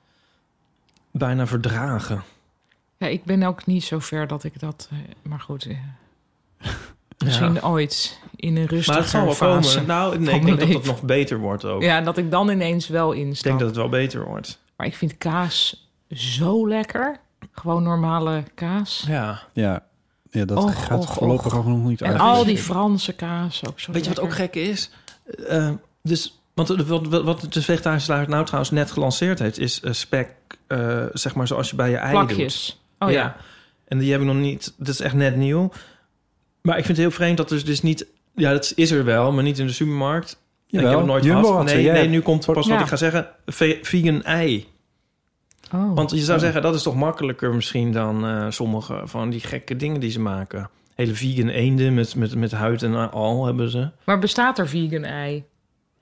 C: bijna verdragen.
D: Ja, ik ben ook niet zo ver dat ik dat... eh, Maar goed, eh, misschien ooit in een
C: Maar
D: rustiger
C: het zal wel
D: fase.
C: komen. Nou, nee,
D: mijn
C: ik denk dat het
D: leven.
C: nog beter wordt ook.
D: Ja, dat ik dan ineens wel instap.
C: Ik denk dat het wel beter wordt.
D: Maar ik vind kaas zo lekker. Gewoon normale kaas.
C: Ja.
B: Ja, ja dat
D: Och,
B: gaat
D: och,
B: voorlopig
D: och.
B: ook nog niet
D: en
B: uit.
D: al die Franse kaas ook zo
C: Weet je wat ook
D: lekker.
C: gek is? Eh, dus, want eh, wat, wat, wat de vegetarische slager nou trouwens net gelanceerd heeft... is eh, spek, eh, zeg maar zoals je bij je ei doet.
D: Plakjes. Oh ja.
C: En die heb ik nog niet. Dat is echt net nieuw. Maar ik vind het heel vreemd dat dus, dus niet. Ja, dat is er wel, maar niet in de supermarkt. En ik heb het nooit
B: Jumbo had
C: gehad.
B: ze,
C: Nee,
B: jij
C: nee,
B: hebt-
C: nu komt pas
D: Ja.
C: wat ik ga zeggen. Ve- Vegan ei.
D: Oh.
C: Want je zou zeggen, dat is toch makkelijker misschien dan eh, sommige van die gekke dingen die ze maken. Hele vegan eenden met, met, met huid en al hebben ze.
D: Maar bestaat er vegan ei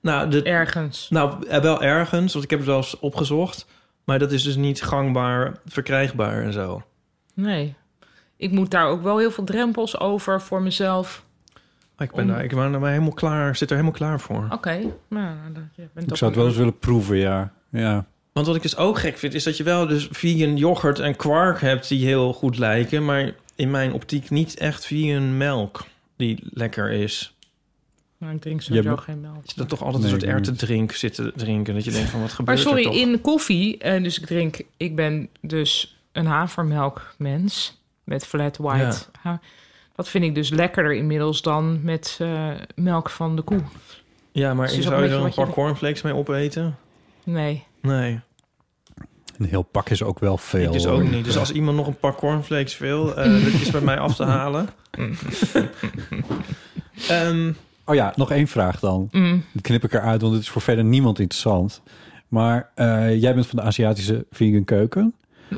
C: Nou, de,
D: ergens?
C: nou, eh, wel ergens, want ik heb het wel eens opgezocht. Maar dat is dus niet gangbaar, verkrijgbaar en zo.
D: Nee. Ik moet daar ook wel heel veel drempels over voor mezelf.
C: Ik ben,
D: Om-
C: daar, ik ben er helemaal klaar, zit er helemaal klaar voor.
D: Oké, nou, dat, je bent
B: Ik
D: ook
B: zou
D: een-
B: het wel eens willen proeven, ja. ja.
C: Want wat ik dus ook gek vind, is dat je wel dus vegan yoghurt en kwark hebt die heel goed lijken, maar in mijn optiek niet echt vegan melk die lekker is.
D: Nou, ik drink sowieso
B: Je hebt-
D: geen melk.
C: Dat je dan toch altijd
B: Nee,
C: een
B: ik
C: soort ertendrink zit te drinken, dat je denkt van wat gebeurt
D: Maar sorry,
C: er toch?
D: in koffie, eh, dus ik drink, ik ben dus een havermelkmens met flat white. Ha- Dat vind ik dus lekkerder inmiddels dan met eh, melk van de koe.
C: Ja, maar
D: Het is ook
C: zou
D: een
C: je er
D: beetje
C: een paar
D: wat
C: cornflakes mee opeten?
D: Nee.
C: Nee,
B: Een heel pak is ook wel veel.
C: ik dus
B: hoor.
C: ook niet. Dus als iemand nog een paar cornflakes wil, eh, dat is bij mij af te halen. Ehm,
B: Oh ja, nog één vraag dan.
D: Mm.
B: Dat knip ik eruit, want het is voor verder niemand interessant. Maar eh, jij bent van de Aziatische vegan keuken.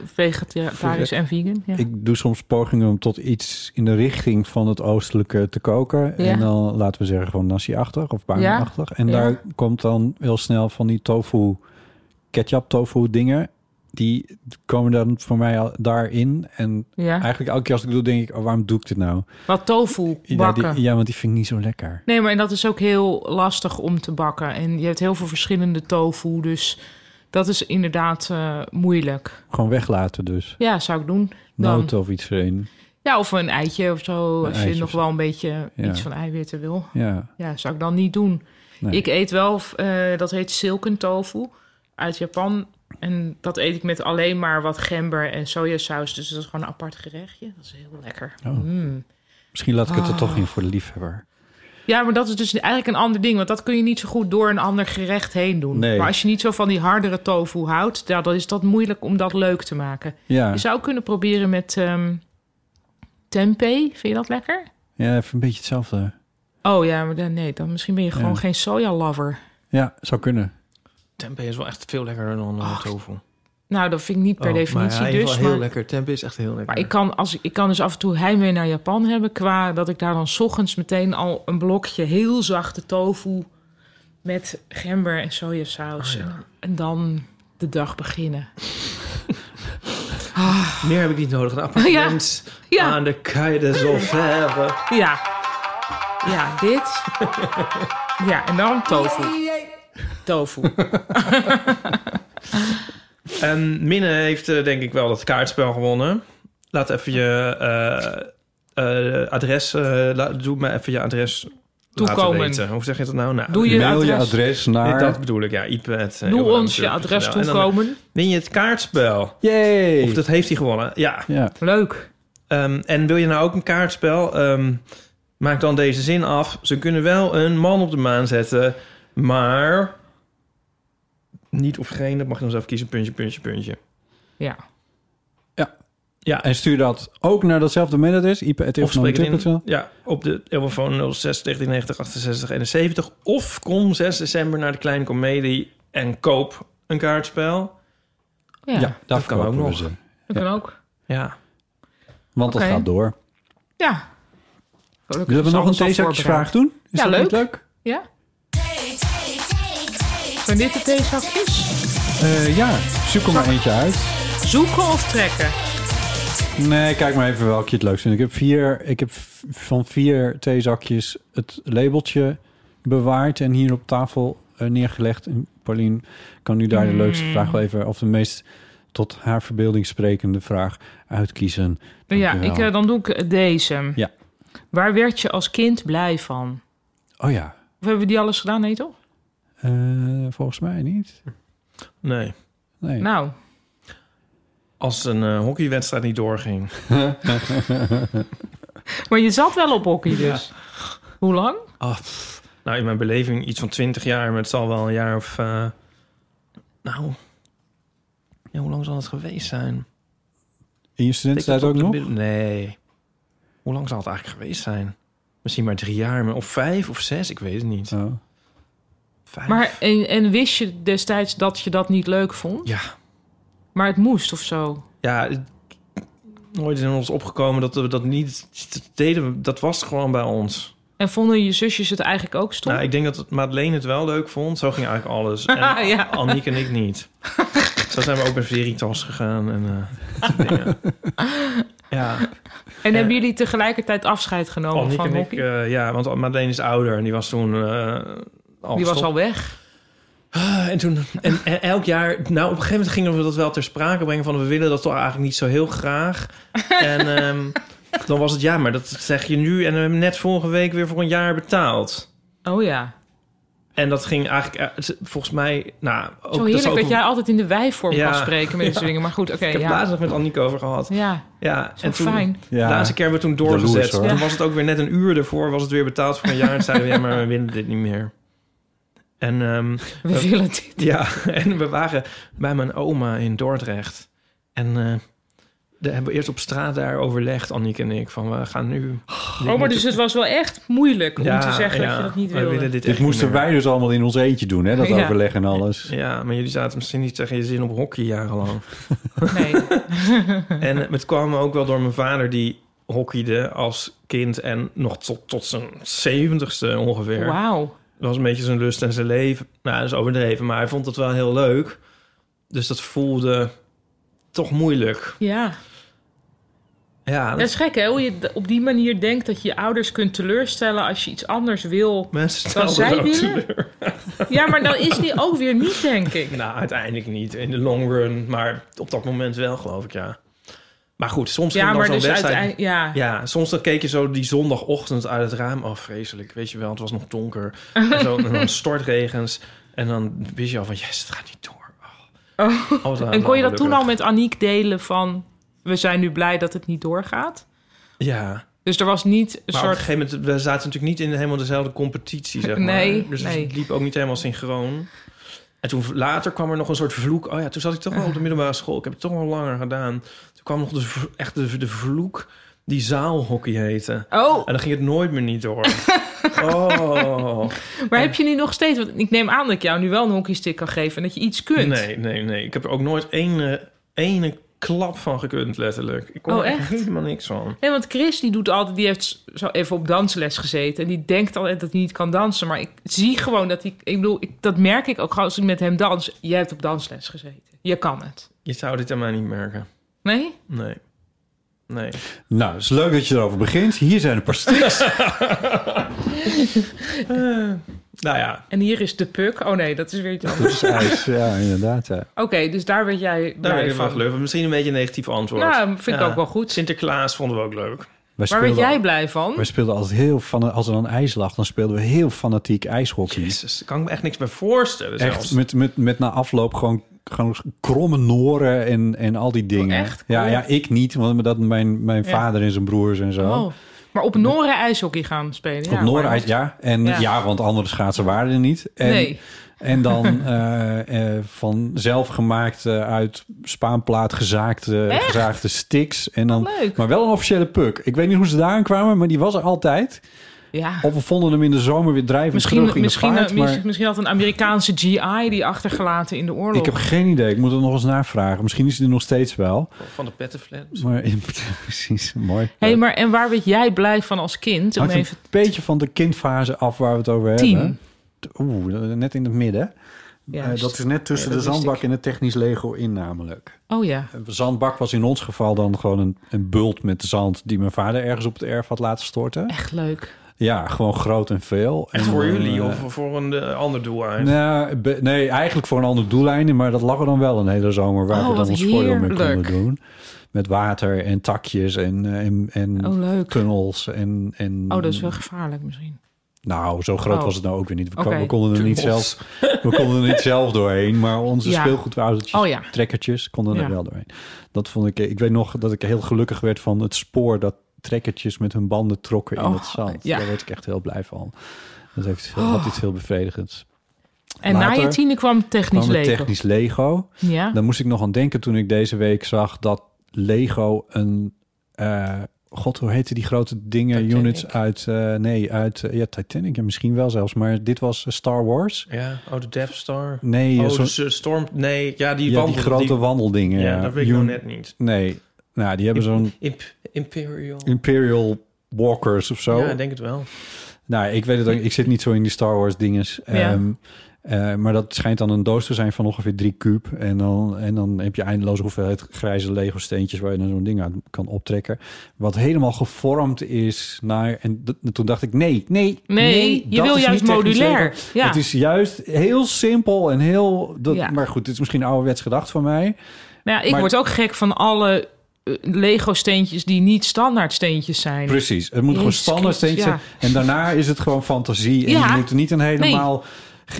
D: Vegetarisch en vegan. Ja.
B: Ik doe soms pogingen om tot iets in de richting van het oostelijke te koken.
D: Ja.
B: En dan laten we zeggen gewoon nasi-achtig of bami-achtig. En
D: Ja.
B: daar komt dan heel snel van die tofu, ketchup tofu dingen. Die komen dan voor mij al daarin. En
D: ja.
B: eigenlijk elke keer als ik doe, denk ik, oh, waarom doe ik dit nou?
D: Wat tofu
B: Ja,
D: bakken.
B: die, ja, want die vind ik niet zo lekker.
D: Nee, maar en dat is ook heel lastig om te bakken. En je hebt heel veel verschillende tofu, dus dat is inderdaad eh, moeilijk.
B: Gewoon weglaten dus.
D: Ja, zou ik doen. Dan.
B: Noten of iets erin.
D: Ja, of een eitje of zo,
B: Een
D: als je
B: eitje
D: nog
B: of zo.
D: wel een beetje
B: Ja.
D: iets van eiwitten wil.
B: Ja,
D: Ja, zou ik dan niet doen.
B: nee.
D: Ik eet wel, eh, dat heet silken tofu uit Japan. En dat eet ik met alleen maar wat gember en sojasaus. Dus dat is gewoon een apart gerechtje. Dat is heel lekker.
B: Oh.
D: Mm.
B: Misschien laat ik het er
D: Ah.
B: toch in voor de liefhebber.
D: Ja, maar dat is dus eigenlijk een ander ding. Want dat kun je niet zo goed door een ander gerecht heen doen.
B: Nee.
D: Maar als je niet zo van die hardere tofu houdt... ja, dan is dat moeilijk om dat leuk te maken.
B: Ja,
D: Je zou kunnen proberen met ehm, tempeh. Vind je dat lekker?
B: ja even een beetje hetzelfde.
D: Oh ja, maar dan, nee, dan misschien ben je gewoon
B: Ja.
D: geen soja-lover.
B: Ja, zou kunnen.
C: Tempeh is wel echt veel lekkerder dan eh,
D: Ach,
C: tofu.
D: Nou, dat vind ik niet per
C: Oh,
D: definitie
C: maar hij is
D: dus.
C: wel heel
D: maar,
C: lekker. Tempeh is echt heel lekker.
D: maar ik, kan, als, ik- ik kan dus af en toe heimwee naar Japan hebben... qua dat ik daar dan 's ochtends meteen al een blokje heel zachte tofu... met gember en sojasaus. en, en dan de dag beginnen.
C: Meer heb ik niet nodig. Een appartement
D: Ja.
C: aan de Quai des Orfèvres.
D: Ah, Ja. Ja, dit. Ja, en dan tofu. Tofu.
C: En Minne heeft eh, denk ik wel dat kaartspel gewonnen. Laat even je eh, eh, adres... eh, la- doe me even je adres
D: Toekomen.
C: laten weten. Hoe zeg je dat nou? nou
D: Doe je
B: Mail je
D: adres.
B: adres
C: Nee,
B: naar...
C: dat bedoel ik, ja. iPad. eh,
D: Doe
C: Johan
D: ons je
C: Turk.
D: adres
C: En dan
D: toekomen.
C: win je het kaartspel.
B: Yay!
C: Of dat heeft hij gewonnen, ja.
B: Ja,
D: Leuk.
C: Ehm, en wil je nou ook een kaartspel? Ehm, maak dan deze zin af. Ze kunnen wel een man op de maan zetten, maar niet of geen. Dat mag je dan zelf kiezen. Puntje, puntje, puntje.
D: Ja.
B: en stuur dat ook naar datzelfde mailadres,
C: Of spreek het in,
B: ip.evenmantuk.nl.
C: ja, op de telefoon 06 1990 68 71. Of kom 6 december naar de Kleine Comedie en koop een kaartspel.
D: Ja,
B: Ja, daar
C: dat kan
B: kan ook
C: ook
B: nog.
C: nog.
B: Ze.
D: dat kan ook.
C: Ja.
B: Want
D: Oké.
B: dat gaat door.
D: Ja. Gelukkig
B: Willen we
D: is
B: nog een
D: alles al
B: theezakjesvraag
D: voorbereid.
B: doen? Is
D: Ja,
B: dat niet
D: leuk.
B: leuk?
D: Ja. Zijn dit de theezakjes?
B: Eh, ja, zoek er maar eentje uit.
D: Zoeken of trekken?
B: Nee, kijk maar even welke je het leuk vindt. Ik heb, vier, ik heb v- van vier theezakjes het labeltje bewaard en hier op tafel eh, neergelegd. En Paulien kan nu daar de leukste vraag wel even, of de meest tot haar verbeelding sprekende vraag uitkiezen.
D: Ja,
B: Dankjewel.
D: ik, eh, dan doe ik eh, deze.
B: Ja.
D: Waar werd je als kind blij van?
B: Oh ja,
D: Of hebben we die alles gedaan? Nee, toch?
B: Eh, volgens mij niet.
C: Nee.
B: Nee.
D: Nou,
C: Als een eh, hockeywedstrijd niet doorging.
D: maar je zat wel op hockey dus. Hoe lang?
C: Ah, pff. nou, in mijn beleving iets van 20 jaar, maar het zal wel een jaar of. eh, nou. Ja, hoe lang zal het geweest zijn?
B: In je
C: Tikt het
B: studententijd
C: op
B: ook
C: de
B: nog?
C: mid- Nee. Hoe lang zal het eigenlijk geweest zijn? Misschien maar drie jaar, maar- of vijf of zes, ik weet het niet.
B: Oh.
C: Vijf.
D: Maar en, en wist je destijds dat je dat niet leuk vond?
C: Ja.
D: Maar het moest of zo?
C: Ja, het- nooit in ons opgekomen dat we dat niet dat deden. we- Dat was gewoon bij ons.
D: En vonden je zusjes het eigenlijk ook stom?
C: Nou, ik denk dat Madeleine het wel leuk vond. Zo ging eigenlijk alles. En
D: Ja.
C: Anniek en ik niet. Zo zijn we ook met Veritas gegaan en eh, dat soort dingen. Ja,
D: en hebben jullie tegelijkertijd afscheid genomen
C: Anniek
D: van
C: eh, en ik,
D: hockey?
C: eh, ja, want Madeleine is ouder en die was toen eh, al
D: Die was
C: gestopt.
D: al weg.
C: Ah, En toen, en, en elk jaar, nou op een gegeven moment gingen we dat wel ter sprake brengen van we willen dat toch eigenlijk niet zo heel graag. En ehm, dan was het ja, maar dat zeg je nu en we hebben net vorige week weer voor een jaar betaald.
D: Oh ja.
C: En dat ging eigenlijk, eh, het- volgens mij, nou, ook,
D: Zo
C: dat is
D: heerlijk
C: ook
D: dat
C: een-
D: jij altijd in de wijvorm
C: Ja.
D: kan spreken met dit
C: Ja.
D: soort dingen. Maar goed, oké.
C: Ik heb het
D: ja.
C: laatst nog met Annieke over gehad.
D: ja,
C: Ja,
D: zo
C: en toen,
D: fijn.
B: Ja.
C: De laatste keer hebben we toen
B: Jaloers,
C: doorgezet.
B: hoor.
C: Toen
D: Ja.
C: was het ook weer net een uur ervoor, was het weer betaald voor een jaar. En zeiden we, ja, maar we willen dit niet meer. En ehm,
D: We
C: Eh,
D: willen dit.
C: ja, en we waren bij mijn oma in Dordrecht. En eh, daar hebben we eerst op straat daar overlegd, Annick en ik. Van we gaan nu.
D: Oh, maar dus het was wel echt moeilijk om
C: Ja,
D: te zeggen dat
C: ja,
D: je dat niet
C: wij
D: wilde.
C: willen dit
B: Dit
C: echt niet
B: moesten
C: meer.
B: wij dus allemaal in ons eentje doen, hè? Dat
D: Ja.
B: overleg en alles.
C: Ja, maar jullie zaten misschien niet tegen je zin op hockey jarenlang.
D: Nee.
C: en eh, het kwam ook wel door mijn vader die hockeyde als kind en nog tot, tot zijn zeventigste ongeveer.
D: Wauw.
C: Dat was een beetje zijn lust en zijn leven. Nou, dat is overdreven, maar hij vond het wel heel leuk. Dus dat voelde toch moeilijk.
D: Ja.
C: Ja,
D: Dat is gek, hè? Hoe je d- op die manier denkt dat je je ouders kunt teleurstellen als je iets anders wil.
C: mensen
D: Wat
C: stelden
D: zij
C: ook
D: willen?
C: teleur.
D: Ja, maar dan is die ook weer niet, denk ik.
C: Nou, uiteindelijk niet in de long run, maar op dat moment wel, geloof ik, ja. Maar goed, soms
D: Ja,
C: ging dan
D: maar
C: zo'n
D: dus
C: wedstrijd...
D: uiteindelijk... Ja.
C: Ja, soms dan keek je zo die zondagochtend uit het raam af, vreselijk. Weet je wel, het was nog donker. En, zo, en dan stortregens. En dan wist je al van, yes, het gaat niet door. Oh. Alles aan-
D: En kon je dat
C: gelukkig.
D: toen al met Aniek delen van... We zijn nu blij dat het niet doorgaat?
C: Ja,
D: Dus er was niet een
C: maar op een
D: soort...
C: gegeven moment, we zaten natuurlijk niet in helemaal dezelfde competitie, zeg maar.
D: Nee,
C: dus
D: nee.
C: het liep ook niet helemaal synchroon. En toen later kwam er nog een soort vloek. Oh ja, toen zat ik toch wel op de middelbare school. Ik heb het toch wel langer gedaan. Toen kwam nog de, v- echt de, de vloek die zaalhockey heette.
D: Oh,
C: En dan ging het nooit meer niet door. oh.
D: maar heb je nu nog steeds... Want ik neem aan dat ik jou nu wel een hockeystick kan geven... en dat je iets kunt.
C: Nee, nee, nee. Ik heb er ook nooit ene, ene klap van gekund, letterlijk. Ik kon
D: Oh,
C: er
D: echt?
C: helemaal niks van.
D: Nee, want Chris die doet altijd, die heeft zo even op dansles gezeten. En die denkt altijd dat hij niet kan dansen. Maar ik zie gewoon dat hij, ik bedoel, ik, dat merk ik ook gewoon als ik met hem dans. Je hebt op dansles gezeten. Je kan het.
C: Je zou dit aan mij niet merken.
D: Nee?
C: Nee. Nee.
B: Nou, het is leuk dat je erover begint. Hier zijn de pastilles.
C: Nou ja,
D: En hier is de puk. Oh nee, dat is weer iets anders.
B: ijs, ja, inderdaad. Ja.
D: Oké, dus daar werd jij
C: daar ben
D: blij
C: ik wel
D: van.
C: leuk. Misschien een beetje een negatief antwoord.
D: Nou, vind ik
C: Ja.
D: ook wel goed.
C: Sinterklaas vonden we ook leuk.
B: Wij
D: Waar werd
B: speelden-
D: jij blij van?
B: Wij speelden altijd heel van als er dan ijs lag, dan speelden we heel fanatiek ijshockey.
C: Jezus, daar kan ik me echt niks bij voorstellen
B: Echt
C: zelfs.
B: met, met, met na afloop gewoon, gewoon kromme noren en, en al die dingen.
D: Oh, echt?
B: ja,
D: Cool.
B: ja, ik niet, want dat mijn, mijn
D: Ja.
B: vader en zijn broers en zo.
D: Oh. Maar op Noren ijshockey gaan spelen.
B: Op
D: ja,
B: Noord
D: maar-
B: ijs, ja. En
D: Ja.
B: ja. want andere schaatsen waren er niet. En,
D: Nee.
B: en dan eh, eh, van zelfgemaakt eh, uit Spaanplaat gezaakte,
D: Echt?
B: gezaagde sticks. En dan,
D: Leuk.
B: Maar wel een officiële puk. Ik weet niet hoe ze daar kwamen, maar die was er altijd.
D: Ja.
B: Of we vonden hem in de zomer weer drijven
D: Misschien,
B: terug in
D: misschien, eh,
B: de vaart. maar
D: misschien, misschien had een Amerikaanse GI die achtergelaten in de oorlog.
B: ik heb geen idee. Ik moet er nog eens navragen. Misschien is hij er nog steeds wel.
C: Van de pettenflaps.
B: Maar precies, mooi.
D: Hé, hey, maar en waar werd jij blij van als kind? Om
B: Hangt
D: even...
B: een beetje van de kindfase af waar we het over
D: Tien.
B: hebben. Oeh, net in het midden.
D: Ja,
B: Eh, dat is net tussen
D: Ja, dat
B: de
D: wist
B: zandbak en het technisch Lego in namelijk.
D: Oh ja.
B: Een Zandbak was in ons geval dan gewoon een, een bult met zand... die mijn vader ergens op het erf had laten storten.
D: Echt leuk.
B: Ja, gewoon groot en veel.
C: Echt
B: En,
C: voor
B: eh,
C: jullie of voor een eh, ander doel uit.
B: Nou, be- nee, eigenlijk voor een ander doeleinde, maar dat lag er dan wel een hele zomer waar
D: Oh,
B: we
D: wat
B: dan ons voordeel mee konden
D: heerlijk.
B: doen. Met water en takjes en, eh, en, en
D: Oh, leuk.
B: tunnels. En, en,
D: Oh, dat is wel gevaarlijk misschien.
B: Nou, zo groot
D: Oh.
B: was het nou ook weer niet. We,
D: Oké.
B: kon- we konden er niet
C: Tunnels.
B: zelf, we konden er niet zelf doorheen, maar onze
D: Ja.
B: speelgoedautootjes,
D: Oh, ja.
B: trekkertjes, konden
D: Ja.
B: er wel doorheen. Dat vond ik. Ik weet nog dat ik heel gelukkig werd van het spoor dat trekkertjes met hun banden trokken in
D: Oh,
B: het zand.
D: ja. Oh.
B: Daar werd ik echt heel blij van. Dat heeft, had iets heel bevredigends.
D: En
B: Later
D: na je tiende kwam technisch
B: Kwam het
D: leven.
B: technisch Lego.
D: Ja.
B: Daar moest ik nog aan denken toen ik deze week zag dat Lego een. eh, God, hoe heette die grote dingen,
C: Titanic.
B: units uit... eh, nee, uit eh, ja, Titanic ja, misschien wel zelfs. Maar dit was eh, Star Wars.
C: Ja, oh, de Death Star.
B: Nee,
C: oh,
B: eh, zo'n-
C: de s- storm... Nee, ja, die
B: ja, die
C: wandelde-
B: grote
C: die-
B: wandeldingen.
C: Ja, dat weet ik nog
B: Un-
C: net niet.
B: Nee, nou, die hebben zo'n
C: Imp- Imperial.
B: Imperial Walkers of zo.
C: Ja, ik denk het wel.
B: Nou, ik weet het ook. Ik zit niet zo in die Star Wars dinges.
D: Ja.
B: Ehm, eh, maar dat schijnt dan een doos te zijn van ongeveer drie kuub. En dan, en dan heb je eindeloze hoeveelheid grijze Lego steentjes... waar je dan zo'n ding aan kan optrekken. Wat helemaal gevormd is naar... En d- toen dacht ik, nee, nee,
D: Nee,
B: nee.
D: je
B: dat
D: wil
B: is
D: juist
B: niet technisch
D: modulair.
B: Lego.
D: Ja.
B: Het is juist heel simpel en heel... Dat,
D: Ja.
B: Maar goed, dit is misschien ouderwets gedacht van mij.
D: Nou ja, ik
B: maar-
D: word ook gek van alle eh, Lego-steentjes die niet standaard steentjes zijn.
B: Precies. Het moet gewoon
D: Jezus
B: standaard steentjes
D: Christus,
B: zijn. En daarna is het gewoon fantasie. En
D: Ja.
B: je moet er niet een helemaal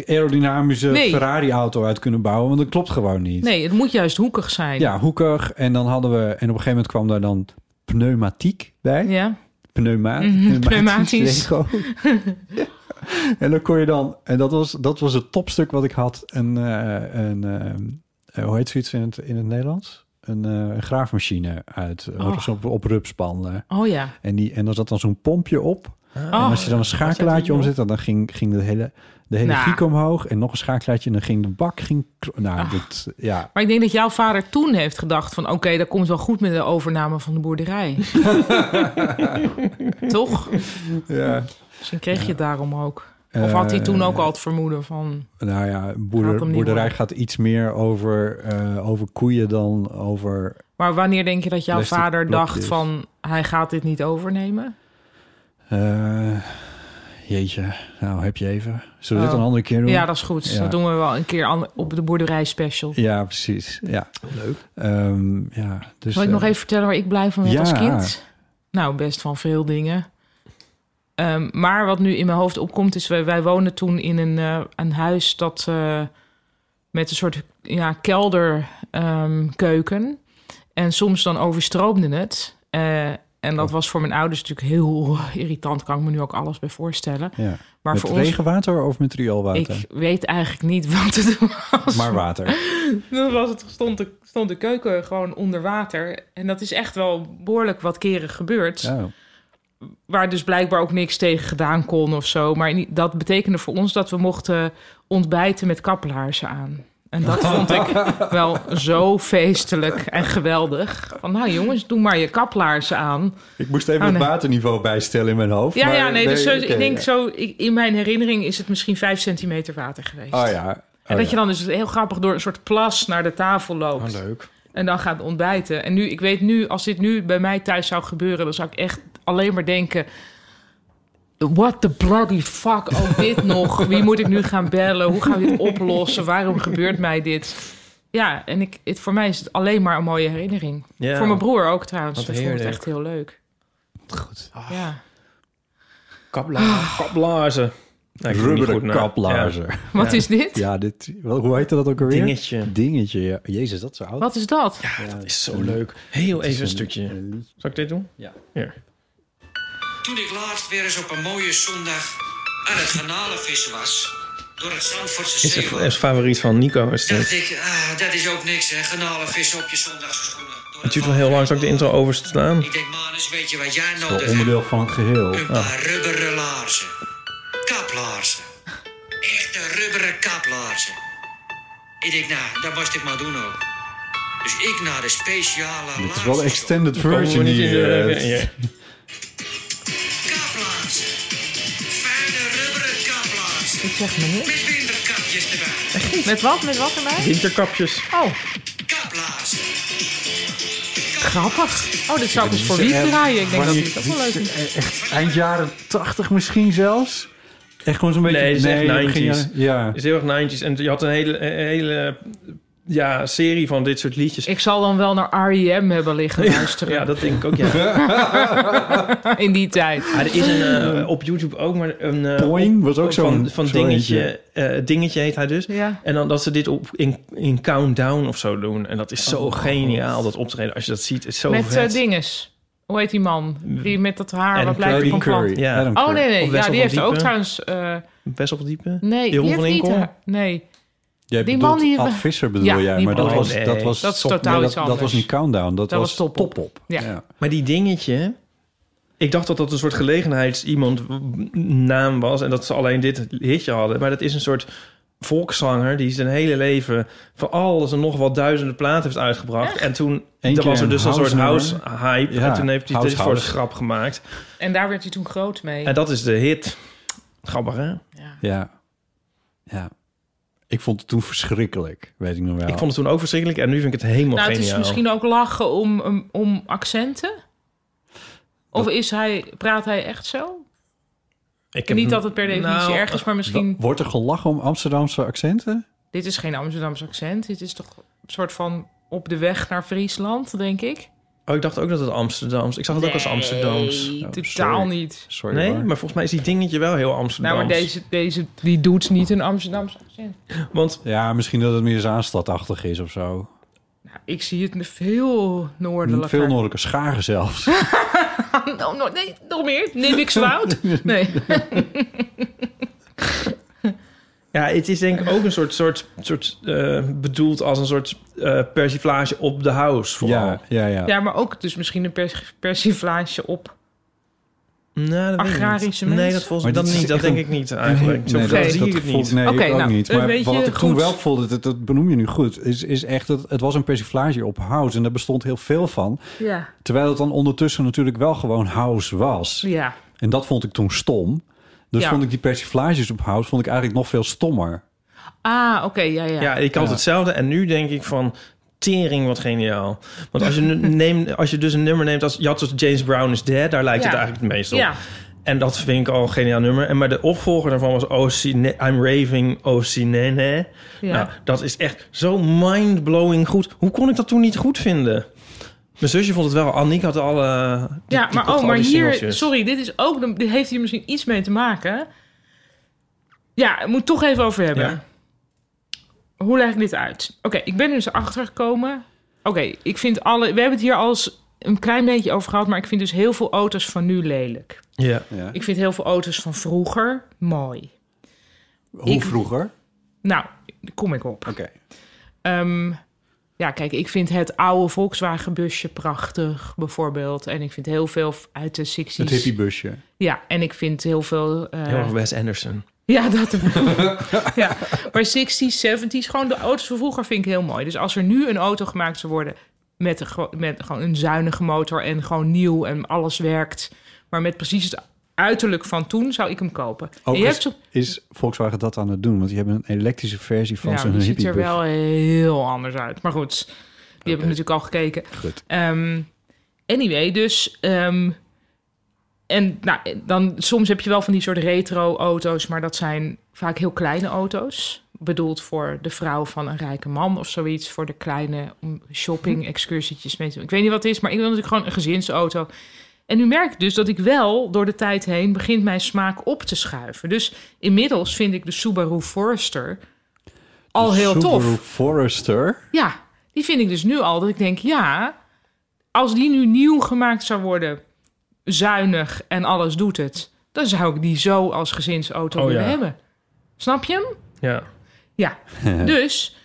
B: aerodynamische
D: Nee.
B: Ferrari-auto uit kunnen bouwen. Want dat klopt gewoon niet.
D: Nee, het moet juist hoekig zijn.
B: Ja, hoekig. En dan hadden we... En op een gegeven moment kwam daar dan pneumatiek bij.
D: Ja.
B: Pneuma
D: Mhm,
B: pneumatisch.
D: pneumatisch.
B: Lego. en dan kon je dan... En dat was, dat was het topstuk wat ik had. Een, eh, een eh, eh, hoe heet zoiets in het, in het Nederlands? een eh, graafmachine uit. eh,
D: Oh.
B: Op, op rupspan. eh.
D: Oh ja.
B: En, die, en daar zat dan zo'n pompje op.
D: Oh.
B: En als je dan een schakelaartje
D: joh.
B: omzet, dan ging, ging de hele, de hele
D: Nou.
B: giek omhoog. En nog een schakelaartje en dan ging de bak... Ging, kro- nou,
D: Ah.
B: dat, ja.
D: Maar ik denk dat jouw vader toen heeft gedacht van... oké, dat komt wel goed met de overname van de boerderij. Toch?
B: ja.
D: Misschien kreeg je het daarom ook. Of had hij
B: Eh,
D: toen ook al het vermoeden van...
B: Nou ja,
D: Gaat
B: boerder,
D: hem niet
B: boerderij
D: worden.
B: gaat iets meer over, eh, over koeien dan over...
D: Maar wanneer denk je dat jouw
B: Plastic
D: vader dacht
B: blokjes.
D: van... hij gaat dit niet overnemen?
B: eh, jeetje, nou heb je even. Zullen we
D: Oh.
B: dit een andere keer doen?
D: Ja, dat is goed.
B: Ja.
D: Dat doen we wel een keer an- op de boerderij special.
B: Ja, precies. Ja. Leuk. ja, dus,
D: Zal ik nog
B: eh,
D: even vertellen waar ik blij van werd
B: ja.
D: als kind? Nou, best van veel dingen. Ehm, maar wat nu in mijn hoofd opkomt is... wij, wij woonden toen in een, eh, een huis dat... eh, met een soort ja, kelderkeuken. en soms dan overstroomde het. Eh, en
B: Oh.
D: dat was voor mijn ouders natuurlijk heel irritant. Kan ik me nu ook alles bij voorstellen.
B: Ja.
D: Maar
B: met
D: voor ons...
B: regenwater of met rioolwater?
D: Ik weet eigenlijk niet wat het was.
B: Maar water.
D: Dan was het, stond, de, stond de keuken gewoon onder water. En dat is echt wel behoorlijk wat keren gebeurd.
B: Oh.
D: Waar dus blijkbaar ook niks tegen gedaan kon of zo. Maar in- dat betekende voor ons dat we mochten ontbijten met kaplaarzen aan. En dat vond ik wel zo feestelijk en geweldig. Van nou jongens, doe maar je kaplaarzen aan.
G: Ik moest even
D: Oh, nee.
G: het waterniveau bijstellen in mijn hoofd.
D: Ja,
G: maar
D: ja, nee, dus zo,
G: oké,
D: ik denk
G: ja.
D: zo... ik- in mijn herinnering is het misschien vijf centimeter water geweest.
B: Oh ja.
D: En
B: Oh
D: dat
B: ja.
D: je dan dus heel grappig door een soort plas naar de tafel loopt.
C: Oh, leuk.
D: En dan gaat ontbijten. En nu, ik weet nu, als dit nu bij mij thuis zou gebeuren, dan zou ik echt alleen maar denken. What the bloody fuck, oh dit nog. Wie moet ik nu gaan bellen? Hoe gaan we dit oplossen? Waarom gebeurt mij dit? Ja, en ik, het, voor mij is het alleen maar een mooie herinnering.
C: Ja.
D: Voor mijn broer ook trouwens.
C: Wat
D: Ik vond het
C: heerlijk.
D: echt heel leuk. Goed. Ja.
C: Kapla kaplaarzen. Nou, ik doe niet goed
B: Ah. Rubberen
C: na.
B: kaplaarzen.
C: Ja.
B: Ah. Ja.
D: Wat is dit?
B: dit, wel, hoe heette dat ook alweer?
C: Dingetje.
B: Dingetje, ja. Jezus, dat is zo oud.
D: Wat is dat?
C: Dat is zo leuk. Heel even een stukje. Zal ik dit doen?
B: Ja.
C: Hier.
H: Toen ik laatst weer eens op een mooie zondag aan het garnalenvissen was, door het Zandvoortse
C: Is
H: Zeeland,
C: het favoriet van Nico is
H: dacht
C: dit.
H: ik, ah, dat is ook niks hè, garnalenvissen op je zondagse schoenen. Door
C: Het duurt wel heel lang, zal ik de intro overslaan?
H: Ik denk, manus, weet je wat jij
B: Wel
H: nodig hebt?
B: onderdeel van het geheel.
C: Oh.
B: Ah,
H: Een
C: Ah.
H: paar rubberen laarzen. Kaplaarzen. Echte rubberen kaplaarzen. Ik denk, nou, dat moest ik maar doen ook. Dus ik naar de speciale laarzen.
B: Het is wel een extended
C: Komen we
B: version
C: niet in
B: hier.
C: de...
B: eh,
C: hier.
H: Kaplaarzen. Fijne rubberen kaplaarzen.
D: Ik zeg me niks.
H: Met winterkapjes erbij.
D: Met wat? Met wat erbij?
C: Winterkapjes.
D: Oh,
H: Kaplaarzen.
D: grappig. Oh, dit zou ik dus voor wie draaien. Ik denk dat dit ook wel leuk is.
B: Echt eind jaren 80 misschien zelfs. Echt gewoon zo'n beetje...
C: Nee, het is echt
B: begin
C: 90s.
B: jaren- Ja.
C: is heel erg 90s. En je had een hele, een hele ja, serie van dit soort liedjes.
D: Ik zal dan wel naar R.E.M. hebben liggen luisteren
C: Ja, dat denk ik ook, ja.
D: in die tijd.
C: Maar er is een, eh, op YouTube ook maar een... eh,
B: Boing was ook zo'n...
C: van, van
B: zo'n
C: dingetje, eh, dingetje heet hij dus.
D: Ja.
C: En dan dat ze dit op, in, in Countdown of zo doen. En dat is zo geniaal, dat optreden. Als je dat ziet, het is zo
D: Oh, met eh,
C: vet.
D: dinges. Hoe heet die man? Die met dat haar
C: Adam
D: wat lijkt
B: Adam
D: op een plant.
B: Curry.
C: Ja.
B: Adam
D: Oh nee,
B: Curry.
D: nee.
C: Of
D: Ja,
C: Wessel
D: die
C: van
D: heeft ook
C: Diepen.
D: trouwens... eh,
C: Best wel diepe.
D: nee, die
C: Jeroen
D: heeft
C: van
D: niet
C: Inkel?
D: haar- Nee.
B: Jij
D: Die
B: bedoelt
D: man die-
B: Ad Visser bedoel
D: Ja,
B: jij,
D: die
B: maar dat
C: man.
B: was,
C: Nee.
B: dat was...
D: Dat is
B: top-
D: totaal
B: nee,
D: iets
B: dat,
D: anders.
B: Dat was niet Countdown, dat,
D: Dat was
B: was
D: Top Op.
B: Top-Op.
D: Ja.
C: Maar die dingetje... Ik dacht dat dat een soort gelegenheids-iemand-naam was... en dat ze alleen dit hitje hadden. Maar dat is een soort volkszanger die zijn hele leven... van alles en nog wat duizenden platen heeft uitgebracht. En toen
B: Eén
C: er
B: keer
C: was er
B: een
C: dus een soort
B: house
C: house-hype.
B: Ja,
C: En toen heeft hij
B: house
C: dit voor de
B: house.
C: grap gemaakt.
D: En daar werd hij toen groot mee.
C: En dat is de hit. Grappig, hè?
D: Ja.
B: Ja. Ja. Ik vond het toen verschrikkelijk, weet ik nog wel.
C: Ik vond het toen ook verschrikkelijk en nu vind ik het helemaal
D: Nou, het
C: geniaal.
D: is misschien ook lachen om, om, om accenten. Of is hij, praat hij echt zo?
C: ik
D: Niet dat het per definitie
C: Nou,
D: erg is, maar misschien...
B: Wordt er gelachen om Amsterdamse accenten?
D: Dit is geen Amsterdamse accent. Dit is toch een soort van op de weg naar Friesland, denk ik?
C: Oh, ik dacht ook dat het Amsterdams... Ik zag het ook als Amsterdams.
D: Nee,
B: Oh,
D: totaal
B: sorry.
D: niet.
B: Sorry
C: Nee,
B: hoor.
C: maar volgens mij is die dingetje wel heel Amsterdams.
D: Nou, maar deze, deze die doet niet een Amsterdamse accent.
C: Want
B: Ja, misschien dat het meer Zaanstadachtig is of zo.
D: Nou, ik zie het veel noordelijker.
B: Veel noordelijke scharen zelfs.
D: Oh, no- nee, nog meer. Neem ik zwoud? Nee.
C: Ja, het is denk ik ook een soort, soort, soort eh, bedoeld als een soort eh persiflage op de house. Vooral.
B: Ja, ja, ja.
D: Ja, maar ook dus misschien een pers persiflage op.
C: Nou, dat weet ik
D: Agrarische
C: niet. Nee,
D: mens.
B: Maar
C: dat, volgens,
B: dit
C: dat,
B: is
C: niet, dat
B: echt een-
C: denk ik niet eigenlijk. Zo voel
D: dat-
C: zie ik het niet.
B: Nee,
D: Oké,
B: ik ook
D: nou,
B: niet.
D: een
B: Maar
D: beetje
B: wat ik toen
D: goed.
B: wel voelde, dat, dat benoem je nu goed, is, is echt dat het was een persiflage op house. En daar bestond heel veel van.
D: Ja.
B: Terwijl het dan ondertussen natuurlijk wel gewoon house was.
D: Ja.
B: En dat vond ik toen stom. Dus
D: Ja.
B: vond ik die persiflages op house vond ik eigenlijk nog veel stommer.
D: Ah, oké, ja, ja.
C: Ja, ik had hetzelfde. En nu denk ik van... Tering, wat geniaal. Want als je, nu neemt, als je dus een nummer neemt... Als, je had dus James Brown is Dead. Daar lijkt
D: Ja.
C: het eigenlijk het meest op.
D: Ja.
C: En dat vind ik al een geniaal nummer. En maar de opvolger daarvan was OC, Ne- I'm Raving OC Nene.
D: Ja.
C: Nou, dat is echt zo mind-blowing goed. Hoe kon ik dat toen niet goed vinden? Mijn zusje vond het wel. Annick had alle... eh, die-
D: Ja,
C: die
D: maar
C: kocht
D: oh,
C: al
D: maar
C: die
D: hier,
C: singeltjes.
D: sorry, dit is ook, de- dit heeft hier misschien iets mee te maken. Ja, ik moet het toch even over hebben.
C: Ja.
D: Hoe leg ik dit uit? Oké, ik ben er dus achter gekomen. Oké, ik vind alle, we hebben het hier al eens een klein beetje over gehad, maar ik vind dus heel veel auto's van nu lelijk.
C: Ja.
D: Ik vind heel veel auto's van vroeger mooi.
B: Hoe
D: Ik-
B: vroeger?
D: Nou, daar kom ik op.
B: Oké.
D: Ehm, ja, kijk, ik vind het oude Volkswagen-busje prachtig, bijvoorbeeld. En ik vind heel veel uit de 60s.
B: Het hippiebusje.
D: Ja, en ik vind heel veel... eh,
C: Heel erg Wes Anderson.
D: Ja, dat. ja. Maar 60s, 70s, gewoon de auto's van vroeger vind ik heel mooi. Dus als er nu een auto gemaakt zou worden met, een, gro- met gewoon een zuinige motor en gewoon nieuw en alles werkt, maar met precies het uiterlijk van toen, zou ik hem kopen. En
B: Ook
D: je hebt
B: Oh, is,
D: zo,
B: is Volkswagen dat aan het doen, want die hebben een elektrische versie van
D: ja,
B: zo'n
D: maar die ziet
B: hippiebusje.
D: er wel heel anders uit. Maar goed, die heb ik
B: Oké.
D: natuurlijk al gekeken.
B: Goed.
D: Ehm, anyway, dus. ehm, en nou, dan, soms heb je wel van die soort retro-auto's, maar dat zijn vaak heel kleine auto's. Bedoeld voor de vrouw van een rijke man of zoiets. Voor de kleine mm, om
B: Mhm.
D: shopping-excursietjes mee te doen. Ik weet niet wat het is, maar ik wil natuurlijk gewoon een gezinsauto. En nu merk ik dus dat ik wel door de tijd heen begint mijn smaak op te schuiven. Dus inmiddels vind ik de Subaru Forester al
B: De
D: heel
B: Subaru
D: tof.
B: Forester.
D: Ja, die vind ik dus nu al. Dat ik denk, ja, als die nu nieuw gemaakt zou worden, zuinig en alles doet het, dan zou ik die zo als gezinsauto
C: Oh,
D: willen
C: ja.
D: hebben. Snap je hem?
C: Ja.
D: Ja. dus,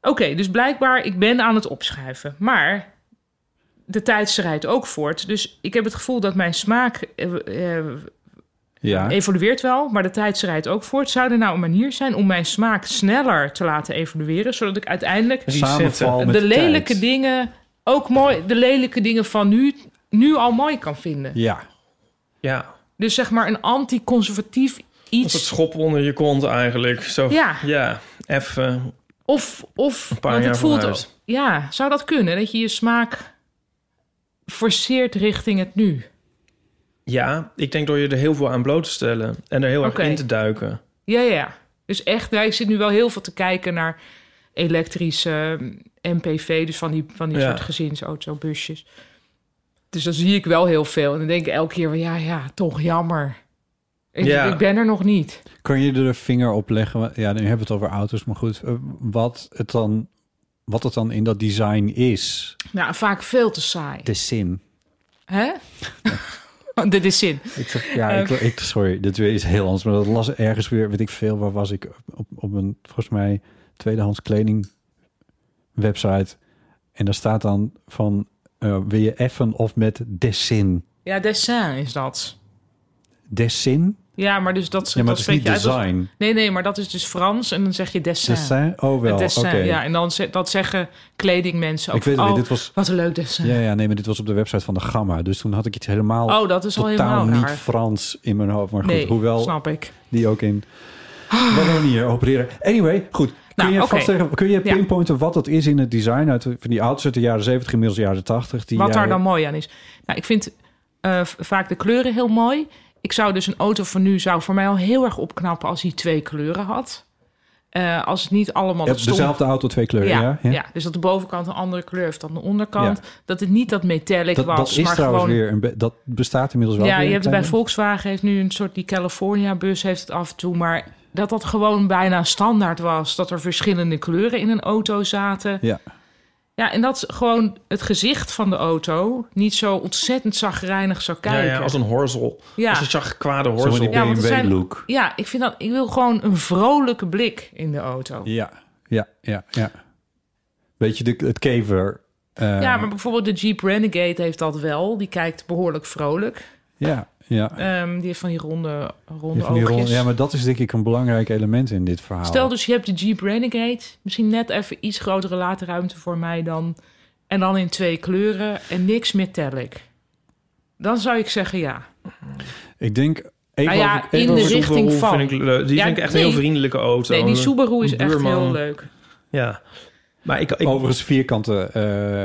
D: oké, dus blijkbaar, ik ben aan het opschuiven. Maar de tijd schrijdt ook voort. Dus ik heb het gevoel dat mijn smaak eh, eh,
B: Ja.
D: evolueert wel, maar de tijd schrijdt ook voort. Zou er nou een manier zijn om mijn smaak sneller te laten evolueren, zodat ik uiteindelijk
B: Samenval met
D: de lelijke
B: tijd.
D: dingen ook mooi, de lelijke dingen van nu, nu al mooi kan vinden.
B: Ja.
C: Ja.
D: Dus zeg maar een anti-conservatief
C: Als het
D: iets.
C: schop onder je kont eigenlijk. Zo,
D: Ja.
C: Ja. Even
D: Of, of
C: paar
D: want
C: jaar
D: het voelt
C: vooruit.
D: Ja, zou dat kunnen? Dat je je smaak forceert richting het nu.
C: Ja, ik denk door je er heel veel aan bloot te stellen en er heel erg
D: Oké.
C: in te duiken.
D: Ja, ja, ja. Dus echt, nou, ik zit nu wel heel veel te kijken naar elektrische eh, MPV, dus van die, van die
C: Ja.
D: soort gezinsautobusjes. Dus dan zie ik wel heel veel. En dan denk ik elke keer, van, ja, ja, toch jammer. Ik,
C: Ja.
D: ik ben er nog niet.
B: Kun je er een vinger op leggen? Ja, nu hebben we het over auto's, maar goed. eh, Wat het dan, wat het dan in dat design is.
D: Nou, vaak veel te saai.
B: De zin.
D: Hè? Dit is zin.
B: Ik, ja,
D: Ehm.
B: ik, ik, sorry, dit weer is heel anders. Maar dat las ergens weer, weet ik veel, waar was ik? Op, op een, volgens mij, tweedehands kleding website. En daar staat dan van, eh, wil je effen of met desin?
D: Ja, dessin is dat.
B: Desin?
D: Ja, maar dus dat,
B: Ja, maar
D: dat
B: het is
D: spreek
B: niet
D: je uit als-
B: design.
D: Nee, nee, maar dat is dus Frans en dan zeg je dessin.
B: Desin? Oh wel,
D: Het
B: oké.
D: dessin, ja. En dan ze- dat zeggen kledingmensen ook.
B: Ik weet het
D: van,
B: niet,
D: oh,
B: dit was...
D: Wat een leuk dessin.
B: Ja, ja, nee, maar dit was op de website van de Gamma. Dus toen had ik iets helemaal...
D: Oh, dat is al helemaal
B: totaal niet
D: raar.
B: Frans in mijn hoofd. Maar goed,
D: Nee,
B: hoewel
D: snap ik.
B: die ook in... Wat een manier opereren. Anyway, goed. Kun
D: Nou,
B: je
D: oké.
B: vastleggen, kun je
D: Ja.
B: pinpointen wat dat is in het design uit de- van die auto's uit de jaren 70, inmiddels jaren 80? Die
D: Wat daar
B: jij-
D: dan mooi aan is. Nou, ik vind eh, v- vaak de kleuren heel mooi. Ik zou dus een auto van nu zou voor mij al heel erg opknappen als hij twee kleuren had. Eh, als het niet allemaal
B: Ja, dus
D: dat stom-
B: dezelfde auto, twee kleuren, ja?
D: Ja, ja. dus dat de bovenkant een andere kleur heeft dan de onderkant. Dat het niet dat metallic
B: Dat,
D: was,
B: dat is
D: maar
B: trouwens
D: gewoon...
B: weer... Een be- dat bestaat inmiddels wel
D: ja,
B: weer
D: je
B: een
D: hebt het
B: klein
D: bij Volkswagen heeft nu een soort die California bus heeft het af en toe, maar dat dat gewoon bijna standaard was dat er verschillende kleuren in een auto zaten.
B: Ja.
D: Ja, en dat gewoon het gezicht van de auto niet zo ontzettend zagrijnig zou
C: Ja,
D: kijken.
C: ja, als een horzel.
D: Ja.
C: Als een zachtkwade
B: Zo
C: horzel.
B: die
D: Ja, want het zijn-
B: BMW-look.
D: Ja, ik, vind dat, ik wil gewoon een vrolijke blik in de auto.
B: Ja, ja, ja, ja. Weet je, de, het kever. eh,
D: Ja, maar bijvoorbeeld de Jeep Renegade heeft dat wel. Die kijkt behoorlijk vrolijk.
B: ja, ja.
D: Ehm, die heeft van die ronde, ronde
B: Je van die
D: oogjes.
B: rol- ja, maar dat is denk ik een belangrijk element in dit verhaal.
D: Stel dus, je hebt de Jeep Renegade. Misschien net even iets grotere laadruimte voor mij dan. En dan in twee kleuren en niks metallic. Dan zou ik zeggen ja.
B: Ik denk even
D: Nou ja,
B: over- even
D: in de
B: over-
D: richting van.
C: Vind ik leuk. Die
D: Ja,
C: vind ik echt
D: nee.
C: een heel vriendelijke auto.
D: Nee, die
C: Een
D: Subaru is echt
C: buurman.
D: heel leuk.
C: Ja. Maar ik, ik
B: overigens vierkante... eh,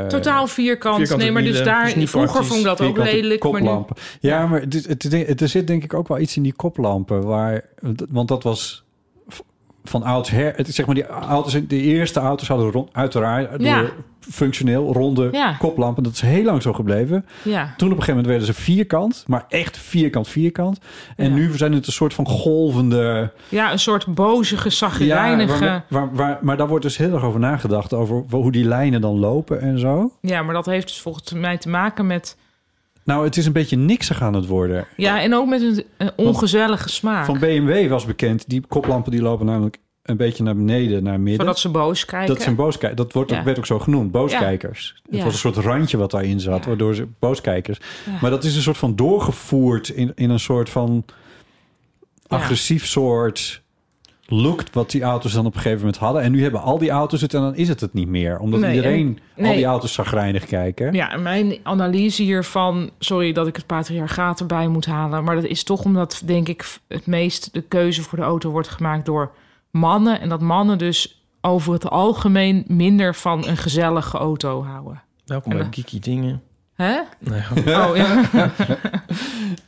D: Totaal vierkant.
C: vierkante
D: nee, maar dus
C: wielen,
D: daar...
C: is niet
D: vroeger
C: praktisch.
D: vond ik dat ook
B: vierkante
D: lelijk. Maar nu,
B: koplampen. Ja, maar het, is- het, is- het- er zit denk ik ook wel iets in die koplampen. Waar, want dat was v- van oudsher... Het, is zeg maar die, auto's, de eerste auto's hadden rond, uiteraard door
D: Ja.
B: functioneel ronde
D: Ja.
B: koplampen. Dat is heel lang zo gebleven.
D: ja.
B: Toen op een gegeven moment werden ze vierkant. Maar echt vierkant, vierkant. En
D: Ja.
B: nu zijn het een soort van golvende...
D: ja, een soort bozige, zagrijnige...
B: waar, waar, waar- maar daar wordt dus heel erg over nagedacht. Over hoe die lijnen dan lopen en zo.
D: Ja, maar dat heeft dus volgens mij te maken met...
B: Nou, het is een beetje niksig aan het worden.
D: Ja, en ook met een, een ongezellige smaak.
B: Van BMW was bekend, die koplampen die lopen namelijk een beetje naar beneden, naar midden.
D: Zodat ze boos kijken.
B: dat zijn booskijkers. Dat wordt, ook-
D: Ja.
B: werd ook zo genoemd, booskijkers.
D: Ja.
B: Het was een soort randje wat daarin zat,
D: Ja.
B: waardoor ze booskijkers.
D: Ja.
B: Maar dat is een soort van doorgevoerd in, in een soort van agressief soort look wat die auto's dan op een gegeven moment hadden. En nu hebben al die auto's het en dan is het het niet meer. Omdat
D: Nee,
B: iedereen
D: en-
B: al
D: nee.
B: die auto's zagrijnig kijken.
D: Ja, en mijn analyse hiervan... Sorry dat ik het patriarchaat erbij moet halen... maar dat is toch omdat, denk ik, het meest de keuze voor de auto wordt gemaakt door mannen. En dat mannen dus over het algemeen minder van een gezellige auto houden.
C: Welkom bij
D: Ja.
C: Geeky Dingen.
D: Hè?
C: Nou ja.
D: Oh, ja.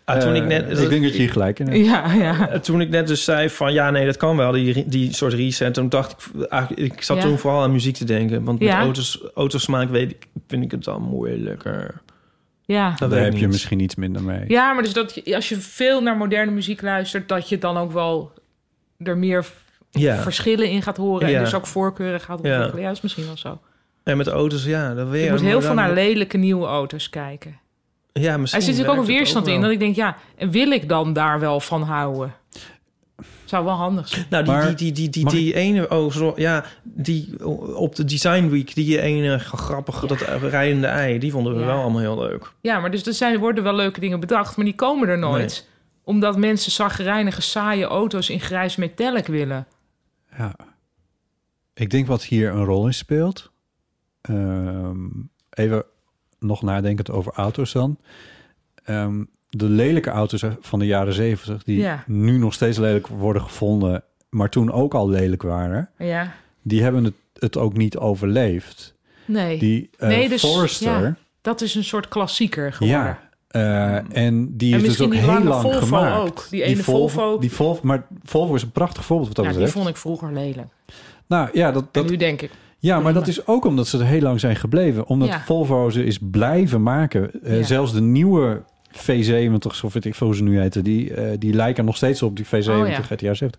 C: Ah, toen
B: Eh,
C: ik net...
B: ik denk dat je hier gelijk in hebt.
D: ja, ja.
C: Eh, Toen ik net dus zei van ja, nee, dat kan wel, die, die soort reset. Toen dacht ik, eigenlijk, ik zat
D: Ja.
C: toen vooral aan muziek te denken. Want met
D: Ja.
C: auto's, autosmaak weet ik, vind ik het dan moeilijker.
D: ja.
C: Dat
B: Daar
C: weet ik
B: heb je
C: niet.
B: misschien iets minder mee.
D: Ja, maar dus dat je- als je veel naar moderne muziek luistert, dat je dan ook wel er meer v-
C: Ja,
D: verschillen in gaat horen.
C: Ja.
D: En dus ook voorkeuren gaat
C: Ja.
D: ontwikkelen. Ja, dat is misschien wel zo.
C: en met auto's, ja, dat weet
D: Je
C: ik.
D: moet
C: maar
D: heel
C: dan-
D: veel naar lelijke nieuwe auto's kijken.
C: Ja,
D: Er
C: misschien
D: zit natuurlijk ook
C: werkt
D: een weerstand
C: het wel.
D: in. Dat ik denk, ja, en wil ik dan daar wel van houden? Zou wel handig zijn.
C: Nou, die,
B: Maar-
C: die, die, die, die,
B: mag
C: die ene, oh, zo, ja, die op de Design Week, die ene grappige, dat rijdende ei, die vonden we
D: Ja.
C: wel allemaal heel leuk.
D: Ja, maar dus er zijn, worden wel leuke dingen bedacht, maar die komen er nooit. Omdat mensen zagrijnige, saaie auto's in grijs metallic willen.
B: Ja. Ik denk wat hier een rol in speelt. ehm, even nog nadenkend over auto's dan. Ehm, de lelijke auto's van de jaren zeventig, die
D: Ja.
B: nu nog steeds lelijk worden gevonden, maar toen ook al lelijk waren,
D: Ja,
B: die hebben het, het ook niet overleefd.
D: nee.
B: Die eh,
D: Nee, dus-
B: Forester,
D: Dat is een soort klassieker
B: ja.
D: geworden.
B: eh, en die
D: En
B: is dus
D: misschien
B: ook
D: die
B: heel
D: lange
B: lang
D: Volvo
B: gemaakt.
D: ook. Die ene Volvo.
B: Die Volvo, maar Volvo is een prachtig voorbeeld wat dat
D: Ja, die
B: betreft.
D: vond ik vroeger lelijk.
B: Nou ja, dat, dat
D: En nu denk ik,
B: Ja, maar dat is ook omdat ze er heel lang zijn gebleven. Omdat
D: Ja.
B: Volvo ze is blijven maken. Eh,
D: Ja.
B: Zelfs de nieuwe V70's, of weet ik veel hoe ze nu heten... die, eh, die lijken nog steeds op die V70
D: Oh, ja.
B: GTA 70.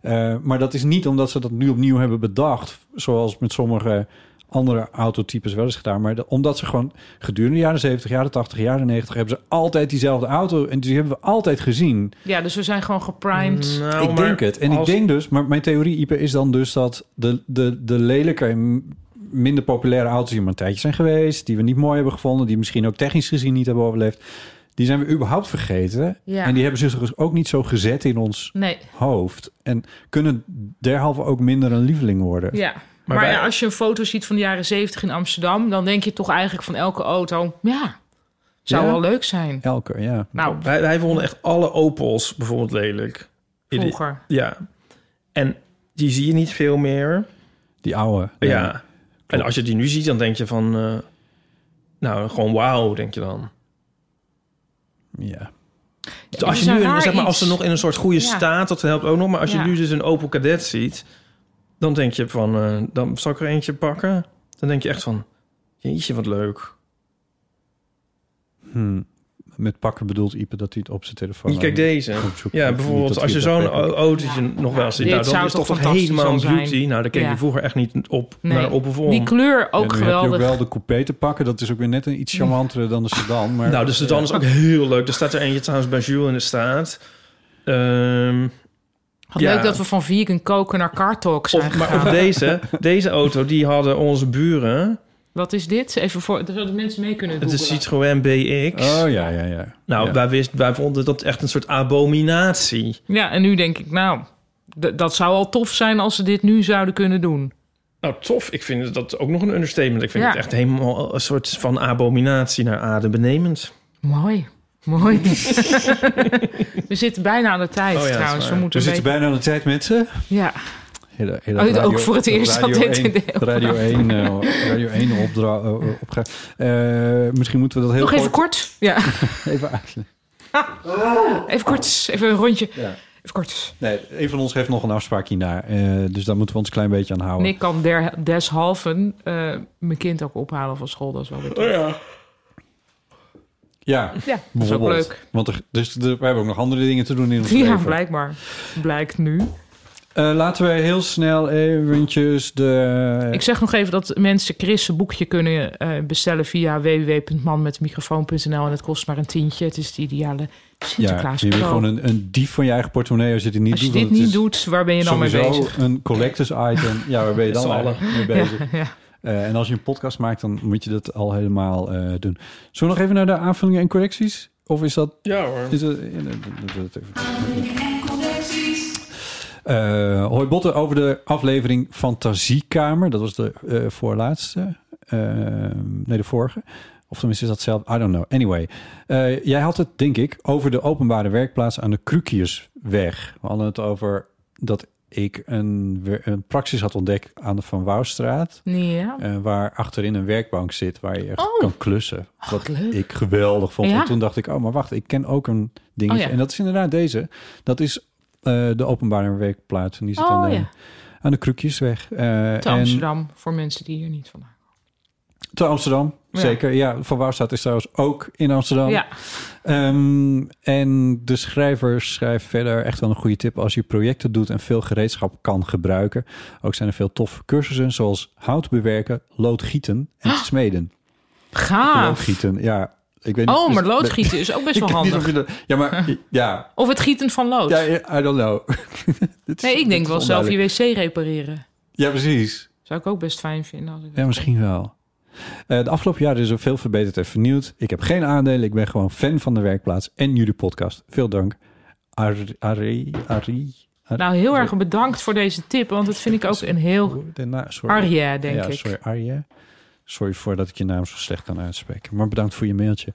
B: Eh, maar dat is niet omdat ze dat nu opnieuw hebben bedacht... zoals met sommige andere autotypes wel eens gedaan. Maar de- omdat ze gewoon gedurende de jaren 70, jaren 80, jaren 90... hebben ze altijd diezelfde auto en die hebben we altijd gezien.
D: ja, dus we zijn gewoon geprimed.
C: Nou,
B: ik
C: maar
B: denk het. En
C: als-
B: ik denk dus, maar mijn theorie, Ipe, is dan dus dat de, de, de lelijke en minder populaire auto's die maar een tijdje zijn geweest, die we niet mooi hebben gevonden, die misschien ook technisch gezien niet hebben overleefd, die zijn we überhaupt vergeten.
D: Ja.
B: En die hebben zich dus ook niet zo gezet in ons
D: Nee,
B: hoofd. En kunnen derhalve ook minder een lieveling worden.
D: ja. Maar,
C: wij-
D: ja, als je een foto ziet van de jaren zeventig in Amsterdam... dan denk je toch eigenlijk van elke auto... ja, zou
B: Ja?
D: wel leuk zijn.
B: Elke, ja.
D: Nou,
C: Wij, wij vonden echt alle Opels bijvoorbeeld lelijk. In de-
D: vroeger.
C: Ja. En die zie je niet veel meer.
B: Die oude.
C: ja. En als je die nu ziet, dan denk je van... eh, nou, gewoon wauw, denk je dan.
B: Ja.
D: Ja,
C: als,
D: is
C: je
D: een
C: nu
D: raar
C: een, zeg maar, als ze
D: iets.
C: nog in een soort goede
D: Ja.
C: staat, dat helpt ook nog. Maar als je
D: Ja.
C: nu dus een Opel Cadet ziet, dan denk je van... eh, dan zal ik er eentje pakken. Dan denk je echt van... Jeetje, wat leuk.
B: Hm. met pakken bedoelt Ipe dat hij het op zijn telefoon...
C: Kijk deze.
B: goed zoekt.
C: Ja,
B: Niet
C: bijvoorbeeld
B: dat
C: als je
B: hij dat
C: zo'n
B: weet.
C: o- autootje nog wel ziet.
D: dit
C: Nou, dan
D: zou
C: is
D: toch
C: toch toch
D: fantastisch
C: helemaal een
D: al zijn?
C: beauty. Nou, daar keek
D: Ja.
C: je vroeger echt niet op
D: Nee.
C: naar op
D: Die kleur
B: En
D: ook
B: dan heb je
D: geweldig.
B: ook wel de coupé te pakken. Dat is ook weer net een iets charmantere dan de sedan. Maar
C: Nou, de sedan is ook heel leuk. Er staat er eentje trouwens bij Jules in de staat. Ehm,
D: Wat
C: ja.
D: Leuk dat we van vegan koken naar car talk zijn
C: of, maar
D: gegaan.
C: of deze, deze auto, die hadden onze buren.
D: Wat is dit? Even voor, zodat de mensen mee kunnen
C: Het
D: doen.
C: is Citroën BX.
B: Oh ja, ja, ja.
C: Nou,
B: ja.
C: Wij, wisten, wij vonden dat echt een soort abominatie.
D: Ja, en nu denk ik, nou, d- dat zou al tof zijn als ze dit nu zouden kunnen doen.
C: Nou, tof. Ik vind dat ook nog een understatement. Ik vind
D: Ja.
C: het echt helemaal een soort van abominatie naar adembenemend.
D: Mooi. Mooi. we zitten bijna aan de tijd
C: Oh ja, dat is
D: trouwens. We
C: waar.
B: We
D: moeten
B: zitten
D: een
B: bijna aan de tijd, mensen.
D: beetje- Ja,
B: Hele,
D: Oh, dit ook voor het eerst dat dit in de hele
B: Radio 1, eh, Radio 1 opdra- eh, eh, opga- Eh, misschien moeten we dat heel
D: nog even kort. Ja,
B: even uitleggen.
D: even kort. Even een rondje.
B: Ja.
D: Even kort.
B: Nee, een van ons heeft nog een afspraak hierna. eh, dus daar moeten we ons een klein beetje aan houden.
D: ik kan der, deshalve eh, mijn kind ook ophalen van school. Dat is wel weer tof. Ja,
B: Ja,
D: dat is ook
B: bijvoorbeeld.
D: leuk.
B: Want er, dus er- we hebben ook nog andere dingen te doen in ons
D: Ja,
B: leven.
D: blijkbaar. Blijkt nu.
B: Eh, laten we heel snel eventjes de...
D: Ik zeg nog even dat mensen Chris' een boekje kunnen eh, bestellen via www.manmetmicrofoon.nl. En het kost maar een tientje. Het is het ideale
B: ja,
D: Sinterklaas
B: je bent gewoon een, een dief van je eigen portemonnee als je dit niet
D: Als je
B: doet.
D: dit
B: want het
D: niet
B: is
D: doet, waar ben je dan mee
B: sowieso eh,
D: bezig?
B: een collectors item. Ja, waar ben je dan
C: z'n
B: eigenlijk mee bezig?
D: Ja.
B: Eh, en als je een podcast maakt, dan moet je dat al helemaal eh, doen. Zullen we nog even naar de aanvullingen en correcties? Of is dat...
C: Ja hoor.
B: Is dat, ja, dat- dat- dat- dat- Eh, hoi Botten over de aflevering Fantasiekamer. Dat was de eh, voorlaatste. Eh, nee, de vorige. Of tenminste is dat zelf. I don't know. Anyway. eh, jij had het, denk ik, over de openbare werkplaats aan de Krukiersweg. We hadden het over dat ik een, wer- een praxis had ontdekt aan de Van Wouwstraat.
D: Ja.
B: Eh, waar achterin een werkbank zit waar je echt
D: Oh.
B: kan klussen. Wat
D: leuk.
B: ik geweldig vond.
D: Ja?
B: En toen dacht ik, oh, maar wacht, ik ken ook een dingetje.
D: Oh, ja.
B: En dat is inderdaad deze. Dat is eh, de openbare werkplaats. En die zit
D: Oh,
B: aan, de,
D: ja.
B: aan de Krukjesweg. Eh,
D: Te Amsterdam, voor mensen die hier niet vandaan
B: En, te Amsterdam,
D: Ja.
B: zeker. Ja, Van Wouwstraat is trouwens ook in Amsterdam.
D: komen. Ja,
B: Ehm, en de schrijver schrijft verder echt wel een goede tip als je projecten doet en veel gereedschap kan gebruiken. Ook zijn er veel toffe cursussen zoals hout bewerken, loodgieten en
D: Oh.
B: smeden.
D: gaaf.
B: Loodgieten, ja. Ik weet
D: Ah. Oh,
B: dus-
D: maar loodgieten is ook best wel
B: Ik weet niet
D: handig.
B: of je dat- ja, maar ja,
D: Of het gieten van lood.
B: ja, I don't know. Dit is-
D: nee, ik
B: dit
D: denk
B: is
D: wel zelf je wc
B: onduidelijk.
D: repareren.
B: Ja, precies.
D: Zou ik ook best fijn vinden. Als ik
B: Ja, misschien wel. Eh, de afgelopen jaren is er veel verbeterd en vernieuwd. Ik heb geen aandelen. Ik ben gewoon fan van de werkplaats en jullie podcast. Veel dank. Ari, Ari, Ari.
D: Nou, heel erg bedankt voor deze tip, want dat vind ik ook een heel...
B: Daarna- sorry.
D: Arja, denk
B: ja,
D: ik.
B: sorry, Arja. Sorry voor dat ik je naam zo slecht kan uitspreken. Maar bedankt voor je mailtje.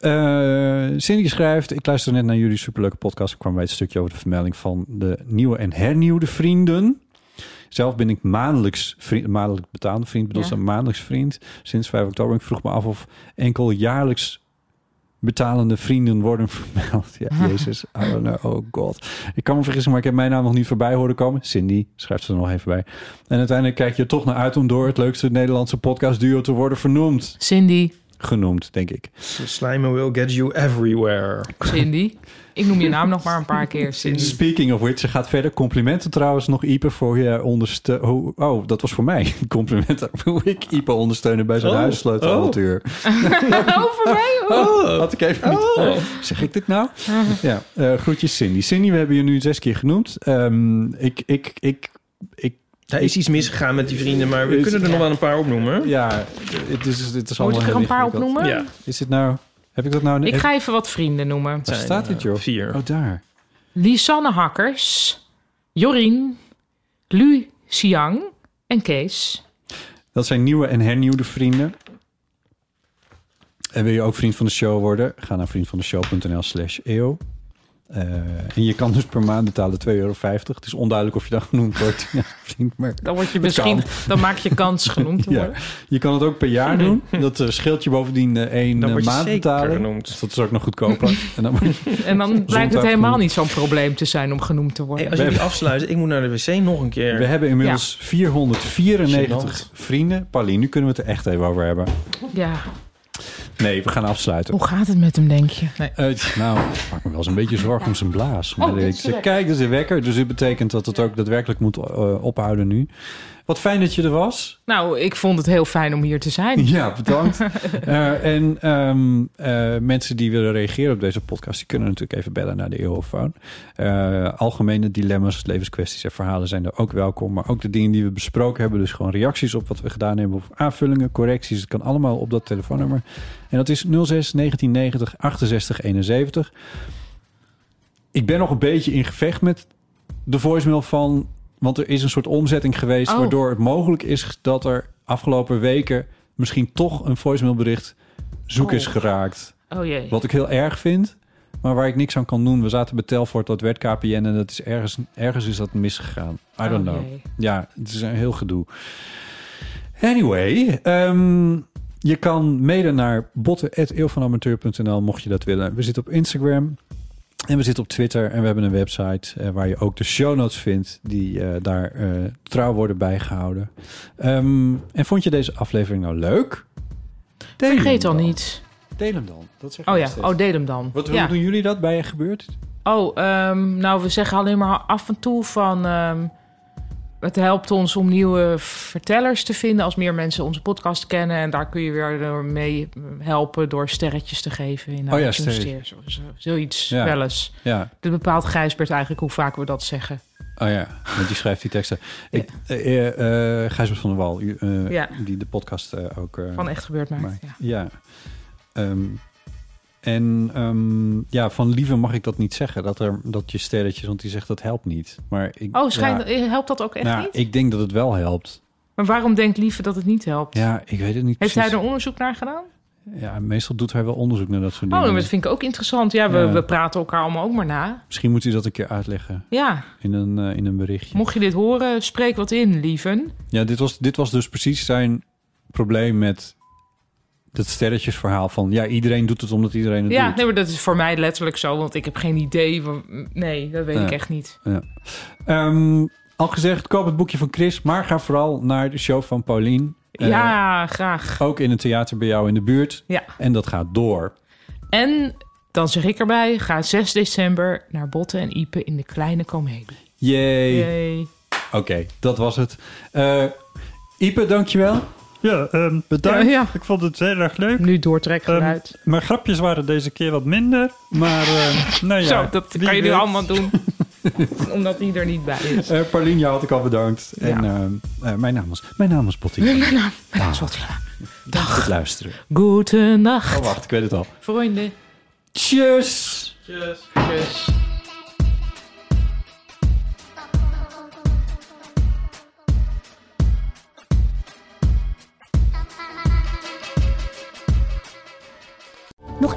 B: Eh Cindy schrijft... Ik luister net naar jullie superleuke podcast. Ik kwam bij het stukje over de vermelding van de nieuwe en hernieuwde vrienden. Zelf ben ik maandelijks vriend, maandelijk betaalde vriend. bedoel,
D: Ja.
B: ze maandelijks vriend sinds 5 oktober. Ik vroeg me af of enkel jaarlijks betalende vrienden worden vermeld. Ja, jezus. I don't know. Oh god. Ik kan me vergissen, maar ik heb mijn naam nog niet voorbij horen komen. Cindy schrijft ze er nog even bij. En uiteindelijk kijk je er toch naar uit om door het leukste Nederlandse podcastduo te worden vernoemd.
D: Cindy,
B: Genoemd, denk ik.
C: Slijmen will get you everywhere.
D: Cindy. Ik noem je naam nog maar een paar keer, Cindy.
B: Speaking of which, ze gaat verder. Complimenten trouwens nog, Ipe, voor je ondersteunen. Oh, oh, dat was voor mij. Complimenten hoe ik Ipe ondersteunen bij zijn
C: Oh,
B: huissleutelavontuur.
D: Over mij? Oh.
B: Had ik even niet. Oh. Zeg ik dit nou? Ja, eh, groetjes Cindy. Cindy, we hebben je nu zes keer genoemd. Ehm, ik, ik, ik, ik,
C: Er is iets misgegaan met die vrienden, maar we
B: Is-
C: kunnen er nog wel een paar opnoemen.
B: ja, het is, het
D: Moet
B: is allemaal
D: ik er
B: heel
D: een paar
B: ingewikkeld.
D: opnoemen?
C: Ja.
B: Is dit nou, heb ik dat nou?
D: Ik
B: heb-
D: ga even wat vrienden noemen.
B: waar
C: zijn,
B: staat dit,
C: eh,
B: joh?
C: vier.
B: Oh, daar.
D: Lisanne Hakkers, Jorien, Lu Xiang en Kees.
B: Dat zijn nieuwe en hernieuwde vrienden. En wil je ook vriend van de show worden? Ga naar vriendvandeshow.nl slash eeuw. Eh, en je kan dus per maand betalen 2,50 euro. Het is onduidelijk of je dat genoemd wordt. Ja, vriend, maar
D: Dan word je misschien, dan maak je kans genoemd te
B: ja.
D: worden.
B: Je kan het ook per jaar doen. Dat eh, scheelt je bovendien eh, één
C: Dan
B: eh,
C: word je
B: maand
C: zeker
B: betalen.
C: genoemd.
B: Dus dat is ook nog goedkoper. en dan word je-
D: En dan blijkt het
B: genoemd.
D: helemaal niet zo'n probleem te zijn om genoemd te
C: Hey,
D: worden.
C: als jullie afsluiten, ik moet naar de wc nog een keer.
B: We hebben inmiddels 494 vrienden. Pauline, nu kunnen we het er echt even over hebben.
D: Ja,
B: Nee, we gaan afsluiten.
D: Hoe gaat het met hem, denk je? Nee.
B: Eh, nou, ik maak me wel eens een beetje zorgen om zijn blaas. Maar
D: dit is
B: ik
D: de
B: zei,
D: wekker.
B: kijk, dat is een wekker. Dus dit betekent dat het ook daadwerkelijk moet eh, ophouden nu. Wat fijn dat je er was.
D: Nou, ik vond het heel fijn om hier te zijn.
B: Ja, bedankt. Eh, en ehm, eh, mensen die willen reageren op deze podcast... die kunnen natuurlijk even bellen naar de Eeuwofoon. Eh algemene dilemma's, levenskwesties en verhalen zijn er ook welkom. Maar ook de dingen die we besproken hebben. Dus gewoon reacties op wat we gedaan hebben. Of aanvullingen, correcties. Het kan allemaal op dat telefoonnummer. En dat is 06 1990 68 71. Ik ben nog een beetje in gevecht met de voicemail van... want er is een soort omzetting geweest...
D: Oh.
B: waardoor het mogelijk is dat er afgelopen weken... misschien toch een voicemailbericht zoek
D: Oh.
B: is geraakt.
D: Oh jee.
B: Wat ik heel erg vind, maar waar ik niks aan kan doen. We zaten bij Telfort, dat werd KPN... en dat is ergens, ergens is dat misgegaan. I don't
D: Oh,
B: know.
D: jee.
B: Ja, het is een heel gedoe. Anyway, ehm, je kan mailen naar botten.eeuwvanamateur.nl mocht je dat willen. We zitten op Instagram en we zitten op Twitter en we hebben een website eh, waar je ook de show notes vindt die eh, daar eh, trouw worden bijgehouden. Ehm, en vond je deze aflevering nou leuk? Deel hem
D: Vergeet dan niet.
B: Deel hem dan. Dat zeg ik
D: Oh
B: nog
D: ja,
B: steeds.
D: oh, deel hem dan.
B: Wat
D: ja.
B: hoe doen jullie dat bij je gebeurt?
D: Oh, ehm, nou, we zeggen alleen maar af en toe van... ehm, het helpt ons om nieuwe vertellers te vinden... als meer mensen onze podcast kennen. En daar kun je weer door mee helpen door sterretjes te geven. In Dus
B: Oh ja,
D: iTunes
B: sterretjes.
D: Stores of zo. eh, Zoiets,
B: Ja.
D: wel eens.
B: Ja.
D: Dat bepaalt Gijsbert eigenlijk hoe vaak we dat zeggen.
B: Oh ja, want die schrijft die teksten. Ik, eh, eh, eh, Gijsbert van der Wal, u, eh,
D: Ja.
B: die de podcast eh, ook... eh,
D: Van Echt Gebeurd Maar.
B: Maar,
D: Ja.
B: ja. Ehm, en ehm, ja, van lieve mag ik dat niet zeggen. Dat, er, dat je sterretjes, want die zegt dat helpt niet. Maar ik,
D: Oh, schijnt,
B: ja,
D: helpt dat ook echt
B: nou,
D: niet?
B: Ik denk dat het wel helpt.
D: Maar waarom denkt Lieve dat het niet helpt?
B: Ja, ik weet het niet
D: Heeft hij
B: precies.
D: er onderzoek naar gedaan?
B: Ja, meestal doet hij wel onderzoek naar dat soort
D: Oh,
B: dingen.
D: dat vind ik ook interessant. Ja, we,
B: Ja.
D: we praten elkaar allemaal ook maar na.
B: Misschien moet hij dat een keer uitleggen
D: Ja,
B: in een, eh, in een berichtje.
D: mocht je dit horen, spreek wat in, lieven.
B: Ja, dit was, dit was dus precies zijn probleem met dat sterretjesverhaal van... ja, iedereen doet het omdat iedereen het
D: Ja,
B: doet.
D: nee, maar dat is voor mij letterlijk zo, want ik heb geen idee. van- Nee, dat weet
B: Ja.
D: ik echt niet.
B: Ehm, al gezegd, koop het boekje van Chris... maar ga vooral naar de show van Paulien. Eh,
D: ja, graag.
B: Ook in het theater bij jou in de buurt.
D: Ja.
B: En dat gaat door.
D: En dan zeg ik erbij, ga 6 december naar Botten en Ipe in de Kleine Komedie.
B: Yay.
D: Yay.
B: Oké, dat was het. Eh Ipe, dankjewel.
I: Ja, ehm, bedankt.
D: Ja, ja.
I: Ik vond het heel erg leuk.
D: Nu doortrekgeluid.
I: Ehm, mijn grapjes waren deze keer wat minder. Maar ehm nou ja,
D: zo, dat
I: wie
D: kan je nu
I: weet.
D: allemaal doen. Omdat hij er niet bij is.
B: Eh Paulien, jou had ik al bedankt. En eh, eh, mijn naam was, mijn naam was Botti. Mijn naam,
I: Ah.
B: Dag. Goed luisteren.
D: Goedenacht,
B: Oh, wacht, ik weet het al.
D: vrienden.
B: Tjus.
A: Nog